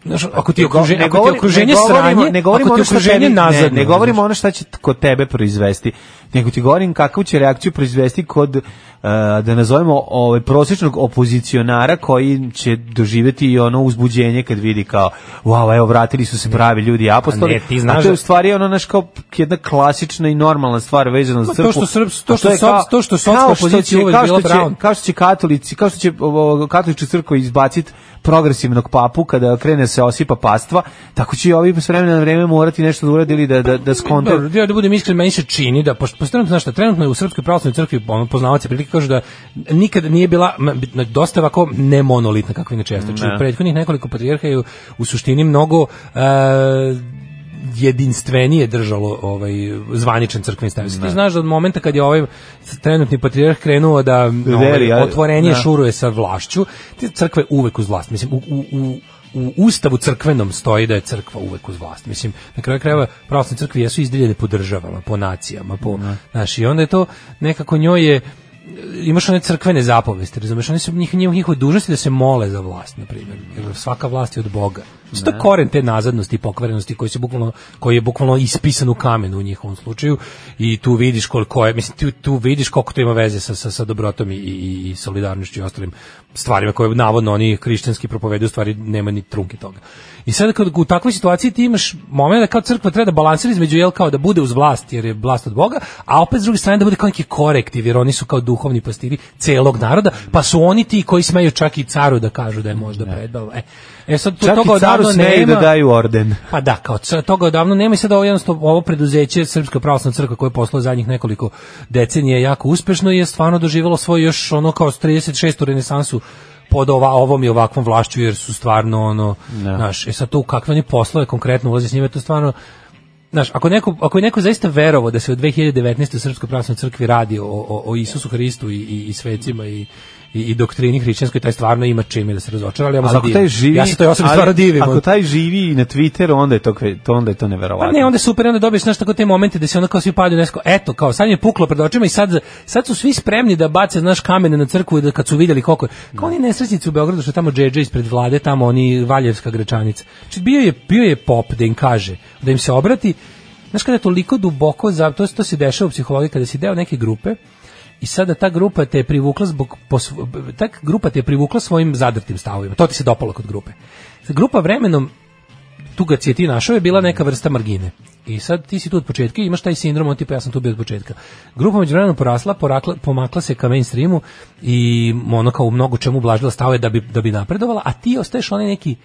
S5: Znaš, ako ti je
S6: Ne go-
S5: okruženje,
S6: ne
S5: ako ti je
S6: govorim-
S5: okruženje
S6: ne govorimo-
S5: sranje,
S6: ne govorimo
S5: ako ti
S6: ono
S5: je
S6: što
S5: okruženje
S6: tebi- ne,
S5: nazadno.
S6: Ne govorimo ono šta će t- kod tebe proizvesti, nego ti govorim kakvu će reakciju proizvesti kod e, da nazovemo ovaj prosječnog opozicionara koji će doživjeti i ono uzbuđenje kad vidi kao wow, evo vratili su se pravi ljudi apostoli.
S13: Ne, ti znaš
S6: a to je u
S13: da-
S6: stvari ono naš kao jedna klasična i normalna stvar vezana za
S5: Ma, to
S6: crkvu.
S5: što Srbs- to
S6: A
S5: što
S6: je
S5: soc-
S6: kao-
S5: to što socska
S6: kao
S5: opozicija
S6: će-
S5: uvek
S6: kao
S5: bila
S6: što će-
S5: brown.
S6: Kao što će katolici, kao što će ovo, katolička crkva izbaciti progresivnog papu kada krene se osipa pastva, tako će i ovi s vremena na vreme morati nešto da urade ili da, da, da skonte.
S5: Dobro, ja da budem iskren, meni se čini da pošto pošto trenutno znaš šta, trenutno je u srpskoj pravoslavnoj crkvi ono poznavaoci prilike kažu da nikad nije bila m, bitno, dosta ovako ne monolitna kako inače jeste. Znači,
S13: Ne.
S5: u prethodnih nekoliko patrijarha je u, u suštini mnogo e, jedinstvenije držalo ovaj zvaničan crkveni stav. Ti
S13: Ne.
S5: znaš da od momenta kad je ovaj trenutni patrijarh krenuo da ovaj,
S6: Veri, a-
S5: otvorenije
S6: da.
S5: šuruje sa vlašću, te crkve uvek uz vlast. Mislim, u, u, u u ustavu crkvenom stoji da je crkva uvek uz vlast. Mislim, na kraju krajeva pravoslavne crkve jesu izdeljene po državama, po nacijama, po, znaš, i onda je to nekako njoj je imaš one crkvene zapovesti, razumeš, oni su njih, njih, njihove dužnosti da se mole za vlast, na primjer, jer svaka vlast je od Boga. Mislim, To je
S13: Da.
S5: koren te nazadnosti i pokvarenosti koji, se bukvalno, koji je bukvalno ispisan u kamenu u njihovom slučaju i tu vidiš koliko je, mislim, tu, tu vidiš koliko to ima veze sa, sa, sa dobrotom i, i, i solidarnošću i ostalim stvarima koje navodno oni hrišćanski propoveduju, u stvari nema ni trunke toga. I sad kad u takvoj situaciji ti imaš moment da kao crkva treba da balansira između jel kao da bude uz vlast jer je vlast od Boga, a opet s druge strane da bude kao neki korektiv jer oni su kao duhovni pastiri celog naroda, pa su oni ti koji smeju čak i caru da kažu da je možda predbal. E, e sad tu
S6: Čak
S5: toga
S6: i caru
S5: odavno
S6: smeju
S5: nema.
S6: da daju orden.
S5: Pa da, kao c- toga odavno nema i sad ovo jednostavno ovo preduzeće Srpska pravoslavna crkva koje posluje zadnjih nekoliko decenija jako uspešno i je stvarno doživjelo svoju još ono kao 36. renesansu pod ova, ovom i ovakvom vlašću jer su stvarno ono, znaš, e sad to u kakve oni poslove konkretno ulaze s njima, to je stvarno Znaš, ako, neko, ako je neko zaista verovo da se u 2019. u Srpskoj pravoslavnoj crkvi radi o, o, o Isusu Hristu i, i, i svecima i, i, i doktrini hrišćanskoj, taj stvarno ima čime da se razočara, ali ja mu
S6: Ali
S5: se
S6: ako
S5: divim.
S6: taj živi,
S5: ja se toj osobi
S6: ali
S5: stvarno divim.
S6: Ako
S5: ono.
S6: taj živi i na Twitteru, onda je to, kve- to onda je to neverovatno.
S5: Pa ne, onda je super, onda dobiješ znaš tako te momente da se onda kao svi padaju nesko, eto, kao sad mi je puklo pred očima i sad, sad su svi spremni da bace, znaš, kamene na crkvu i da kad su vidjeli koliko je. Kao oni nesrećnici u Beogradu što je tamo JJ ispred vlade, tamo oni Valjevska grečanica. Znači bio je, bio je pop da im kaže, da im se obrati. Znaš kada je toliko duboko, za, to, to se dešava u psihologiji, kada si deo neke grupe, i sada ta grupa te je privukla zbog posv- b- ta grupa te je privukla svojim zadrtim stavovima. To ti se dopalo kod grupe. Sad, grupa vremenom tu ga si je ti našao je bila neka vrsta margine. I sad ti si tu od početka i imaš taj sindrom, on tipa ja sam tu bio od početka. Grupa među vremenom porasla, porakla, pomakla se ka mainstreamu i ono kao u mnogo čemu blažila stave da bi, da bi napredovala, a ti ostaješ onaj neki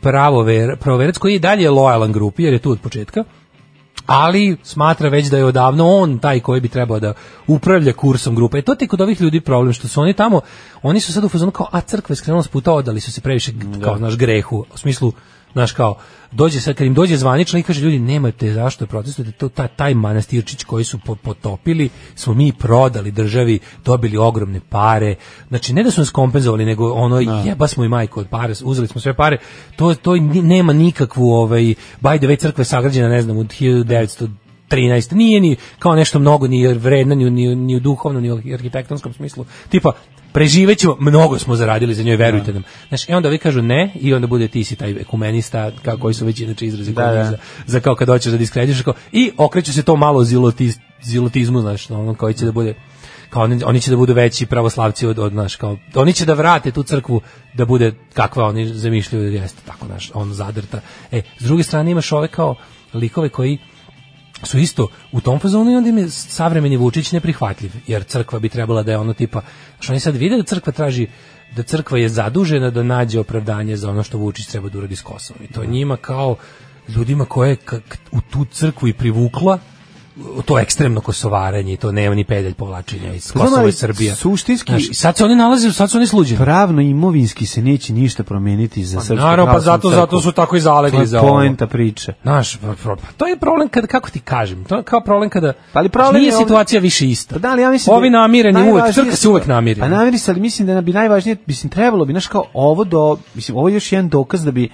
S5: pravover, pravoverec koji je i dalje lojalan grupi jer je tu od početka ali smatra već da je odavno on taj koji bi trebao da upravlja kursom grupe. E to ti je kod ovih ljudi problem što su oni tamo, oni su sad u fazonu kao a crkva je skrenula s puta, odali su se previše kao naš grehu, u smislu znaš kao dođe sad kad im dođe zvanično i kaže ljudi nemojte zašto protestujete to taj, taj manastirčić koji su po- potopili smo mi prodali državi dobili ogromne pare znači ne da su nas kompenzovali nego ono jeba smo i majku od pare uzeli smo sve pare to to ni- nema nikakvu ovaj by the way crkva je sagrađena ne znam od 1900 13. Nije ni kao nešto mnogo ni vredna ni, u- ni, u- ni u duhovnom ni u arhitektonskom smislu. Tipa preživećemo, mnogo smo zaradili za njoj, verujte nam. Znaš, i onda vi kažu ne i onda bude ti si taj ekumenista kao koji su već inače izrazi
S6: Da,
S5: koji
S6: da.
S5: Za, za kao kad hoćeš da diskrediš kao, i okreće se to malo zilotiz, zilotizmu, znaš, ono koji će da bude kao oni, oni će da budu veći pravoslavci od, od naš, kao, oni će da vrate tu crkvu da bude kakva oni zamišljaju da jeste tako naš, on zadrta. E, s druge strane imaš ove kao likove koji su isto u tom fazonu i onda im je savremeni Vučić neprihvatljiv, jer crkva bi trebala da je ono tipa, što oni sad vide da crkva traži da crkva je zadužena da nađe opravdanje za ono što Vučić treba da uradi s Kosovom. I to njima kao ljudima koje je k- k- u tu crkvu i privukla to ekstremno kosovaranje i to nema ni pedalj povlačenja iz
S6: Znam,
S5: Kosova i
S6: ali
S5: Srbija.
S6: suštinski-
S5: Znaš, i sad se oni nalaze, sad su oni sluđeni.
S6: Pravno i imovinski se neće ništa promijeniti za srpsku
S5: naravno, pa
S6: pravoslavnu
S5: zato- zato
S6: crkvu.
S5: su tako i zalegli
S6: To je
S5: za ovo.
S6: poenta priče.
S5: Znaš, pro- pro- pa to je problem kad kako ti kažem, to je kao problem kada
S6: Pa ali problem
S5: nije
S6: je ovde-
S5: situacija više ista.
S6: Pa da, ali ja mislim
S5: Ovi
S6: da je
S5: namireni uvek,
S6: najvažnije-
S5: crkva se uvek namiri.
S6: Pa namiri se, ali mislim da bi najvažnije, mislim, trebalo bi, znaš, kao ovo do, mislim, ovo je još jedan dokaz da bi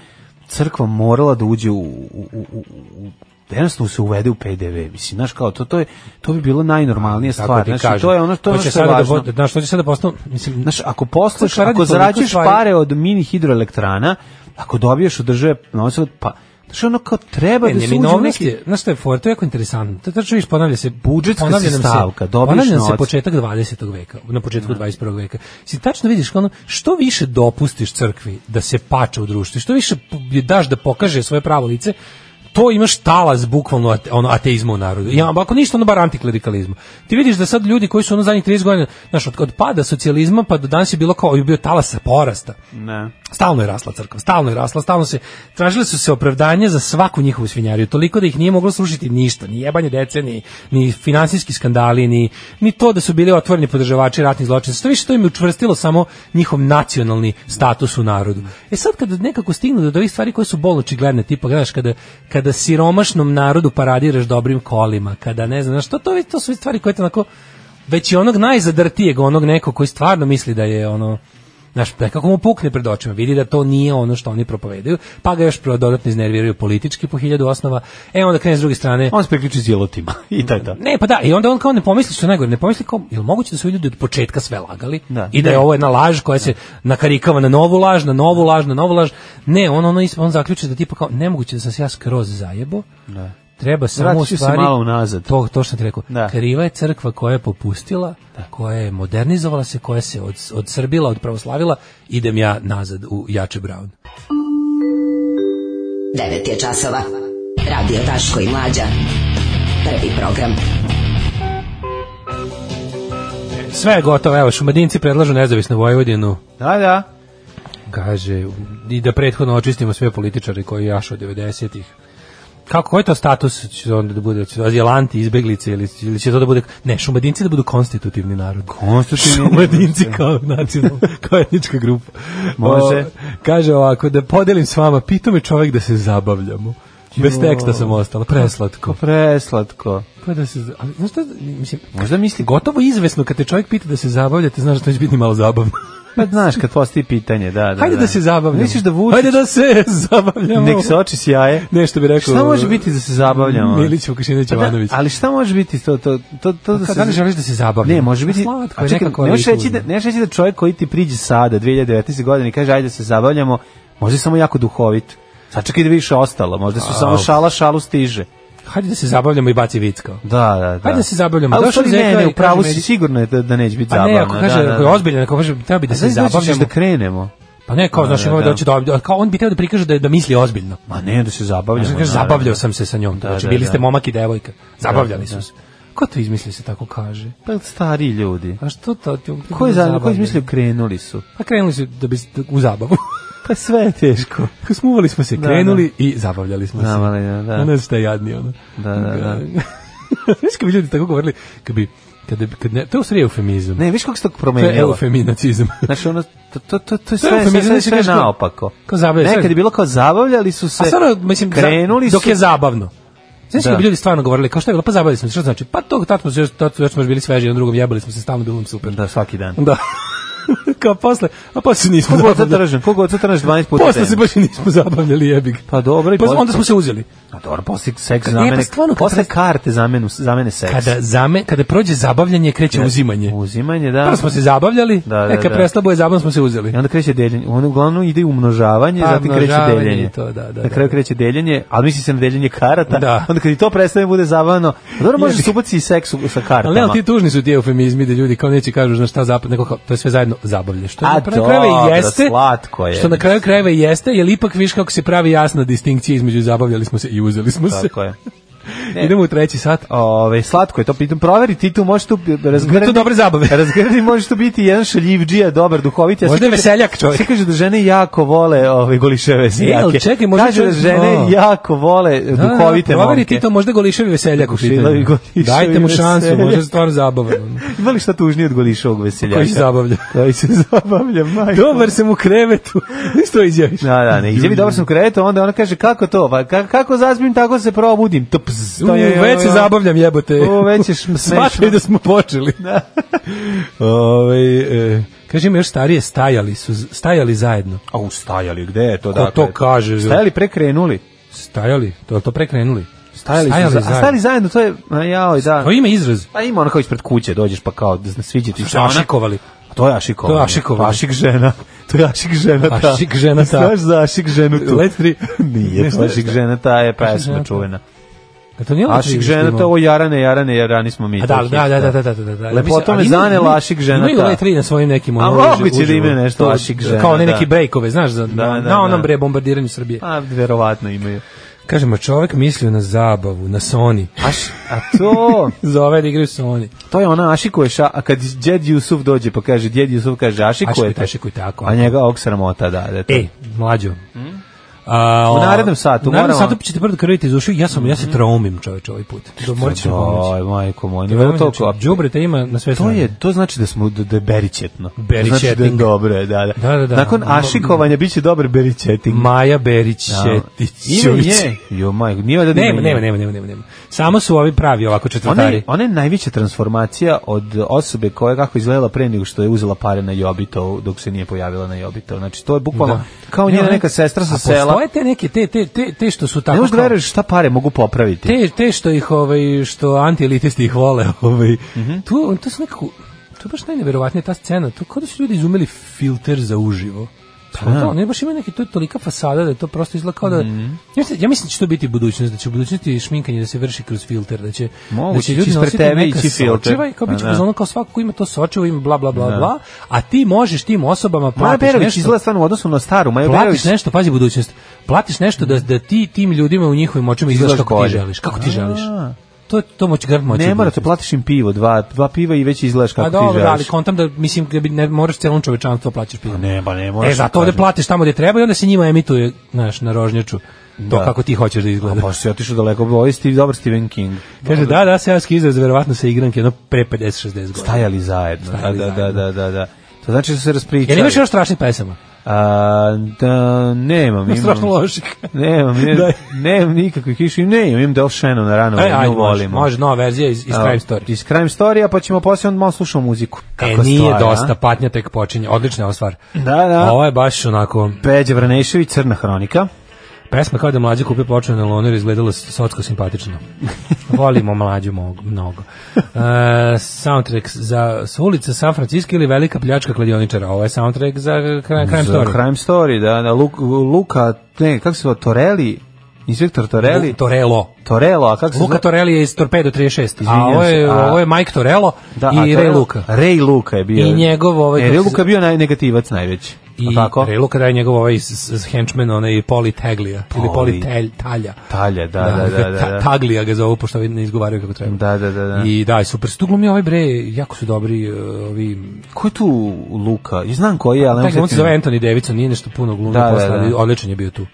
S6: crkva morala da uđe u, u, u, u- u da jednostavno se uvede u PDV, mislim, znaš, kao to, to, je, to bi bilo najnormalnije
S5: Tako
S6: stvar,
S5: ti
S6: znači,
S5: kažem.
S6: to je ono, to je ono
S5: Hoće
S6: što je
S5: sada da
S6: važno.
S5: vod- znaš, to će sada postanu, mislim,
S6: Znaš, ako posluš,
S5: Crkva radi
S6: ako
S5: toliko
S6: zarađuješ
S5: stvari-
S6: pare od mini hidroelektrana, ako dobiješ od države novac, pa Znači ono kao treba
S5: E, ne,
S6: da se uđe u
S5: neminovnost
S6: neki...
S5: je, znaš šta je for, to je jako interesantno. To tačno viš, ponavlja se,
S6: Budžetska
S5: ponavlja
S6: si
S5: nam
S6: stavka,
S5: se,
S6: dobiješ
S5: ponavlja nam se
S6: novac.
S5: početak 20. veka, na početku 21. veka. Si tačno vidiš kao ono, što više dopustiš crkvi da se pače u društvu, i što više je daš da pokaže svoje pravo lice, to imaš talas bukvalno ate, ono ateizma u narodu. Ja, ako ništa, ono bar antiklerikalizma. Ti vidiš da sad ljudi koji su ono zadnjih 30 godina, znaš, od, od pada socijalizma pa do danas je bilo kao, je bio talas porasta.
S6: Ne.
S5: Stalno je rasla crkva, stalno je rasla, stalno se tražile su se opravdanje za svaku njihovu svinjariju, toliko da ih nije moglo slušati ništa, ni jebanje dece, ni, ni finansijski skandali, ni, ni to da su bili otvoreni podržavači ratnih zločina. Sve više to im je učvrstilo samo njihov nacionalni status u narodu. E sad kada nekako stignu do- do ovih stvari koje su bolno očigledne, tipa, znaš, kada, kada siromašnom narodu paradiraš dobrim kolima, kada ne znam, znaš, to, to, to su stvari koje te onako već i onog najzadrtijeg, onog neko koji stvarno misli da je ono Znaš, nekako mu pukne pred očima, vidi da to nije ono što oni propovedaju, pa ga još pro- dodatno iznerviraju politički po hiljadu osnova, e onda krene s druge strane...
S6: On se priključi s jelotima <laughs> i to je to.
S5: Ne, pa da, i onda on kao ne pomisli što je najgore, ne pomisli kao, jel moguće da su ovi ljudi od početka sve lagali i da je
S6: ne.
S5: ovo jedna laž koja se nakarikava na novu laž, na novu laž, na novu laž. Ne, on, ono, is- on zaključi da tipa kao, nemoguće da sam se ja skroz zajebo,
S6: Da.
S5: treba samo u
S6: Vratit ću se
S5: stvari
S6: malo unazad.
S5: to to što ti rekao
S6: Da.
S5: kriva je crkva koja je popustila koja je modernizovala se koja se od od Srbila od pravoslavila idem ja nazad u Jače Brown
S10: 9 je časova. Radio Daško i Mlađa. Prvi program.
S5: sve je gotovo evo šumadinci predlažu nezavisnu Vojvodinu
S6: Da, da.
S5: kaže i da prethodno očistimo sve političare koji jašu od 90-ih kako koji to status će onda da bude će azilanti izbeglice ili, ili će to da bude ne šumadinci da budu konstitutivni narod
S6: Konstitutivni
S5: šumadinci
S6: narod, da.
S5: kao nacionalna kao etnička grupa
S6: Može.
S5: O, kaže ovako da podelim s vama pito me čovjek da se zabavljamo bez teksta sam ostala preslatko
S6: Preslatko.
S5: pa da se za- ali znaš šta mislim
S6: Možda misli
S5: gotovo izvesno kad te čovjek pita da se zabavljate znaš da to će biti malo zabavno
S6: Pa znaš kad postoji pitanje, da, da.
S5: Hajde da se zabavljamo.
S6: Misliš da Vučić
S5: Hajde da se zabavljamo.
S6: nek se oči sjaje?
S5: Nešto bi rekao.
S6: Šta može biti da se zabavljamo?
S5: Milić Vukašinović
S6: Pa da,
S5: Jovanović.
S6: Ali šta može biti to to to to da
S5: kad
S6: se
S5: da li želiš da se zabavljamo?
S6: Ne, može biti.
S5: Pa slatko
S6: A
S5: je,
S6: čekaj,
S5: nekako
S6: ne možeš
S5: je
S6: reći da ne možeš reći da čovjek koji ti priđe sada 2019. godine i kaže ajde da se zabavljamo, možda je samo jako duhovit. Sačekaj da više ostalo, možda su samo
S5: Au.
S6: šala šalu stiže.
S5: Hajde da se zabavljamo i baci vicka.
S6: Da, da, da.
S5: Hajde da se zabavljamo.
S6: Ali u
S5: Došao
S6: stvari
S5: Zeka
S6: ne,
S5: i
S6: ne, u pravu
S5: kaže
S6: si
S5: meni-
S6: sigurno je da, da neće biti
S5: Pa
S6: zabavno.
S5: ne, ako kaže,
S6: da, da,
S5: ako je
S6: da.
S5: ozbiljan, ako kaže, teo bi da
S6: A
S5: se
S6: znaš da ćeš
S5: zabavljamo.
S6: da krenemo.
S5: Pa ne, kao,
S6: Da,
S5: znaš,
S6: da,
S5: ima
S6: da.
S5: da će da, kao on bi teo da prikaže da, da misli ozbiljno.
S6: Ma ne, da se
S5: Znaš,
S6: zabavljamo.
S5: kaže,
S6: naravno.
S5: zabavljao sam se sa njom.
S6: Da,
S5: znači,
S6: da,
S5: bili
S6: da.
S5: ste momak i devojka. Zabavljali
S6: Da,
S5: su
S6: da.
S5: se. Ko to izmisli se tako kaže?
S6: Pa stari ljudi.
S5: A što to?
S6: Ko je, za, ko je
S5: zabavljaju?
S6: izmislio krenuli su?
S5: Pa krenuli su da bi, u zabavu. <laughs>
S6: Pa sve je teško.
S5: Smuvali smo se,
S6: Da,
S5: krenuli i zabavljali smo se.
S6: Zabavljali, da, da.
S5: A Ne znam šta je jadnije ono.
S6: Da, da, da.
S5: Znaš kad bi ljudi tako govorili, kad bi, kad bi, kad ne, to je u stvari eufemizam.
S6: Ne, viš kako se to
S5: to je
S6: promenilo?
S5: eufeminacizam.
S6: Znači ono, to, to, to, to je
S5: To je
S6: sve, sve,
S5: eufemizam,
S6: sve,
S5: znači
S6: sve
S5: kažeš kao-
S6: naopako.
S5: kao zabavljali,
S6: Nekad
S5: sve-
S6: je bilo kao zabavljali su se,
S5: A stvarno, mislim, za-
S6: krenuli su...
S5: dok je zabavno. Znaš
S6: Da.
S5: kad bi ljudi stvarno govorili, kao šta je bilo, pa zabavili smo se, što znači, pa to, tad smo, se još- tad smo još bili sveži, jedan drugom jebali smo se, stalno bilo nam super.
S6: Da, svaki dan.
S5: Da. kao posle, a posle nismo
S6: Koliko god sad
S5: zabavljali.
S6: tržim, koliko god sad tržim 12 puta
S5: Posle se
S6: dnevno.
S5: baš i nismo zabavljali, jebig.
S6: Pa dobro, i
S5: Pa
S6: posle-
S5: onda smo se uzeli.
S6: A dobro, posle seks
S5: Ne,
S6: zamene,
S5: pa stvarno, kad
S6: posle
S5: pres-
S6: karte zamenu, zamene seks.
S5: Kada, zame, kada prođe zabavljanje, kreće uzimanje.
S6: Uzimanje, da.
S5: Prvo smo se zabavljali,
S6: Da, da,
S5: e, kad
S6: da.
S5: preslabo je zabavno smo se uzeli.
S6: I onda kreće deljenje. Ono uglavnom ide u množavanje,
S5: Pa,
S6: zatim kreće
S5: množavanje
S6: deljenje.
S5: i to, da, da,
S6: Na kraju
S5: da.
S6: kreće deljenje, ali misli se na deljenje karata.
S5: Da.
S6: <laughs> Onda kad i to prestane bude zabavno, pa dobro možeš
S5: Jebi.
S6: se ubaci i seks u- sa kartama.
S5: Ali ne, ali ti tužni su ti eufemizmi da ljudi kao neće kažu na šta zapad, nego kao, to je sve zajedno zabavlje. Što
S6: A
S5: na kraju
S6: dobro,
S5: krajeva i jeste,
S6: slatko je.
S5: što na kraju krajeva i jeste, jer ipak viš kako se pravi jasna distinkcija između zabavljali smo se i uzeli smo se.
S6: Tako je.
S5: Idemo u treći sat.
S6: Ove, slatko je to, pitam, proveri ti tu, možeš tu
S5: Ima tu
S6: razgrati.
S5: dobre zabave.
S6: Razgrani može tu biti jedan šaljivđija, dobar, duhovit. Ja
S5: Možda je
S6: se kaže-
S5: veseljak čovjek. E,
S6: Se kaže da žene jako vole ove goliševe sjake.
S5: ali čekaj, možda
S6: kaže da
S5: čovjek-
S6: žene
S5: O.
S6: jako vole
S5: Da, da,
S6: <laughs> duhovite
S5: proveri
S6: momke.
S5: ti to, možda goliševi veseljak u
S6: Goliševi
S5: pitanju.
S6: veseljak.
S5: Dajte mu šansu, možda je stvarno zabavan.
S6: Ima li šta tužnije od golišovog veseljaka?
S5: Koji se
S6: <laughs>
S5: zabavlja.
S6: Koji se zabavlja, majko.
S5: Dobar sam u krevetu. Što izjaviš?
S6: Da, da, ne, izjavi dobro sam kreto, onda ona kaže kako to, pa ka- kako zazbim, tako se probudim. Tps,
S5: U,
S6: to je- ono,
S5: već se zabavljam, jebote.
S6: O, već
S5: <laughs>
S6: je šm- smešno. <laughs>
S5: Smatraj da smo počeli. Ovaj, e, kaže ima još starije, stajali su, stajali zajedno.
S6: A ustajali, gde je to?
S5: Ko to dakle? kaže?
S6: Dakle, Stajali prekrenuli.
S5: Stajali, to je to prekrenuli.
S6: Stajali, su, za- a stajali zajedno, to je, a jaoj, da.
S5: To ima izraz.
S6: Pa ima ono kao ispred kuće, dođeš pa kao, da sviđa ti se
S5: Ašikovali.
S6: ona- To je ašikovanje.
S5: To je ašikovanje.
S6: Ašik žena. <laughs> To je Ašik žena ta.
S5: Ašik žena ta.
S6: Znaš za Ašik ženu tu?
S5: Let tri.
S6: <laughs> Nije,
S5: Ne
S6: to
S5: znaš
S6: Ašik
S5: šta?
S6: žena ta je
S5: Ašik žena
S6: pesma
S5: ta.
S6: čuvena.
S5: A to nije Let
S6: Ašik
S5: tri
S6: žena
S5: što
S6: ta,
S5: imamo.
S6: o jarane, jarane, jarani smo mi. to
S5: A da,
S6: je
S5: da,
S6: hit,
S5: da, da, da, da, da, da.
S6: Lepota me
S5: Mislim, ali imaju-
S6: zanela Ašik žena ta.
S5: Imaju le tri na svojim nekim
S6: A
S5: ono.
S6: moguće
S5: uživo-
S6: da imaju nešto
S5: to-
S6: Ašik žena,
S5: Kao ne
S6: da.
S5: neki brejkove, znaš, za,
S6: Da,
S5: na,
S6: da,
S5: na onom
S6: da.
S5: bre bombardiranju Srbije.
S6: A, Pa, verovatno imaju.
S5: Kažemo, čovek mislio na zabavu, na
S6: <laughs>
S5: Sony.
S6: Aš, a to...
S5: Zove da igraju Sony.
S6: To je ona Ašikuje ša, a kad djed Jusuf dođe pa kaže, djed Jusuf kaže Ašikuje te.
S5: Ašikuj, tako.
S6: A njega ovog sramota, da, da. to-
S5: E, mlađo. A,
S6: Mm? U narednom satu
S5: U narednom
S6: moramo- Mm-hmm.
S5: satu ćete prvo krviti iz ušiju, ja sam, ja se traumim čoveč ovaj put. Do, morat ćeš mi pomoći.
S6: Oj, majko moj, ne
S5: Traumim,
S6: vjerujem ono toliko.
S5: znači, đubreta ima na sve
S6: To
S5: strane.
S6: je, to znači da smo da, da je beričetno. Znači da je
S5: Beričetnik.
S6: dobro, je, da, da.
S5: Da, da, da.
S6: Nakon ašikovanja biće dobar beričetnik.
S5: Maja Berić-Šetić.
S6: Ime je. Jo, majko, nije valjda da
S5: Nema,
S6: ima ime.
S5: nema, nema, nema, nema, nema. Samo su ovi pravi ovako
S6: Ona
S5: četvrtari.
S6: je, ona je najveća transformacija od osobe koja je kako izgledala pre nego što je uzela pare na Jobito dok se nije pojavila na Jobito. Znači, to je bukvalno kao njena
S5: Ne,
S6: neka sestra sa
S5: a
S6: sela.
S5: Postoje te neke, te, te, te, te što su tako...
S6: Ne možeš da
S5: kao-
S6: veruješ šta pare mogu popraviti.
S5: Te, te što ih, ovaj, što antielitisti ih vole, <laughs> ovaj.
S6: Mhm.
S5: tu, to su nekako... To je baš najneverovatnija ta scena. To kao da su ljudi izumeli filter za uživo. Pa, da, ne baš ima neki, to je tolika fasada da je to prosto izgleda kao da...
S6: Mhm.
S5: Ja mislim- Ja mislim da će to biti budućnost, da će u budućnosti šminkanje da se vrši kroz filter, da će, da
S6: Moguće,
S5: će
S6: će
S5: ljudi
S6: ispred
S5: nositi
S6: tebe
S5: neka
S6: ići filter.
S5: sočiva i kao
S6: Pa
S5: biće
S6: da.
S5: ono kao svako ko ima to sočivo ima bla bla bla
S6: Da.
S5: bla, a ti možeš tim osobama
S6: Maja
S5: platiš
S6: Berović
S5: nešto
S6: izgleda stvarno u odnosu na staru. Maja
S5: platiš
S6: Berović
S5: nešto, pazi budućnost, platiš nešto da, da ti tim ljudima u njihovim očima izgledaš
S6: Izgledaš
S5: kako
S6: bolje.
S5: ti želiš. Kako ti
S6: A.
S5: želiš. To, to moći garant moći.
S6: Ne mora,
S5: u
S6: to
S5: budućnosti.
S6: platiš im pivo, dva, dva piva i već izgledaš kako
S5: A dobro,
S6: ti želiš. Pa
S5: ali kontam da, mislim, da bi ne moraš celom čovečanstvo plaćaš pivo.
S6: Ne, ba ne, moraš.
S5: E, zato ovde platiš tamo gde treba i onda se njima emituje, znaš, na rožnjaču. To
S6: Da.
S5: kako ti hoćeš da
S6: A
S5: izgleda.
S6: pa si otišao daleko, ovo je Steve, dobar Stephen King.
S5: Kaže, da, da, seoski izraz, verovatno se igranke, ono pre 50-60 godina.
S6: Stajali zajedno.
S5: Stajali
S6: da, da,
S5: zajedno.
S6: da, da, da. To znači da su se
S5: Jel
S6: raspričali.
S5: imaš još strašnih pesama?
S6: A, da, nemam, imam.
S5: Strašno loših.
S6: Nemam, ne,
S5: Daj.
S6: nemam nikakvih išli, ne, imam Del Shannon na rano,
S5: E,
S6: e, nju
S5: ajde, može,
S6: volimo.
S5: može, nova verzija iz, iz
S6: A,
S5: Crime Story.
S6: Iz Crime Story, pa ćemo poslije onda malo slušamo muziku.
S5: E,
S6: Kakva
S5: nije
S6: stvar, a?
S5: dosta, patnja tek počinje. Odlična je ova stvar.
S6: Da, da.
S5: Ovo je baš onako...
S6: Peđa Vranešević, Crna hronika.
S5: Pesma kao da je mlađa kupio ploču na loner izgledala
S6: <laughs>
S5: socko simpatično. Volimo mlađu mog- mnogo. E, soundtrack za s ulice San Francisco ili Velika pljačka kladioničara. Ovo je soundtrack za Cri- Crime
S6: Za
S5: Story.
S6: Crime Story, da, da, Luka, Luka ne, kako se zove, Torelli, inspektor Torelli,
S5: Lu- Torello.
S6: Torello, a kako se
S5: Luka
S6: zove?
S5: Torelli je iz Torpedo 36. A
S6: Izvinjam
S5: ovo je,
S6: se, a-
S5: ovo je Mike Torello
S6: Da,
S5: i
S6: a
S5: Ray
S6: Torello-
S5: Luka.
S6: Ray Luka je bio.
S5: I njegov ovaj,
S6: E,
S5: kako
S6: Ray
S5: se
S6: Luka je bio naj, negativac najveći.
S5: I
S6: I tako?
S5: Ray Luka da je njegov ovaj s- s- henchman, onaj Poli Taglija. Ili Poli
S6: Poli.
S5: Tel- Talja.
S6: Talje, da, da, da, da.
S5: <laughs> Ta-
S6: da.
S5: Taglija ga zovu, pošto ovi ne izgovaraju kako treba.
S6: Da, da, da, da.
S5: I da, i super. Stuglo mi ovaj bre, jako su dobri uh, ovi...
S6: Ko je tu Luka? I znam ko je, ali... ne
S5: Taj
S6: mogu
S5: on se
S6: setim.
S5: zove Anthony Davidson, nije nešto puno glumio
S6: Da, da,
S5: posle, ali
S6: da.
S5: odličan je bio tu.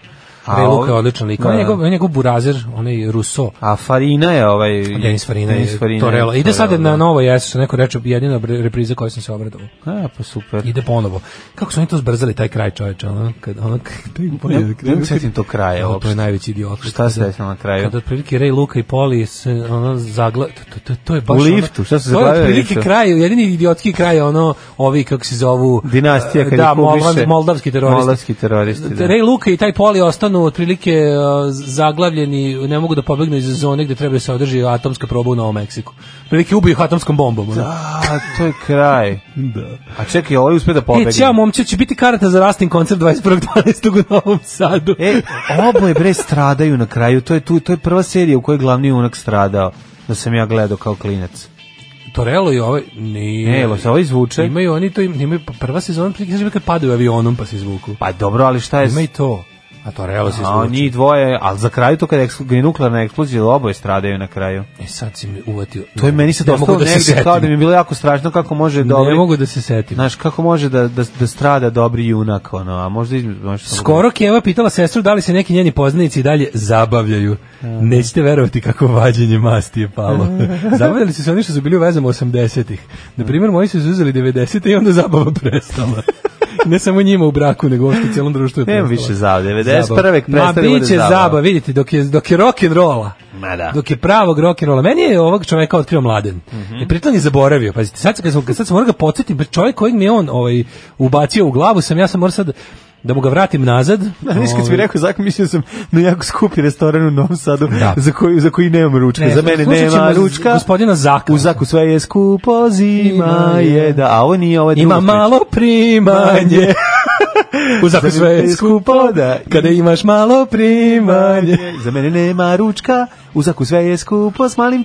S6: A
S5: Ray Luka
S6: ovi-
S5: je odličan lik.
S6: Da,
S5: On je
S6: da.
S5: njegov, on je njegov burazer, onaj Rousseau.
S6: A Farina je ovaj...
S5: Denis Farina,
S6: Denis
S5: je Torello. Ide sad
S6: Torello,
S5: na
S6: da.
S5: novo jesu, neko reče, jedina bre- repriza koju sam se obradovao.
S6: A, pa super.
S5: Ide ponovo. Kako su oni to zbrzali, taj kraj čoveče, ono, kad, ono, <laughs> kad,
S6: Ne- ne mogu setim to kraja
S5: Evo, to je
S6: uopšte.
S5: najveći idiot.
S6: Šta se desilo na kraju?
S5: Kada otprilike Ray, Luka i Poli se ono zagla... To, to, to, to je baš
S6: U
S5: ono-
S6: liftu, šta su
S5: To je
S6: zaglavili
S5: otprilike
S6: liftu?
S5: kraj, jedini idiotski kraj, ono, ovi, kako se zovu...
S6: Dinastija, kad
S5: da,
S6: ih ubiše.
S5: Molvan- moldavski teroristi.
S6: Moldavski teroristi, da.
S5: Ray, Luka i taj Poli ostanu otprilike e, zaglavljeni, ne mogu da pobegnu iz zone gde treba da se održi atomska proba u Novom Meksiku. Otprilike ubiju ih atomskom bombom. Ono.
S6: A, to je kraj. da. A čekaj, ovaj uspe da pobegne.
S5: E, ćao momče, će biti karata za rastin koncert 21.12. u Novom Sadu.
S6: E, oboje bre stradaju na kraju. To je tu, to je prva serija u kojoj je glavni junak stradao. Da sam ja gledao kao klinac.
S5: Torello i ovaj... Nije.
S6: Ne, jel se ovo izvuče?
S5: Imaju oni to, im- imaju pa prva sezona, prilike, znaš kad padaju avionom pa se izvuku.
S6: Pa dobro, ali šta je... s-
S5: Ima i to. A Torello se
S6: A,
S5: izvuče.
S6: njih dvoje, ali za kraju to kada je, eksplo- kad je nuklearna eksplozija, oboje stradaju na kraju.
S5: E, sad si me uvatio.
S6: To je meni sad
S5: Ne
S6: ostalo
S5: mogu se
S6: negde
S5: setim.
S6: kao da mi je bilo jako strašno kako može
S5: Ne
S6: dobri...
S5: mogu da se setim.
S6: Znaš, kako može da, da, da strada dobri junak, ono, a možda između... možda sam-
S5: Skoro Keva pitala sestru da li se neki njeni poznanici i dalje zabavljaju. Nećete verovati kako vađenje masti je palo. <laughs> Zabavljali su se oni što su bili u vezama 80-ih. Na primjer, moji su izuzeli 90-te i onda zabava
S6: <laughs>
S5: prestala. ne samo njima u braku, nego uopšte u cijelom društvu je
S6: Nema
S5: prestala.
S6: više zabave, 91.
S5: Zabava. Ma
S6: prestane bude
S5: biće
S6: zabava. <laughs>
S5: zabava, vidite, dok je, dok je rock'n'rolla.
S6: Ma da.
S5: Dok je pravog rock'n'rolla. Meni je ovog čoveka otkrio mladen.
S6: Mhm.
S5: I pritom je zaboravio. Pazite, sad, kad sam, kad sad sam morao ga podsjetiti, čovjek kojeg mi je on ovaj, ubacio u glavu, sam ja sam morao sad da mu ga vratim nazad.
S6: Znaš, kad si mi
S5: Ovaj,
S6: rekao zakon, mislio sam na jako skupi restoran u Novom Sadu
S5: Da.
S6: za, koji, za koji nemam ručka.
S5: Ne,
S6: za mene
S5: slušat
S6: nema
S5: ćemo z-
S6: ručka.
S5: gospodina Zaka.
S6: U Zaku sve je skupo, zima
S5: Ima je.
S6: je. Da, a ovo nije ovo je
S5: Ima
S6: druga priča.
S5: malo primanje. <laughs> U zakon sve je skupo, da, kada imaš malo primanje.
S6: <laughs> Za mene nema ručka, u zaku sve je skupo s malim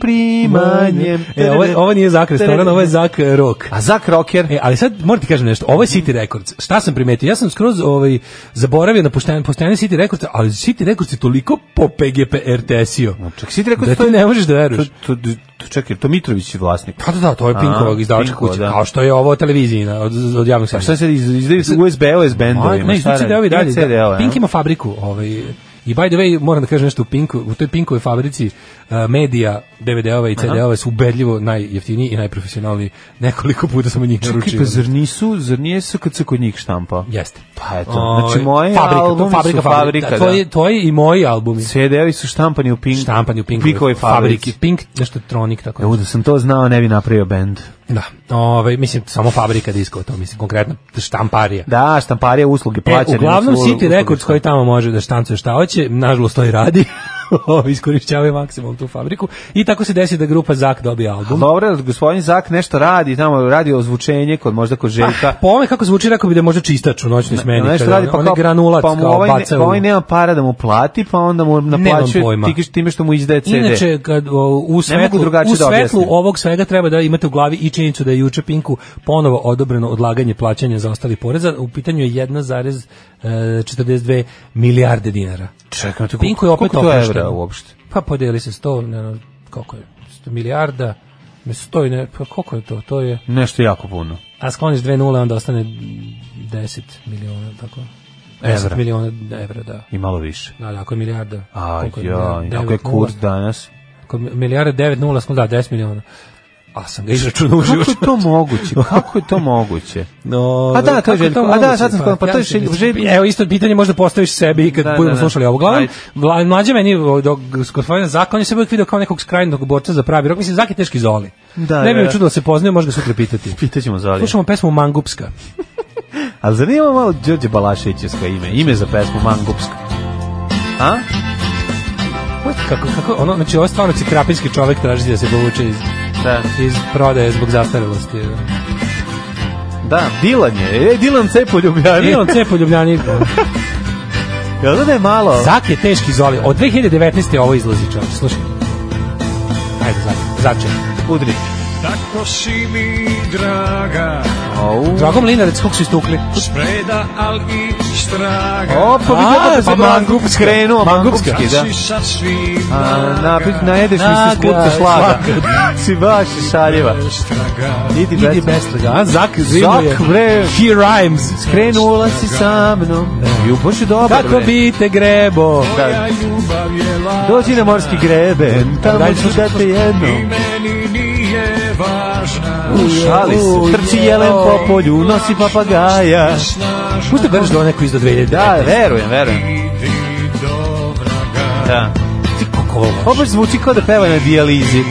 S6: primanjem.
S5: E, ovo, ovo nije Zak restoran, ovo je Zak Rock.
S6: A Zak Rocker?
S5: E, ali sad moram ti kažem nešto, ovo je City Records. Šta sam primetio? Ja sam skroz ovaj, zaboravio na postojanje, postojanje City Records, ali City Records je toliko po PGP RTS-io.
S6: Čak City Records
S5: da ti ne možeš da veruješ. Pa
S6: To, to, to, čekaj, to Mitrović je vlasnik.
S5: Da, da, da, to je
S6: A,
S5: Pinkovog izdavačka
S6: Pinkova,
S5: kuća,
S6: da.
S5: kao što je ovo televizijina od, od javnog
S6: Pa
S5: servisa.
S6: šta se iz- izdaju se USB-ove s
S5: Ma,
S6: bendovima?
S5: Ne,
S6: šta
S5: izdaje
S6: radi?
S5: CD-ovi dalje.
S6: CD-ove,
S5: da.
S6: a?
S5: Pink ima fabriku, ovaj I by the way, moram da kažem nešto u Pinku, u toj Pinkovoj fabrici eh, medija, DVD-ova i CD-ova su ubedljivo najjeftiniji i najprofesionalniji. Nekoliko puta sam od njih
S6: Čekaj,
S5: naručio.
S6: pa zar nisu, zar nije SKC kod njih štampa?
S5: Jeste.
S6: Pa eto,
S5: Ovaj,
S6: znači moje
S5: fabrika, to
S6: albumi
S5: fabrika,
S6: su fabrika,
S5: da,
S6: da.
S5: to je, to je i moji albumi.
S6: CD-ovi su štampani u Pink,
S5: Štampani u Pinkovoj
S6: Pinkovoj fabrici.
S5: fabriki. Pink, nešto Tronic, tako
S6: Evo da sam to znao, ne bi napravio bend.
S5: Da, ovaj, mislim, samo fabrika diskova, to mislim, konkretno štamparija.
S6: Da, štamparija usluge
S5: E,
S6: plaćane.
S5: uglavnom
S6: uslu-
S5: City
S6: usluge
S5: Records koji tamo može da štancuje šta hoće, nažalost to i radi, <laughs> Ovi iskorišćavaju maksimum tu fabriku i tako se desi da grupa Zak dobije
S6: A
S5: album.
S6: Dobro, gospodin Zak nešto radi, tamo radi ozvučenje kod možda kod
S5: <laughs>
S6: Željka.
S5: Po ovome kako zvuči, rekao bi da je možda čistač u noćnoj smeni.
S6: Nešto
S5: kada
S6: radi
S5: on-
S6: pa
S5: onaj
S6: kao
S5: granulac
S6: pa mu
S5: kao
S6: ovaj, ne,
S5: baca
S6: pa
S5: u-
S6: ovaj nema para da mu plati, pa onda mu naplaćuje
S5: pojma.
S6: tikiš time što mu izdaje CD.
S5: Inače, kad, o, u svetlu,
S6: drugačije
S5: u
S6: da objasnim.
S5: svetlu ovog svega treba da imate u glavi i činjenicu da je juče Pinku ponovo odobreno odlaganje plaćanja za ostali poreza. U pitanju je 1,42 milijarde dinara.
S6: čekaj, to
S5: Pinku je opet
S6: koliko to je
S5: oprošteno.
S6: evra uopšte?
S5: Pa podeli se 100, ne, znam, koliko je, 100 milijarda, ne stoji, ne, pa koliko je to, to je,
S6: Nešto jako puno.
S5: a skloniš dve nule, onda ostane 10 miliona, tako, 10
S6: Evra.
S5: miliona evra, da.
S6: I malo više.
S5: Da, da, ako je milijarda.
S6: Aj,
S5: koliko
S6: ja,
S5: milijarda?
S6: kako je
S5: Devet nula.
S6: kurs danas?
S5: Ako je milijarda 9 nula, smo da, 10 miliona. A sam ga izračunao u
S6: Kako
S5: životu.
S6: je to moguće? Kako je to
S5: <laughs>
S6: moguće?
S5: No,
S6: A da, to je
S5: kako
S6: Željko. A da,
S5: moguće?
S6: sad sam skontao, pa to je
S5: ja mislim da
S6: Željko-
S5: će- Evo, isto pitanje možda postaviš sebi kad
S6: Da, da,
S5: budemo
S6: da.
S5: slušali ovo. Uvijek,
S6: Ajde.
S5: vla- mlađe meni, dok gospodin Zaka, on je se uvijek video kao nekog skrajnog borca za pravi rok. Mislim, Zak je teški zoli.
S6: Da,
S5: ne bi
S6: da,
S5: me
S6: da.
S5: čudilo da se poznaje, možda ga sutra pitati.
S6: Pitaćemo Zalija.
S5: Slušamo pesmu Mangupska.
S6: Ali zar nije ovo malo Đorđe Balaševićevsko ime? Ime za pesmu Mangupska. A?
S5: Kako, kako, ono, znači, ovo je stvarno krapinski čovek traži da se povuče iz,
S6: Da.
S5: iz prodaje zbog zastarelosti.
S6: Da, Dilan je. E, Dilan C. Poljubljani.
S5: Dilan C. po E, <laughs> Ljubljani.
S6: Jel da da je malo?
S5: Zak je teški zoli. Od 2019. ovo izlazi čovječ. Slušaj. Ajde, Zak. Začem.
S6: Udrić.
S13: Tako si mi draga,
S6: Au.
S5: Dragom Linarec, kako su istukli?
S13: spreda algi straga.
S6: O, pa vidi
S5: A,
S6: kako se
S5: pa
S6: bra-
S5: Mangupska.
S6: krenuo
S5: Mangupska.
S6: Mangupski, da.
S13: Kad si sasvim
S6: A,
S13: draga,
S6: napit, najedeš mi
S5: Draga,
S6: se skupca šlaga. si baš šaljeva.
S13: straga.
S6: Idi,
S5: Idi
S6: Beco.
S5: bez toga. A, Zak zimuje.
S6: Zak, bre,
S5: He rhymes.
S6: krenula si sa mnom. E, Ju, boš je dobar,
S5: Kako
S6: bre.
S5: bi te grebo?
S6: Da,
S13: Moja ljubav je la,
S6: dođi na morski greben, tamo
S5: Dalje
S6: ću
S5: slušaj,
S6: da te
S13: i
S6: jednom.
S13: meni nije važna.
S6: Šali se, trči jelen po polju, nosi papagaja.
S5: Pusti da da ovo neko iz do 2000.
S6: Da, verujem, verujem.
S13: Idi do vraga,
S6: Da.
S5: Ti kako ovo
S6: Ovo baš zvuči kao da peva na dijalizi.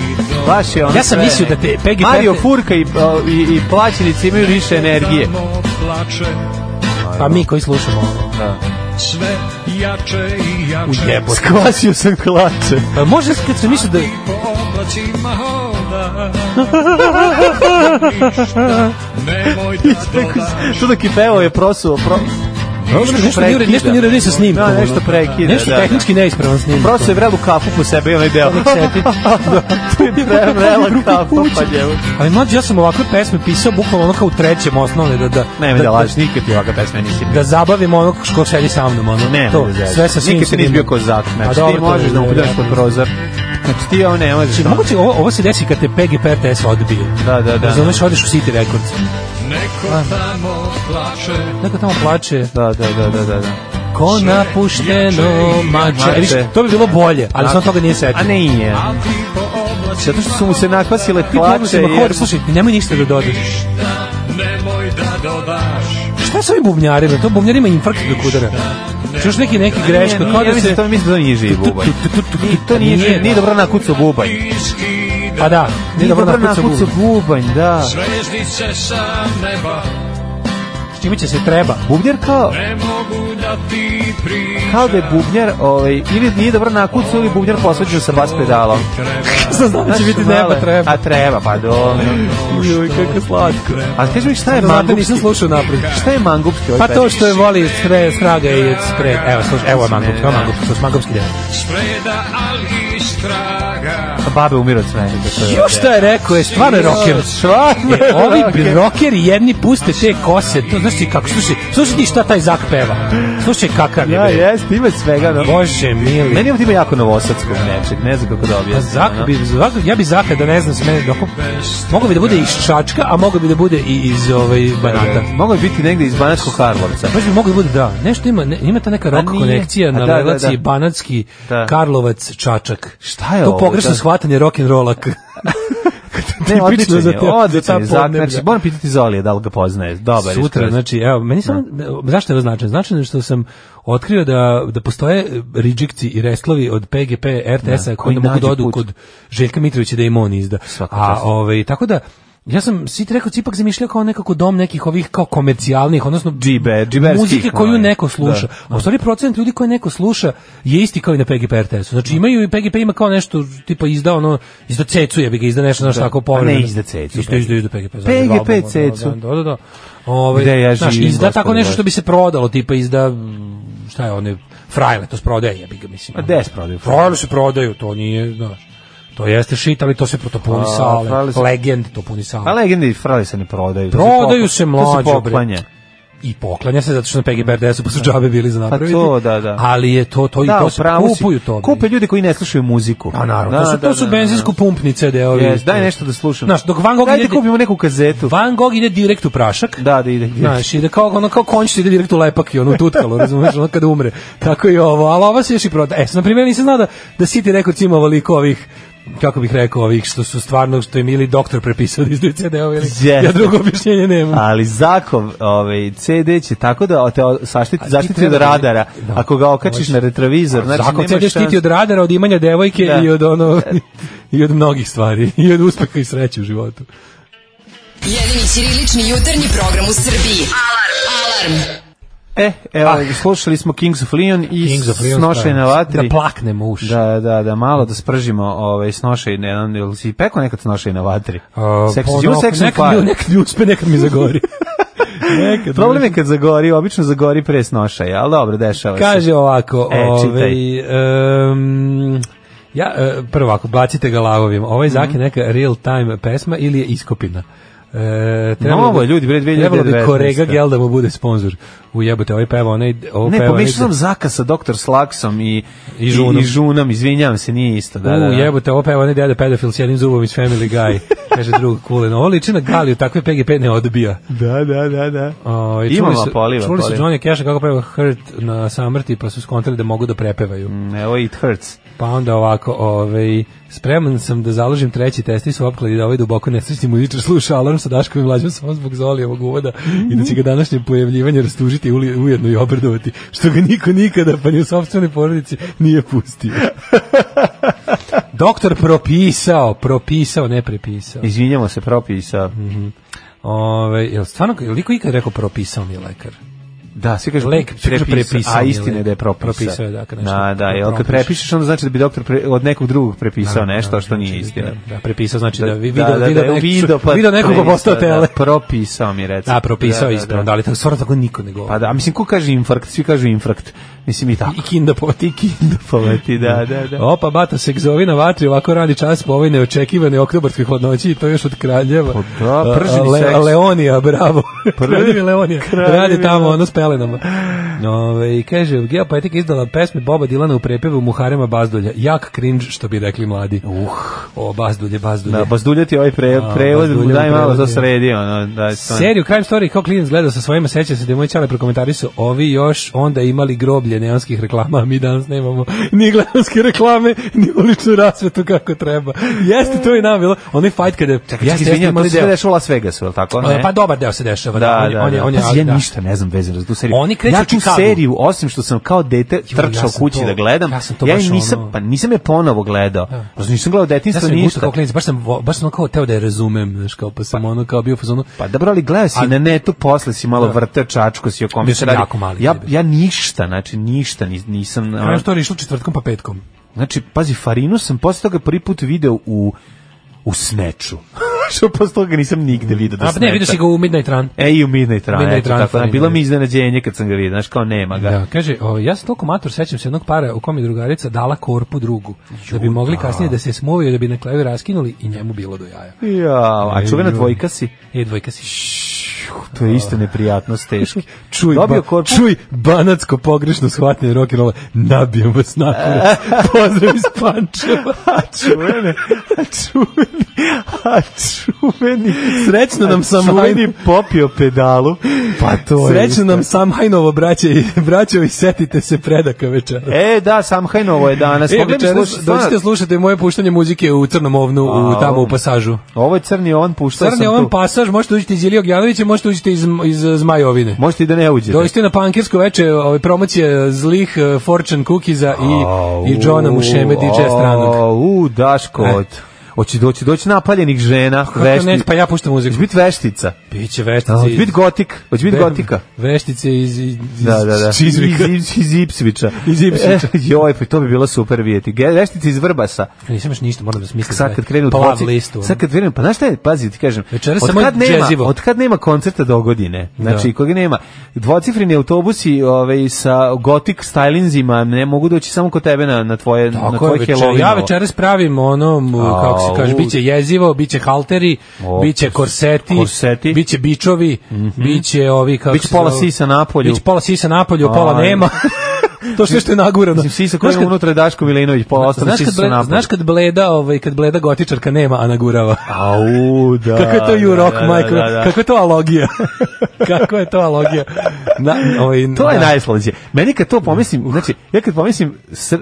S6: Baš je ono
S5: Ja sam
S6: sve.
S5: mislio da te Peggy
S6: Mario
S5: Pepe-
S6: Furka i, o, i, i plaćenici imaju više energije.
S13: samo plače,
S5: Pa mi koji slušamo ovo.
S6: Da.
S13: sve jače i
S5: U
S13: jače.
S5: jebote.
S6: Sklasio sam klače.
S5: Pa može kad sam mislio da...
S13: I po oblacima hoda. Ništa, nemoj da dodaš.
S6: Što dok je pevao je prosuo. Pro...
S5: Dobro, nešto nije u redu, nešto nije u redu sa snimkom. ono.
S6: Da, nešto prekida,
S5: Nešto
S6: da,
S5: tehnički neispravan snimak.
S6: Prosuo je vrelu kafu po sebi i onaj deo.
S5: Nek
S6: <laughs>
S5: seti.
S6: Tu
S5: <laughs>
S6: je vre- vrela kafa pa ljevo.
S5: Ali mlađi, ja sam ovakve pesme pisao bukvalno ono kao u trećem osnovne, da, da,
S6: Ne,
S5: da,
S6: mi da
S5: da,
S6: lažiš, nikad ti ovakva pesma nisi bio.
S5: da zabavim onog ko sedi sa mnom, ono,
S6: Ne,
S5: to,
S6: ne,
S5: sve sa svim
S6: Nikad ti nisi
S5: sredima.
S6: bio kozak,
S5: A
S6: znači
S5: dobro,
S6: ti
S5: to
S6: možeš
S5: je
S6: da mu
S5: vjerojatno.
S6: puljaš pod prozor. Znači ti ovo ne možeš.
S5: Znači,
S6: ono.
S5: moguće, ovo, ovo se desi kad te PGP RTS odbije.
S6: Da, da, da.
S5: Razumeš, odeš u City Records.
S13: Neko tamo plače,
S5: Neko tamo plače,
S6: Da, da, da, da, da. da.
S5: ko napušteno mače. E, vidiš, to bi bilo bolje, ali sam toga nije setio.
S6: A ne i je.
S13: a ti po oblacima
S6: Zato što su mu se nakvasile
S5: Ti
S6: hlače.
S5: pobusima
S6: jer-
S5: hodaš, slušaj, ti nemoj ništa da dodaš.
S13: Ništa, nemoj da dodaš.
S5: Šta sa ovim bubnjarima? To bubnjarima infarkt dok udara. Znači, još neki, neki greško,
S6: Nije, nije,
S5: kao
S6: ja
S5: da
S6: mislim
S5: se...
S6: To mislim da to nije živi bubanj.
S5: Tu, tu, tu, tu,
S6: Nije, To nije, živi- nije dobro nakucao bubanj.
S5: Pa da,
S6: Nije dobro nakucao
S5: bubanj.
S6: bubanj, da.
S13: Zvezdice sa neba
S5: S čime će se treba.
S6: Bubnjar kao,
S13: ne mogu da da ti pričam
S6: Kao da je bubnjar, ovaj, ili nije dobro nakucao, ili bubnjar posveđao sa bas pedalom.
S5: Sad znam da će Znači, biti
S6: Znaš,
S5: neba
S6: male-
S5: treba.
S6: A treba, pa dobro.
S5: Joj, kako slatko.
S6: A kaži mi šta je
S5: Sad znate,
S6: mangupski?
S5: nisam slušao napred.
S6: Šta je mangupski? ovaj
S5: Pa to
S6: period?
S5: što je voli stre, straga i spred. Evo, slušaj, evo je mangup, evo mangup, slušaj, mangupski deo.
S13: Spreda, ali iz traga
S6: Pa Babe umiru od smeha.
S5: Jo šta je rekao, je stvarno je rocker.
S6: Stvarno
S5: E,
S6: je
S5: ovi
S6: rocker.
S5: rockeri jedni puste te kose, to znaš ti kako, slušaj, slušaj ti šta taj Zak peva. Slušaj kakav je.
S6: Ja,
S5: bre.
S6: jest, ima svega. No.
S5: Bože mili.
S6: Meni ima ima jako novosadskog nečeg, ne znam kako da
S5: Pa
S6: objasnim.
S5: Zak
S6: ono.
S5: bi, Zak, ja bi Zaka da ne znam s mene dok... Mogu bi da bude iz Čačka, a mogu bi da bude i iz ovaj, Banata.
S6: Mogao bi biti negde iz Banačkog
S5: <laughs>
S6: Karlovca.
S5: Baš bi mogli bude, da. Nešto ima, ne, ima ta neka rock
S6: nije.
S5: konekcija
S6: A
S5: na
S6: da, da,
S5: relaciji
S6: da.
S5: Banatski,
S6: Da.
S5: Karlovac, Čačak.
S6: Šta je
S5: to
S6: ovo?
S5: pogrešno
S6: Da. <laughs>
S5: shvatanje rock'n'rolla.
S6: Ne,
S5: Tipično
S6: odličan
S5: za
S6: je,
S5: te- za ta
S6: odličan je Zak.
S5: podneblja.
S6: Znači, moram pitati Zolija da li ga poznaje. Dobar je.
S5: Sutra,
S6: skroz.
S5: znači, evo, meni samo, zašto je ovo značajno? Značajno je što sam otkrio da, da postoje rijekci i restlovi od PGP, RTS-a koji
S6: koji
S5: onda mogu
S6: nađu
S5: da odu
S6: put.
S5: kod Željka Mitrovića da im on izda. A,
S6: čast.
S5: ovaj, tako da, Ja sam si ti rekao, cipak zamišljao kao nekako dom nekih ovih kao komercijalnih, odnosno
S6: Džibe, džiberskih,
S5: muzike koju
S6: ono,
S5: neko sluša.
S6: da.
S5: A u stvari procenat ljudi koje neko sluša je isti kao i na PGP RTS-u. Znači imaju i PGP ima kao nešto tipa izda ono, izda cecu jebi ga, izda nešto, znaš,
S6: Da.
S5: tako
S6: A ne
S5: povremeno.
S6: izda cecu,
S5: Isto izda, izda PGP. za
S6: PGP
S5: album, ono,
S6: cecu.
S5: Da, da, da. da. Ovaj,
S6: Gde ja
S5: znaš,
S6: živim,
S5: izda tako
S6: gospode,
S5: nešto što
S6: Bože.
S5: bi se prodalo, tipa izda, mm, šta je one, frajle, to se prodaje, jebi ga, mislim. ono.
S6: A gde se Pa prodaju?
S5: Frajle se prodaju, to nije, znaš. To jeste shit, ali to se to puni
S6: A,
S5: sale.
S6: frajle se-
S5: Legend to puni sale.
S6: A legende i frali se ne prodaju. To
S5: Prodaju
S6: pokla- To
S5: se
S6: se
S5: mlađo, bre.
S6: poklanja.
S5: i poklanja se zato što na PGB RTS-u pa su džabe bili za
S6: Pa
S5: napraviti.
S6: to, da, da.
S5: Ali je to, to i
S6: Da,
S5: to se
S6: upravo si.
S5: kupuju to. bre.
S6: Kupe ljudi koji ne slušaju muziku.
S5: A naravno, to su, to su benzinsko pumpni CD-ovi.
S6: Yes, daj nešto da slušam.
S5: Znaš, dok Van Gogh
S6: Dajte
S5: ide-
S6: kupimo neku kazetu.
S5: Van Gogh ide direkt u prašak.
S6: Da, da ide.
S5: Znaš, ide kao, ono, kao konj što ide direkt u lepak i ono u tutkalo, razumeš, ono kada umre. Tako i ovo, ali ova se još i proda. E, sad, na primjer, nisam znao da, da City Records ima ovoliko ovih kako bih rekao, ovih što su stvarno, što im ili doktor prepisao da izdaju CD-ovi, ili
S6: Jeste.
S5: ja drugo objašnjenje nemam.
S6: Ali Zakov, ovaj CD će tako da te o- saštiti,
S5: ti
S6: zaštiti od
S5: treba da-
S6: radara.
S5: da.
S6: Ako ga okačiš na retrovizor, znači
S5: Zakon
S6: nema
S5: CD štiti od radara, od imanja devojke
S6: Da.
S5: i od ono i od mnogih stvari <laughs> i od uspeha i sreće u životu.
S4: Jedini ćirilični jutarnji program u Srbiji. Alarm! Alarm!
S6: E, evo, slušali smo Kings of Leon i
S5: Ah. Kings of Leon,
S6: Snošaj na
S5: stvarno.
S6: vatri.
S5: Da plaknemo uši.
S6: Da, da, da, malo da spržimo ovaj, Snošaj na vatri. Jel si pekao nekad Snošaj na vatri? Sex,
S5: Pa,
S6: you
S5: ono,
S6: sex and
S5: nekad mi-
S6: fire.
S5: Nekad mi uspe, nekad mi zagori.
S6: <laughs>
S5: nekad
S6: Problem je kad zagori, obično zagori pre Snošaja, ali dobro, dešava Pa se.
S5: Kaže ovako,
S6: E,
S5: ovaj,
S6: čitaj.
S5: em, ja, e, prvo ovako, bacite ga lavovim. Ovaj
S6: Mhm.
S5: zak je neka real time pesma ili je iskopina? E, trebalo
S6: Novo je, ljudi, bre, 2019.
S5: Trebalo bi Korega Gel da mu bude sponsor. Ujebote, ovaj peva, onaj, ovo
S6: Ne,
S5: peva
S6: pomešao
S5: negde-
S6: sam Zaka sa Dr. Slaksom i,
S5: I Žunom.
S6: I, Žunom, izvinjavam se, nije isto. Da,
S5: U,
S6: da, da.
S5: jebote, ovo peva onaj deda pedofil s jednim zubom iz Family
S6: <laughs>
S5: Guy, kaže drug Kulen. Ovo liči na Galiju, takve PGP ne odbija.
S6: Da, da, da, da.
S5: O,
S6: Imamo, poliva,
S5: Čuli su
S6: poliva.
S5: Johnny Cash kako peva Hurt na samrti, pa su skontali da mogu da prepevaju.
S6: Evo, it hurts.
S5: Pa onda ovako, ovaj, spreman sam da založim treći test i su opkladi da ovaj duboko nesrećni muzičar sluša alarm sa Daškovim mlađom samo zbog Zolijevog uvoda i da će ga današnje pojavljivanje rastužiti i uli- ujedno i obrdovati, što ga niko nikada, pa ni u sobstvenoj porodici, nije
S6: <laughs>
S5: pustio. Doktor propisao, propisao, ne prepisao.
S6: Izvinjamo se, propisa.
S5: Mm. Ove, jel stvarno, jel liko ikad rekao propisao mi je lekar?
S6: Da, svi kažu
S5: Lek, svi kažu prepisao
S6: a
S5: mi je
S6: istina je
S5: lek.
S6: da je propisao.
S5: Propisao je, dakle, nešto.
S6: Da, da, jel kad
S5: Propišeš.
S6: prepišeš, onda znači da bi doktor pre, od nekog drugog prepisao nešto što nije istina.
S5: Da, prepisao znači da, da,
S6: Da, da, da,
S5: video,
S6: je
S5: nek-
S6: video, pa
S5: <laughs> video nekog ko
S6: prepisao,
S5: postao tele.
S6: Da, propisao mi recept.
S5: Da, propisao
S6: Da,
S5: je
S6: da,
S5: ispravno, da,
S6: da.
S5: ali tako, stvarno tako niko ne govori.
S6: Pa da, a mislim, ko kaže infarkt? Svi kažu infarkt. Mislim i tako.
S5: I kinda poti,
S6: Da poleti,
S5: <laughs>
S6: da, da, da.
S5: Opa, bata se gzovi na vatri, ovako radi čas po ovoj neočekivane oktobarskoj hladnoći i to još od kraljeva.
S6: Pa da,
S5: A,
S6: prženi
S5: a, Le-
S6: seks.
S5: Leonija,
S6: <laughs>
S5: bravo. Kraljevi Leonija.
S6: kraljevi
S5: Radi tamo
S6: Leonija.
S5: ono s pelenama. Ove, I kaže, Geopoetika izdala pesme Boba Dilana u prepevu Muharema Bazdulja. Jak cringe, što bi rekli mladi. Uh. O, Bazdulje, Bazdulje.
S6: Da, bazduljati ovaj pre,
S5: A,
S6: prevod,
S5: bazduljati
S6: daj malo
S5: prevod,
S6: za
S5: je.
S6: sredi, ono, da, to-
S5: Seriju Crime Story kao klinac gledao sa svojima, seća se da je moj čale prokomentarisao, ovi još onda imali groblje neonskih reklama, a mi danas nemamo ni gledanske reklame, ni uličnu rasvetu kako treba. Jeste to i nam bilo, onaj fight kada... Čekaj,
S6: Jeste, jeste, imali se dešava u Las Vegasu, je li tako? Ne?
S5: Pa dobar deo se dešava,
S6: Da,
S5: on je-
S6: da,
S5: on je,
S6: da.
S5: on je,
S6: Pazi,
S5: ali
S6: ja
S5: da.
S6: ništa ne znam vezano za tu seriju.
S5: Oni kreću
S6: ja
S5: u
S6: tu
S5: Chicagu.
S6: seriju, osim što sam kao dete
S5: ja
S6: trčao
S5: sam
S6: kući
S5: to-
S6: da gledam,
S5: ja sam to
S6: ja
S5: baš
S6: i nisam,
S5: ono-
S6: pa nisam je ponovo gledao. Znači, nisam gledao
S5: Ja
S6: detinjstvo
S5: sam ništa kao
S6: ništa.
S5: klinac, baš sam, vo- baš sam ono kao teo da je razumem, znaš, kao, pa sam ono kao bio u fazonu.
S6: Pa dobro, ali gledao si
S5: A-
S6: na netu, posle si malo
S5: Da.
S6: vrteo čačko, si o kome
S5: Bio
S6: se
S5: sam
S6: radi.
S5: jako mali
S6: ja,
S5: kad je
S6: ja ništa, znači ništa nis- nisam... ono-
S5: Ja što je išlo četvrtkom pa petkom.
S6: Znači, pazi, Farinu sam posle toga prvi put video u, u Sneču. <laughs> Što posle toga nisam nigde video da
S5: A pa ne,
S6: Snatcha.
S5: vidio si ga u Midnight Run.
S6: E, i u Midnight Run,
S5: Midnight
S6: eto,
S5: Run
S6: tako, da,
S5: Farinu,
S6: bilo mi
S5: je.
S6: iznenađenje kad sam ga vidio, znaš, kao nema ga.
S5: Da, kaže, o, ja sam toliko mator, sećam se jednog para u kom je drugarica dala korpu drugu, da bi mogli kasnije da se smuvaju, da bi na kraju raskinuli i njemu bilo do jaja.
S6: Ja, a čuvena dvojka si?
S5: E, dvojka si.
S6: To je isto neprijatnost
S5: <laughs>
S6: teški.
S5: Čuj,
S6: Dobio
S5: ba,
S6: korpu.
S5: čuj, banatsko pogrešno shvatanje rock and rolla. Nabijem vas na <laughs> kurac. Pozdrav iz Pančeva.
S6: A čuveni, a čuveni, a čuveni.
S5: Srećno nam
S6: a
S5: sam
S6: Čuveni popio pedalu. Pa to je
S5: Srećno
S6: isto.
S5: nam Samhajnovo braće i braćo i setite se predaka večera.
S6: E, da, Samhajnovo je danas.
S5: E,
S6: Mogli bi
S5: večeras
S6: slušati-
S5: dođite slušati moje puštanje muzike u Crnom ovnu,
S6: A,
S5: u, tamo
S6: ovo-
S5: u pasažu.
S6: Ovo je crni on, puštao
S5: Crni pa-
S6: sam
S5: ovan
S6: tu.
S5: pasaž, možete uđite iz Ilija Ognjanovića, možete uđite iz, iz eh, Zmajovine.
S6: Možete i da ne uđete.
S5: Dođite na pankirsko veče, ove promocije zlih eh, Fortune Cookiza i,
S6: Au,
S5: i Johna Mušeme DJ stranog.
S6: au, U, Daško,
S5: E.
S6: od... Hoće doći, doći napaljenih žena,
S5: Kako ne,
S6: veštica.
S5: pa ja puštam muziku.
S6: Hoće biti veštica.
S5: Biće veštice.
S6: Hoće
S5: iz-
S6: biti gotik. Hoće biti gotika.
S5: Veštice iz, iz, iz
S6: Da, da, da.
S5: Čizvika.
S6: Iz, iz, iz Ipsvića.
S5: Iz Ipsvića.
S6: E, joj, pa to bi bilo super vidjeti. Ge- Veštica iz Vrbasa.
S5: Nisam još ništa, moram da smislim.
S6: Sad kad krenu
S5: Plav
S6: dvoci-
S5: pa listu. ono.
S6: Sad kad krenu, pa znaš šta je, pazi, ti kažem.
S5: Večeras
S6: od
S5: samo
S6: kad nema,
S5: džezivo.
S6: od kad nema koncerta do godine. Znači,
S5: Da.
S6: koga nema. Dvocifreni autobusi, ovaj sa gotik stylinzima ne mogu doći samo kod tebe na na tvoje na
S5: Tako
S6: tvoje
S5: je, večer,
S6: Halloweenovo.
S5: ja večeras pravim ono, m,
S6: A,
S5: kako se kaže,
S6: u.
S5: biće jezivo, biće halteri,
S6: O,
S5: biće korseti,
S6: korseti. Mhm.
S5: biće bičovi, biće ovi, kako
S6: Biće
S5: se
S6: pola
S5: zove-
S6: sisa napolju.
S5: Biće pola sisa napolju, pola
S6: Aj.
S5: nema. <laughs> to sve što je nagurano.
S6: Mislim, sisa koja
S5: Znaš
S6: je
S5: kad-
S6: unutra je Daško Milinović, pa pola ostane
S5: Znaš
S6: sisa
S5: kad,
S6: sa
S5: bleda,
S6: napolju.
S5: znaš kad bleda, ovaj, kad bleda gotičarka nema, a nagurava.
S6: Au, da.
S5: <laughs> Kako je to you rock,
S6: da, da,
S5: Michael?
S6: da, da.
S5: Kako je to alogija? <laughs> Kako je to alogija? Na, ovaj,
S6: To je
S5: na-
S6: najslađe. Meni kad to pomislim, znači, ja kad pomislim sr, e,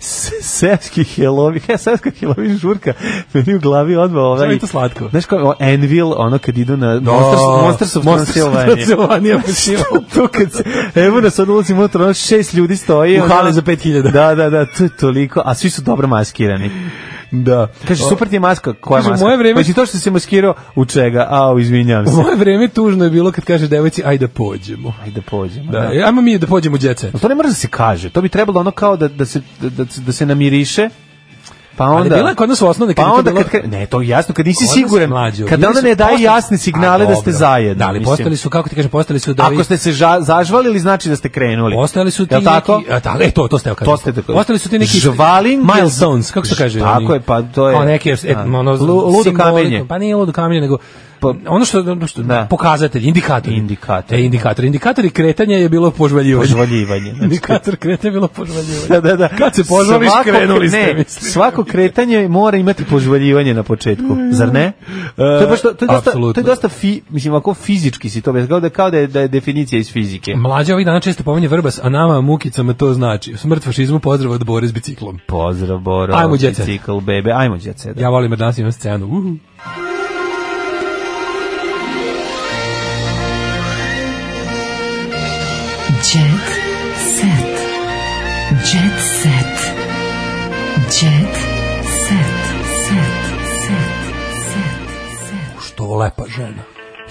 S6: s- seoski <laughs> helovi, he, seoski helovi žurka, meni u glavi odmah ovaj...
S5: Sve je to slatko.
S6: Znaš kao Envil, ono kad idu na da, Monsters, Monsters of
S5: Monsters of Transylvania.
S6: <laughs> to kad se, evo nas sad ulazimo unutra, ono šest ljudi stoji.
S5: U
S6: ono-
S5: hali za 5000.
S6: Da, da, da, to je toliko, a svi su dobro maskirani.
S5: Da.
S6: Kaže,
S5: O-
S6: super ti je maska, koja
S5: Kaže, u
S6: maska?
S5: moje vreme-
S6: Pa si to što si se maskirao, u čega? Au, izvinjam
S5: U
S6: se.
S5: moje vreme tužno je bilo kad kaže devojci, ajde pođemo.
S6: Ajde, pođemo.
S5: Da, ajmo mi da pođemo u djece.
S6: Ali Pa to ne mora da se kaže. To bi trebalo ono kao da, da, se, da, da se namiriše. Pa onda...
S5: Ali bila je kod nas u osnovne
S6: pa
S5: kad je to
S6: onda
S5: bilo...
S6: kad, kad, ne, to je jasno, kad nisi
S5: Kod nas
S6: siguran,
S5: mlađe,
S6: kad
S5: bili
S6: onda
S5: su
S6: ne daje
S5: postali-
S6: jasne signale
S5: A,
S6: da ste
S5: dobro.
S6: zajedno.
S5: Da, ali
S6: mislim.
S5: postali su, kako ti kažem, postali su... Da
S6: Ako ste se ža, zažvalili, znači da ste krenuli.
S5: Ostali su ti
S6: Jel tako?
S5: neki, a tako, e, to, to ste
S6: To ste tako-
S5: Ostali su ti neki
S6: Žvalin-
S5: milestones, kako se kaže?
S6: Tako
S5: oni?
S6: je, pa to je-
S5: Kao neke, e,
S6: da.
S5: ono,
S6: Lu- ludo
S5: simboliko-
S6: kamenje. Pa-
S5: Pa nije ludo kamenje, nego ono što, ono što
S6: Da.
S5: pokazatelj, indikator.
S6: Indikator.
S5: E, indikator. Indikator i kretanje je bilo požvaljivanje. <laughs>
S6: Požvaljivanje. znači.
S5: Indikator kretanja je bilo požvaljivanje.
S6: Da, da, da.
S5: Kad se požvališ,
S6: Svako-
S5: krenuli
S6: ne,
S5: ste, mislim.
S6: Svako kretanje mora imati požvaljivanje na početku, zar ne? To je, baš, to, to je dosta, to
S5: apsolutno.
S6: je dosta fi, mislim, ako fizički si to, bez- kao da, kao da je, da je definicija iz fizike.
S5: Mlađe ovih dana često pominje Vrbas, a nama mukicama to znači. Smrt fašizmu, pozdrav od Bore s biciklom.
S6: Pozdrav, Boro.
S5: Ajmo, Jet Set.
S6: Bicikl, bebe. Ajmo, Jet Set.
S5: Ja volim jer danas imam scenu. Uhu.
S4: Jet set. Jet set. Jet set. Set. Set.
S5: Što lepa žena.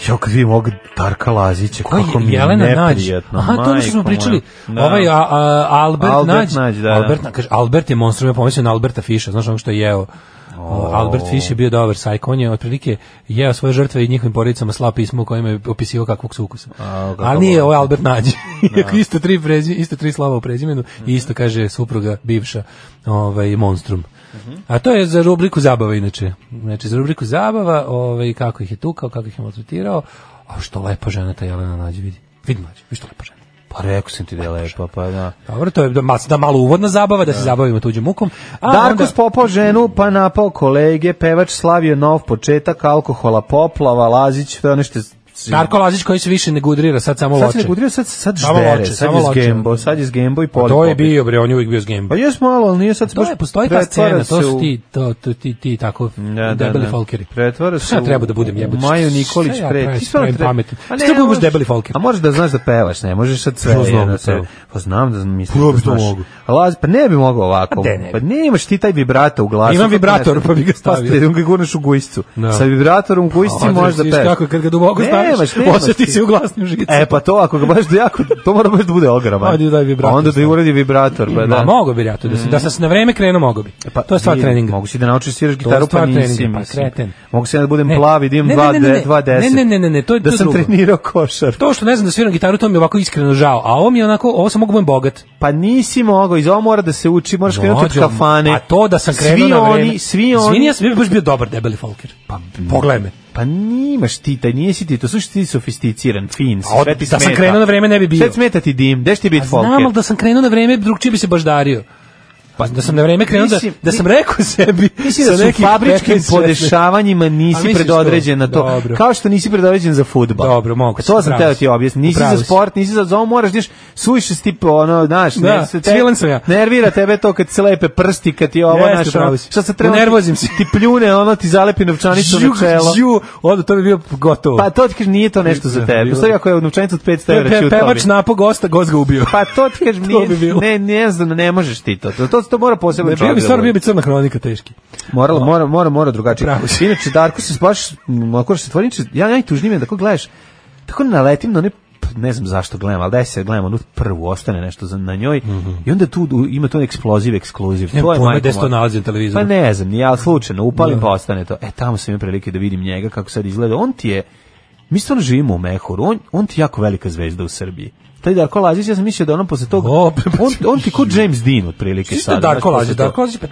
S6: Jo, kad vidim ovog Darka Lazića,
S5: Ko je
S6: kako mi je
S5: Jelena Nađ?
S6: neprijatno.
S5: Aha, to je ono što smo
S6: majko moja.
S5: pričali.
S6: Da.
S5: Ovaj a, a, Albert,
S6: Albert
S5: Nađ.
S6: Nađ, da, da.
S5: Albert, Na- kaže, Albert je monstrum, ja pomislio na Alberta Fiša, znaš onog što je jeo. O, Albert Fish je bio dobar sajk, on je otprilike jeo svoje žrtve i njihovim porodicama slao pismo u kojima je opisivao kakvog su ukusa.
S6: A, kako
S5: Ali nije
S6: volim.
S5: ovo Albert Nađ.
S6: <laughs>
S5: Iako isto tri, prezi, isto tri slava u prezimenu
S6: Mhm.
S5: i isto kaže supruga bivša ovaj, monstrum.
S6: Mhm.
S5: A to je za rubriku zabava inače. Znači za rubriku zabava, ovaj, kako ih je tukao, kako ih je maltretirao. A što lepa žena ta Jelena Nađ vidi. Vidi mlađe, vidi što lepa žena.
S6: Pa rekao sam ti da je lepa, pa da.
S5: Dobro, to je da, mas- da malo uvodna zabava, da se zabavimo tuđim mukom. A
S6: Darko
S5: onda-
S6: spopao ženu, pa napao kolege, pevač slavio nov početak, alkohola poplava, Lazić, to je ono što
S5: Darko Lazić koji se više ne gudrira, sad samo
S6: Sad
S5: loče.
S6: se ne gudrira, sad, sad
S5: Samo
S6: ždere,
S5: loče,
S6: sad
S5: samo
S6: je s
S5: loče.
S6: Gembo, sad je s Gembo i
S5: Pa
S6: Poli
S5: to je
S6: Popić.
S5: bio, bre, on je uvijek bio s Gembo.
S6: Pa jes malo, ali nije sad...
S5: To je, postoji ta scena,
S6: pretvara
S5: to
S6: se
S5: su
S6: u-
S5: ti, to, to, ti, ti tako
S6: Da, da,
S5: debeli
S6: da.
S5: folkeri.
S6: Pretvara se
S5: Šta ja
S6: u-
S5: treba da budem
S6: u
S5: jebote?
S6: Maju Nikolić
S5: Šta ja
S6: pre.
S5: pravim-
S6: Ti stvarno
S5: pravim
S6: treba-
S5: pametan?
S6: A ne,
S5: Šta budeš
S6: možeš-
S5: debeli folkeri?
S6: A možeš da znaš da pevaš, ne možeš sad sve.
S5: Ja znam
S6: jedno
S5: da
S6: sve.
S5: pevam.
S6: Pa znam da mislim
S5: Prvo
S6: da
S5: bi to
S6: znaš.
S5: mogu.
S6: Laz, pa ne bi mogao ovako.
S5: A de, ne bi.
S6: Pa nemaš ti taj vibrator u glasu.
S5: Imam
S6: kako
S5: vibrator,
S6: ne znam.
S5: pa bi ga stavio.
S6: Pa ste- ga gurneš u gujscu.
S5: Da.
S6: Sa vibratorom u gujsci
S5: A,
S6: možeš da
S5: vidiš
S6: pevaš.
S5: kako je, kad ga duboko
S6: Nemaš,
S5: staviš,
S6: nemaš
S5: osjeti
S6: ti.
S5: se u glasnim žicama.
S6: E pa to ako ga baš da jako, to mora baš da bude ogroman.
S5: Ajde, daj vibrator
S6: Pa Onda da i
S5: stavi.
S6: uradi vibrator, pa
S5: Ma
S6: da.
S5: mogo bi ja to da se da sam se na vreme krenuo mogo bi.
S6: Pa,
S5: to je stvar
S6: vidi,
S5: treninga.
S6: Mogu si da naučiš sviraš
S5: To je
S6: gitaru, pa
S5: stvar
S6: nisi.
S5: treninga, pa
S6: mislim.
S5: kreten.
S6: Mogu si ja da budem
S5: Ne.
S6: plavi, da imam
S5: Ne, ne,
S6: dva
S5: ne, ne,
S6: de-
S5: ne.
S6: dva deset.
S5: Ne, ne, ne, ne, to je-
S6: Da
S5: to je
S6: sam
S5: drugo.
S6: trenirao košar.
S5: To što ne znam da sviram gitaru, to mi je ovako iskreno žao, a ovo mi je onako, ovo sam mogu budem bogat.
S6: Pa nisi mogao, iz ovo mora da se uči, moraš krenuti od
S5: Mlađo,
S6: kafane.
S5: A pa to da sam krenuo
S6: svi
S5: na vreme.
S6: Oni, svi oni,
S5: Izvini, ja sam baš bio dobar debeli folker.
S6: Pa,
S5: Pogledaj me.
S6: Pa nimaš ti, taj nisi ti, to slušaj ti sofisticiran, fin,
S5: A od-
S6: sve ti
S5: da sam
S6: smeta.
S5: krenuo na vreme ne bi bio.
S6: Sve smeta ti dim, gde će ti biti folker?
S5: Znam, ali da sam krenuo na vreme, drugčije bi se baš dario. Pa da sam na vreme krenuo, da,
S6: Mislim,
S5: da sam rekao sebi...
S6: Mislim da
S5: sa
S6: su
S5: nekih
S6: fabričkim
S5: 15-16.
S6: podešavanjima
S5: A
S6: nisi
S5: misliš to?
S6: predodređen na to.
S5: Dobro.
S6: Kao što nisi predodređen za fudbal.
S5: Dobro, moguće,
S6: To sam
S5: upravo
S6: teo
S5: si.
S6: ti objasniti. Nisi za
S5: Upravo si.
S6: sport, nisi za za ovo moraš, znaš, suviše si tip, ono, znaš,
S5: Da,
S6: se
S5: cvilen sam ja.
S6: nervira tebe to kad se lepe prsti, kad ti ovo,
S5: Jeste,
S6: znaš,
S5: upravo
S6: ono,
S5: si.
S6: šta se treba,
S5: Unervozim se.
S6: ti pljune, ono, ti zalepi novčanicu na
S5: Žu,
S6: čelo.
S5: žu, onda to bi bio gotovo.
S6: Pa to ti kaže, nije to nešto za tebe. Postoji ako je novčanica od 500
S5: Pe-
S6: evra će
S5: pe-
S6: u tobi.
S5: pevač napao gosta, gost ga ubio.
S6: Pa to ti kažem,
S5: <laughs> To bi
S6: nije,
S5: bilo.
S6: ne, ne znam, ne možeš ti to. To, to, to mora posebno
S5: Ne, bio bi stvarno bio
S6: ovaj.
S5: bi crna hronika teški.
S6: Moralo, mora, mora, mora drugačije.
S5: Pravo si.
S6: Inače, Darko se baš, m, ako se tvori, inače, ja najtužnije mi je da ko gledaš, tako naletim na one p- ne znam zašto gledam, ali daj se gledam, onu prvu ostane nešto za, na njoj i onda tu u- ima to eksploziv, ekskluziv.
S5: Nemam
S6: To je
S5: Mhm. pojma
S6: majko
S5: gde se to
S6: moja.
S5: nalazi na televizoru.
S6: Pa ne znam, ja slučajno upalim
S5: Da.
S6: pa ostane to. E, tamo sam imao prilike da vidim njega kako sad izgleda. On ti je, mi stvarno živimo u Mehuru, on, on ti je jako velika zvezda u Srbiji. Taj Darko Lazić, ja sam mislio da ono posle toga,
S5: O,
S6: on, on ti ko James Dean otprilike
S5: Svi ste
S6: sada.
S5: pa Darko
S6: znaš, posle
S5: Lazić,
S6: toga.
S5: Darko Lazić, pa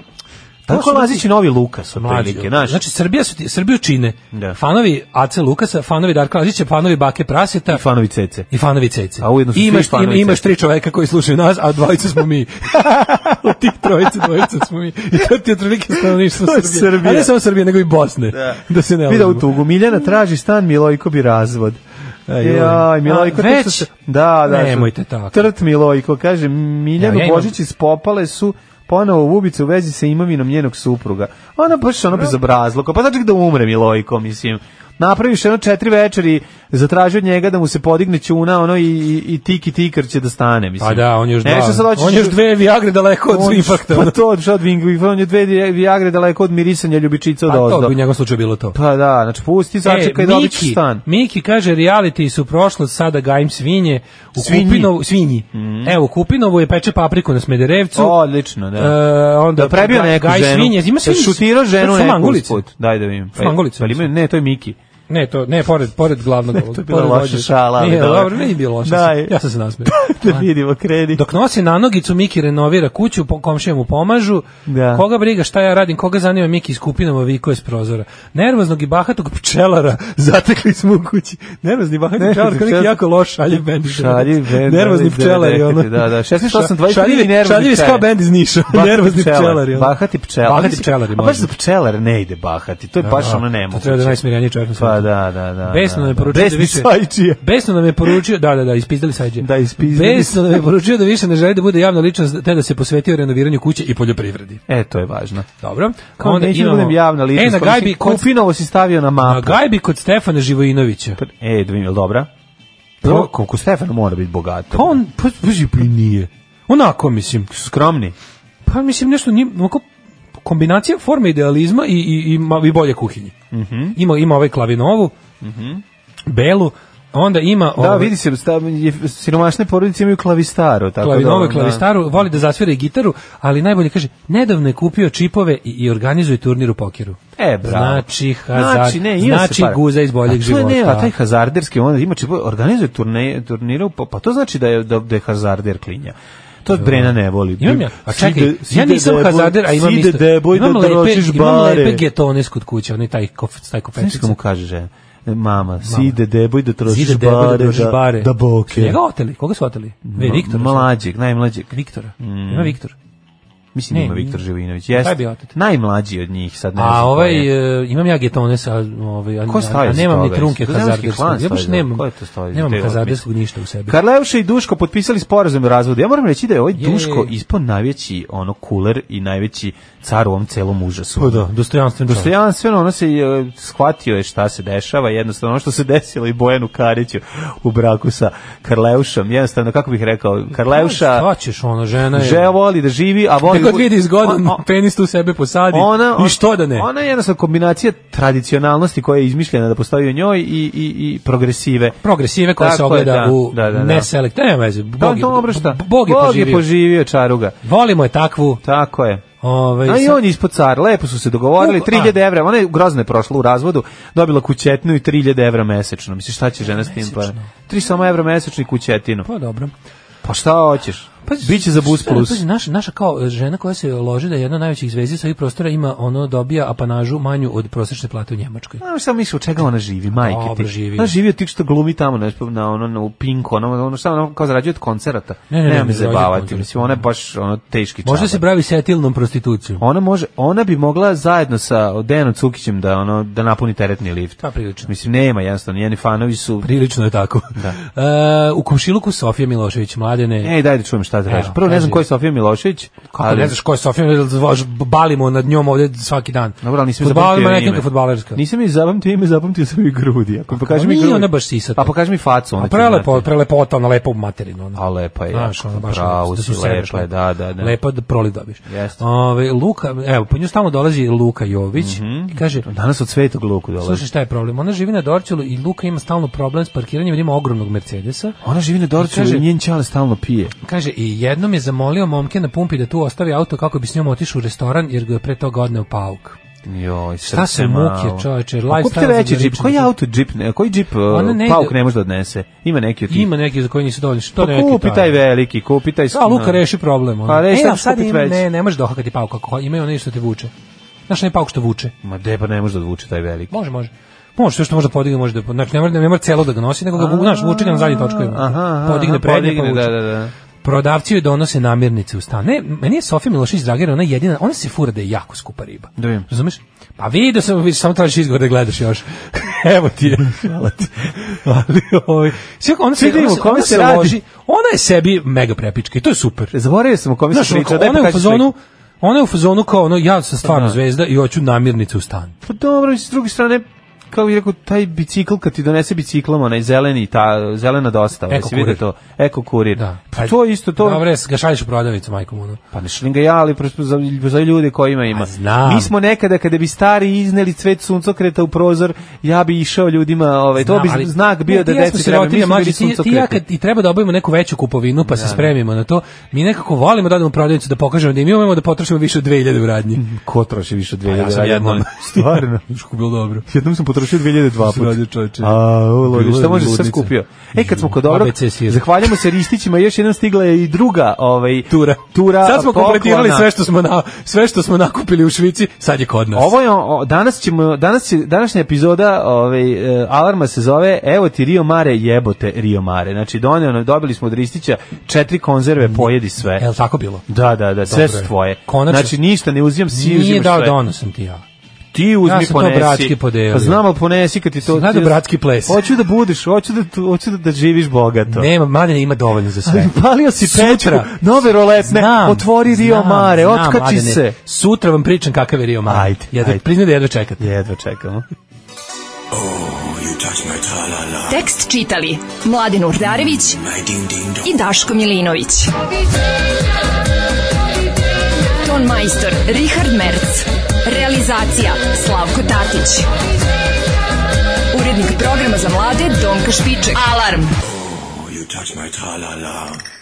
S6: Darko
S5: To su
S6: Lazić i novi Lukas, otprilike, znaš.
S5: Znači, Srbija su ti, Srbiju čine
S6: Da.
S5: fanovi AC Lukasa, fanovi Darka Lazića, fanovi Bake Praseta
S6: I fanovi Cece.
S5: i fanovi Cece.
S6: A ujedno su
S5: I
S6: svi
S5: imaš,
S6: fanovi
S5: im- imaš
S6: Cece.
S5: tri čoveka koji slušaju nas, a dvojica smo
S6: <laughs>
S5: mi. Od tih trojica, dvojica smo mi. I to ti je otprilike stanovništvo
S6: <laughs> To je
S5: Srbije.
S6: Srbija.
S5: A ne samo Srbije, nego i Bosne. Da, se ne
S6: Vida
S5: lažemo.
S6: u tugu. Miljana traži stan, Milojko bi razvod.
S5: joj.
S6: Jaj, Milojko,
S5: A,
S6: tek
S5: već?
S6: su se- da, da,
S5: Nemojte
S6: što-
S5: tako.
S6: Trt Milojko, kaže, Miljanu
S5: Evo, ja imam-
S6: Božić iz Popale su ponovo u ubicu u vezi sa imovinom njenog supruga. Ona baš ono bezobrazluka, pa znači da umre Milojko, mislim. Napraviš jedno četiri večeri, zatraži od njega da mu se podigne čuna, ono i, i, i tiki tikar će da stane, mislim.
S5: A Pa da, on je još
S6: Ne, šta sad
S5: dva.
S6: hoćeš-
S5: On je još dve Viagre daleko od
S6: On-
S5: Swifakta.
S6: Pa to, šta od Vingvifa, on je dve Viagre daleko od mirisanja ljubičica od
S5: Pa to
S6: ozdo.
S5: bi u njegovom slučaju bilo to.
S6: Pa da, znači pusti, začekaj e,
S5: E,
S6: dobit ćeš stan.
S5: Miki kaže, reality su prošlost, sada gajim svinje. U
S6: Svinji.
S5: Kupinovu, svinji. Evo, u Kupinovu je peče papriku na Smederevcu.
S6: Odlično, da.
S5: E, onda
S6: da prebio
S5: Gaj-
S6: neku
S5: Gaj
S6: ženu.
S5: Svinje, ima svinje.
S6: Da šutirao ženu
S5: To su
S6: neku
S5: Mangulice.
S6: usput. Daj da vidim.
S5: Su Mangulice,
S6: Pa, ima, ne, to je Miki. <laughs>
S5: Ne, to ne pored pored glavnog.
S6: to je bila
S5: pored
S6: loša
S5: vođe.
S6: šala, ali
S5: Nije,
S6: dobro.
S5: dobro, nije bilo loše.
S6: Daj.
S5: Ja sam se nasmeo.
S6: <laughs> da vidimo, kredi.
S5: Dok nosi nanogicu, Miki renovira kuću, po- komšije mu pomažu.
S6: Da.
S5: Koga briga šta ja radim, koga zanima Miki iz kupinova viko iz prozora. Nervoznog i bahatog pčelara <laughs> zatekli smo u kući. Nervozni i bahati
S6: Nervozni
S5: pčelar, kao neki
S6: pčelar.
S5: jako loš šaljiv bend. iz
S6: Šaljiv bend,
S5: Nervozni
S6: ali
S5: pčelari, ono.
S6: devedeseti, da, da, 16, 28,
S5: Šaljivi-
S6: nervozni
S5: Šaljivi ska
S6: pčelari.
S5: bend iz Niša.
S6: Bahati
S5: Nervozni pčelari, ono.
S6: Bahati pčelari.
S5: Bahati pčelari,
S6: A baš
S5: može.
S6: za pčelare ne ide bahati. To je baš
S5: Da,
S6: ono
S5: to
S6: nemoguće.
S5: treba da je najsmireniji čovjek na
S6: Pa
S5: svijetu.
S6: da, da, da.
S5: Besno
S6: da,
S5: nam je
S6: da.
S5: poručio da
S6: Besni
S5: više...
S6: sajčije.
S5: Besno nam je poručio, da, da, da, ispizdali sajđe.
S6: Da, ispizdali.
S5: Besno nam je poručio da više ne želi da bude javna ličnost, te da se posvetio renoviranju kuće i poljoprivredi.
S6: E, to je važno.
S5: Dobro.
S6: Kao
S5: Onda
S6: neću da
S5: imamo-
S6: budem javna ličnost.
S5: E, na
S6: pa
S5: gajbi,
S6: mislim,
S5: kod,
S6: Kupinovo si stavio na
S5: na
S6: mapu.
S5: gajbi kod Stefana Živojinovića. Pa
S6: E, da vidim, je li dobra?
S5: Pro-
S6: Koliko Stefan mora biti bogat.
S5: on, pa, pazi, pa i nije. Onako, mislim.
S6: Skromni.
S5: Pa mislim, nešto nije, onako, kombinacija forme idealizma i, i, i, ma- i bolje kuhinje.
S6: Mhm.
S5: Ima, ima ovaj klavinovu, belu, onda ima...
S6: Da,
S5: ovaj-
S6: vidi se, stav- je- siromašne porodice imaju klavistaru. Tako
S5: Klavinove
S6: da,
S5: klavistaru, voli da zasvira i gitaru, ali najbolje kaže, nedavno je kupio čipove i, i organizuje turnir u pokeru.
S6: Da. E, bravo.
S5: Znači, hazard,
S6: Znači, ne, ima se
S5: znači
S6: para.
S5: guza iz boljeg
S6: a to je,
S5: života.
S6: Ne, a taj hazarderski, on ima čipo, organizuje turne, turnire, u po- pa to znači da je, da, da je hazarder klinja. To Brena ne voli.
S5: Imam ja. A
S6: Si
S5: čekaj,
S6: de- si
S5: ja
S6: de
S5: nisam
S6: deboj-
S5: hazarder, a imam
S6: si de
S5: isto.
S6: deboj
S5: imam
S6: da
S5: lepe,
S6: trošiš
S5: imam
S6: bare.
S5: lepe getones kod kuće, onaj taj, kof, taj
S6: Znaš
S5: koferčica.
S6: kako mu kaže žena? Mama, si de deboj da trošiš
S5: Zide deboj da
S6: bare,
S5: držiš bare.
S6: da boke.
S5: Su Njega oteli, koga su oteli? Ve,
S6: Ma- Mm.
S5: Viktor.
S6: Mlađeg, najmlađeg.
S5: Viktora. Ima Viktor.
S6: Mislim da
S5: Ne,
S6: ima
S5: nije.
S6: Viktor Živinović. Jeste.
S5: Taj je bio otac.
S6: Najmlađi od njih sad ne znam
S5: A
S6: ko
S5: ovaj,
S6: je.
S5: e, imam ja getone sa, ovaj, ali,
S6: Ko
S5: a
S6: stavio za
S5: nemam ni
S6: toga?
S5: trunke
S6: Za Zemunski klan
S5: hazarderskog. Ja baš
S6: stavio za-
S5: nemam,
S6: ko je to stavio za
S5: nemam
S6: te otmice?
S5: hazarderskog ništa u sebi.
S6: Karleuša i Duško potpisali sporazum o razvodu. Ja moram reći da je ovaj
S5: Je.
S6: Duško ispod najveći ono kuler i najveći car u ovom celom užasu.
S5: Pa da, dostojanstven čovjek.
S6: Dostojanstveno, ono se e, shvatio je šta se dešava, jednostavno ono što se <laughs> desilo i Bojanu Kariću u braku sa Karleušom. Jednostavno, kako bih rekao, Karleuša...
S5: Pa Šta ćeš, ono, žena je-
S6: Žena voli da živi, a voli...
S5: Kad god vidi zgodan penis tu sebe posadi, i što da ne?
S6: Ona je jednostavno kombinacija tradicionalnosti koja je izmišljena da postoji u njoj i, i, i progresive.
S5: Progresive koja se
S6: Tako je,
S5: ogleda
S6: da,
S5: u
S6: da, da, da.
S5: neselekt. Nema veze,
S6: To
S5: Bog
S6: je
S5: je,
S6: dobro šta.
S5: Bog je poživio.
S6: poživio čaruga.
S5: Volimo je takvu.
S6: Tako je.
S5: Ovaj,
S6: A i
S5: sad-
S6: on je ispod car, lepo su se dogovorili,
S5: Koliko-
S6: 3000 evra, ona je grozno je prošla u razvodu, dobila kućetinu i 3000 evra mesečno. Misliš, šta će žena s tim para? 3 samo evra mesečno i kućetinu.
S5: Pa dobro.
S6: Pa šta hoćeš? Pa, Biće za bus
S5: Šta,
S6: plus.
S5: pazi, naša, naša kao e, žena koja se loži da je jedna od najvećih zvezdi sa ovih prostora ima ono dobija apanažu manju od prosječne plate u Njemačkoj.
S6: Znaš šta misliš, od čega ona živi, majke ti?
S5: Dobro živi.
S6: Ona živi od tih što glumi tamo, na, na, ono, na, u pinku, ono, ono šta ono kao zarađuje od koncerata.
S5: Ne, ne, ne,
S6: Nema
S5: ne
S6: me
S5: zarađuje od
S6: zabavati,
S5: koncerata.
S6: mislim, ona je baš ono, teški čabar.
S5: Možda se bravi setilnom prostitucijom.
S6: Ona može, ona bi mogla zajedno sa Dejanom Cukićem da ono da napuni teretni lift.
S5: Pa prilično.
S6: Mislim nema jednostavno, njeni fanovi su
S5: Prilično je tako. <laughs> E, u komšiluku Sofija Milošević, mladene.
S6: Ej, daj da čujem šta traži.
S5: Evo,
S6: Prvo ne
S5: kaži.
S6: znam ko je Sofija Milošević,
S5: Kako ne znaš ko je Sofija, jer zvaš- balimo nad njom ovdje svaki dan.
S6: Dobro, ali nisam
S5: Fudbalerima,
S6: zapamtio
S5: nekim
S6: ime.
S5: fudbalerska.
S6: Nisam mi zapamtio ime, zapamtio sam i grudi. Ako mi pokaži mi
S5: Pa Nije
S6: grudi.
S5: ona baš sisata.
S6: Pa pokaži mi facu, onda
S5: A
S6: ću
S5: prelepo,
S6: znati.
S5: prelepota, ona lepa u materinu. Ona.
S6: A lepa je.
S5: Znaš,
S6: Znaš,
S5: ono baš
S6: pa pravo
S5: da
S6: si,
S5: su
S6: lepa je,
S5: seriješne.
S6: da, da, da.
S5: Lepa da proli dobiš.
S6: Jeste.
S5: Ove, Luka, evo, po nju stalno dolazi Luka Jović
S6: Mhm.
S5: i kaže,
S6: Pa Danas od svetog luku dolazi.
S5: slušaj šta je problem, ona živi na Dorčelu i Luka ima stalno problem s parkiranjem, jer ima ogromnog Mercedesa.
S6: Ona živi na Dorću
S5: Kaže-
S6: i Znači, njen čale stalno pije.
S5: Kaže, i jednom je zamolio momke na pumpi da tu ostavi auto kako bi s njom otišao u restoran, jer ga je pre toga odneo pauk.
S6: Joj,
S5: Šta
S6: srce
S5: su muke,
S6: malo.
S5: čoveče,
S6: A
S5: lifestyle
S6: Pa kupite veći
S5: za
S6: džip,
S5: ričanje.
S6: koji auto džip, ne, koji džip uh,
S5: Ona ne ide-
S6: pauk ne može da odnese? Ima neki od tih.
S5: Ima neki za koji nisu dovoljni, što
S6: Pa
S5: neki
S6: kupi taj veliki, kupi taj...
S5: Da, Luka reši problem. Ono.
S6: Pa reši,
S5: e,
S6: sad
S5: a
S6: ćeš
S5: sad
S6: kupit
S5: im,
S6: veći.
S5: ne, ne možeš dohakati pauk kako imaju oni što te vuče. Znaš, ne pauk što vuče.
S6: Ma de, pa ne može da odvuče taj veliki.
S5: Može, može. Može, sve što može da podigne, može da po- znači, ne mora, ne mora celo da ga nosi, nego ga, vu- znaš, vuče ga na zadnji točkovima. podigne prednje, pa
S6: podigne,
S5: vuče.
S6: da, da, da.
S5: Prodavci joj donose namirnice u stan. Ne, meni je Sofija Milošić Drager, ona je jedina, ona se fura da je jako skupa riba.
S6: Da vidim.
S5: Razumeš? Pa vidio sam, vidiš, samo tražiš izgovor da gledaš još. <laughs> Evo ti
S6: <laughs>
S5: je. Hvala ti. <laughs> Ali, ovaj, sve, ona se,
S6: Čekaj,
S5: ona
S6: o
S5: se,
S6: kome
S5: ona
S6: se
S5: se
S6: radi?
S5: loži, ona je sebi mega prepička i to je super.
S6: Zaboravio sam o kome
S5: Znaš, ono,
S6: se pričao, daj pa
S5: ona je u
S6: pokaži
S5: fazonu, ona je u fazonu kao ono, ja sam stvarno zvezda i hoću namirnice u stan.
S6: Pa dobro, i s druge strane, kako bih rekao, taj bicikl kad ti donese biciklom, onaj zeleni, ta zelena dostava,
S5: Eko
S6: jesi vidio
S5: kurir.
S6: to? Eko kurir.
S5: Da.
S6: Pa to je isto, to...
S5: Dobre, ga šalješ u prodavnicu, majkom, ono.
S6: Pa ne šlim ga ja, ali prosto za, za ljude kojima ima.
S5: znam.
S6: Mi smo nekada, kada bi stari izneli cvet suncokreta u prozor, ja bi išao ljudima, ovaj, to
S5: Znam,
S6: bi
S5: ali-
S6: znak bio
S5: Ne,
S6: da
S5: ti i ja smo
S6: deci treba, mi
S5: sirotinja,
S6: smo
S5: mlađi,
S6: bili
S5: ti, ti i ja
S6: suncokreti.
S5: kad i treba da obavimo neku veću kupovinu pa se spremimo na to, mi nekako volimo da odemo u prodavnicu da pokažemo da i mi umemo da potrošimo više od 2000 u radnji.
S6: Ko troši više od
S5: ja
S6: 2000?
S5: sam jednom- <laughs>
S6: radnje? Stvarno.
S5: Znaš kako je bilo dobro.
S6: Jednom sam potrošio 2002
S5: Sam radio, čoveče.
S6: A, ulogi,
S5: Bilo je
S6: šta može sve
S5: ludnica.
S6: skupio? E, kad smo kod dobrog,
S5: ABC sir.
S6: zahvaljamo se Ristićima, još jednom stigla je i druga ovaj,
S5: Tura.
S6: tura
S5: Sad smo
S6: poklona.
S5: kompletirali sve što smo, na, sve što smo nakupili u Švici, sad je kod nas.
S6: Ovo je, o, danas ćemo, danas, će- današnja epizoda ovaj, e, Alarma se zove Evo ti Rio Mare, jebote Rio Mare. Znači, donio, nam- dobili smo od Ristića četiri konzerve, pojedi sve.
S5: Je li tako bilo?
S6: Da, da, da, sve
S5: Dobro
S6: su
S5: je.
S6: tvoje.
S5: Konačno-
S6: Znači, ništa, ne uzimam si,
S5: Nije
S6: uzimaš
S5: dao
S6: sve.
S5: dono sam ti ja.
S6: Ti uzmi
S5: Ja sam to
S6: ponesi.
S5: bratski podelio.
S6: Pa znam, ali ponesi kad ti to...
S5: Si gledao
S6: ti-
S5: bratski ples?
S6: Hoću da budeš, hoću da, tu- hoću da, da živiš bogato. E,
S5: Nema, mladine ima dovoljno za
S6: <laughs>
S5: sve.
S6: Palio si Petra,
S5: Sutra.
S6: nove roletne,
S5: Znam,
S6: otvori Rio
S5: znam,
S6: Mare,
S5: znam,
S6: otkači
S5: mladene.
S6: se.
S5: Sutra vam pričam kakav je Rio Mare.
S6: Ajde,
S5: Jedva,
S6: ajde.
S5: Priznaj da jedva čekate.
S6: Jedva čekamo.
S4: Tekst čitali Mladin Urdarević i Daško Milinović. Ton majstor Richard Merc. Realizacija Slavko Tatić. Urednik programa za mlade Donka Špiček. Alarm!
S14: You touch my tra-la-la.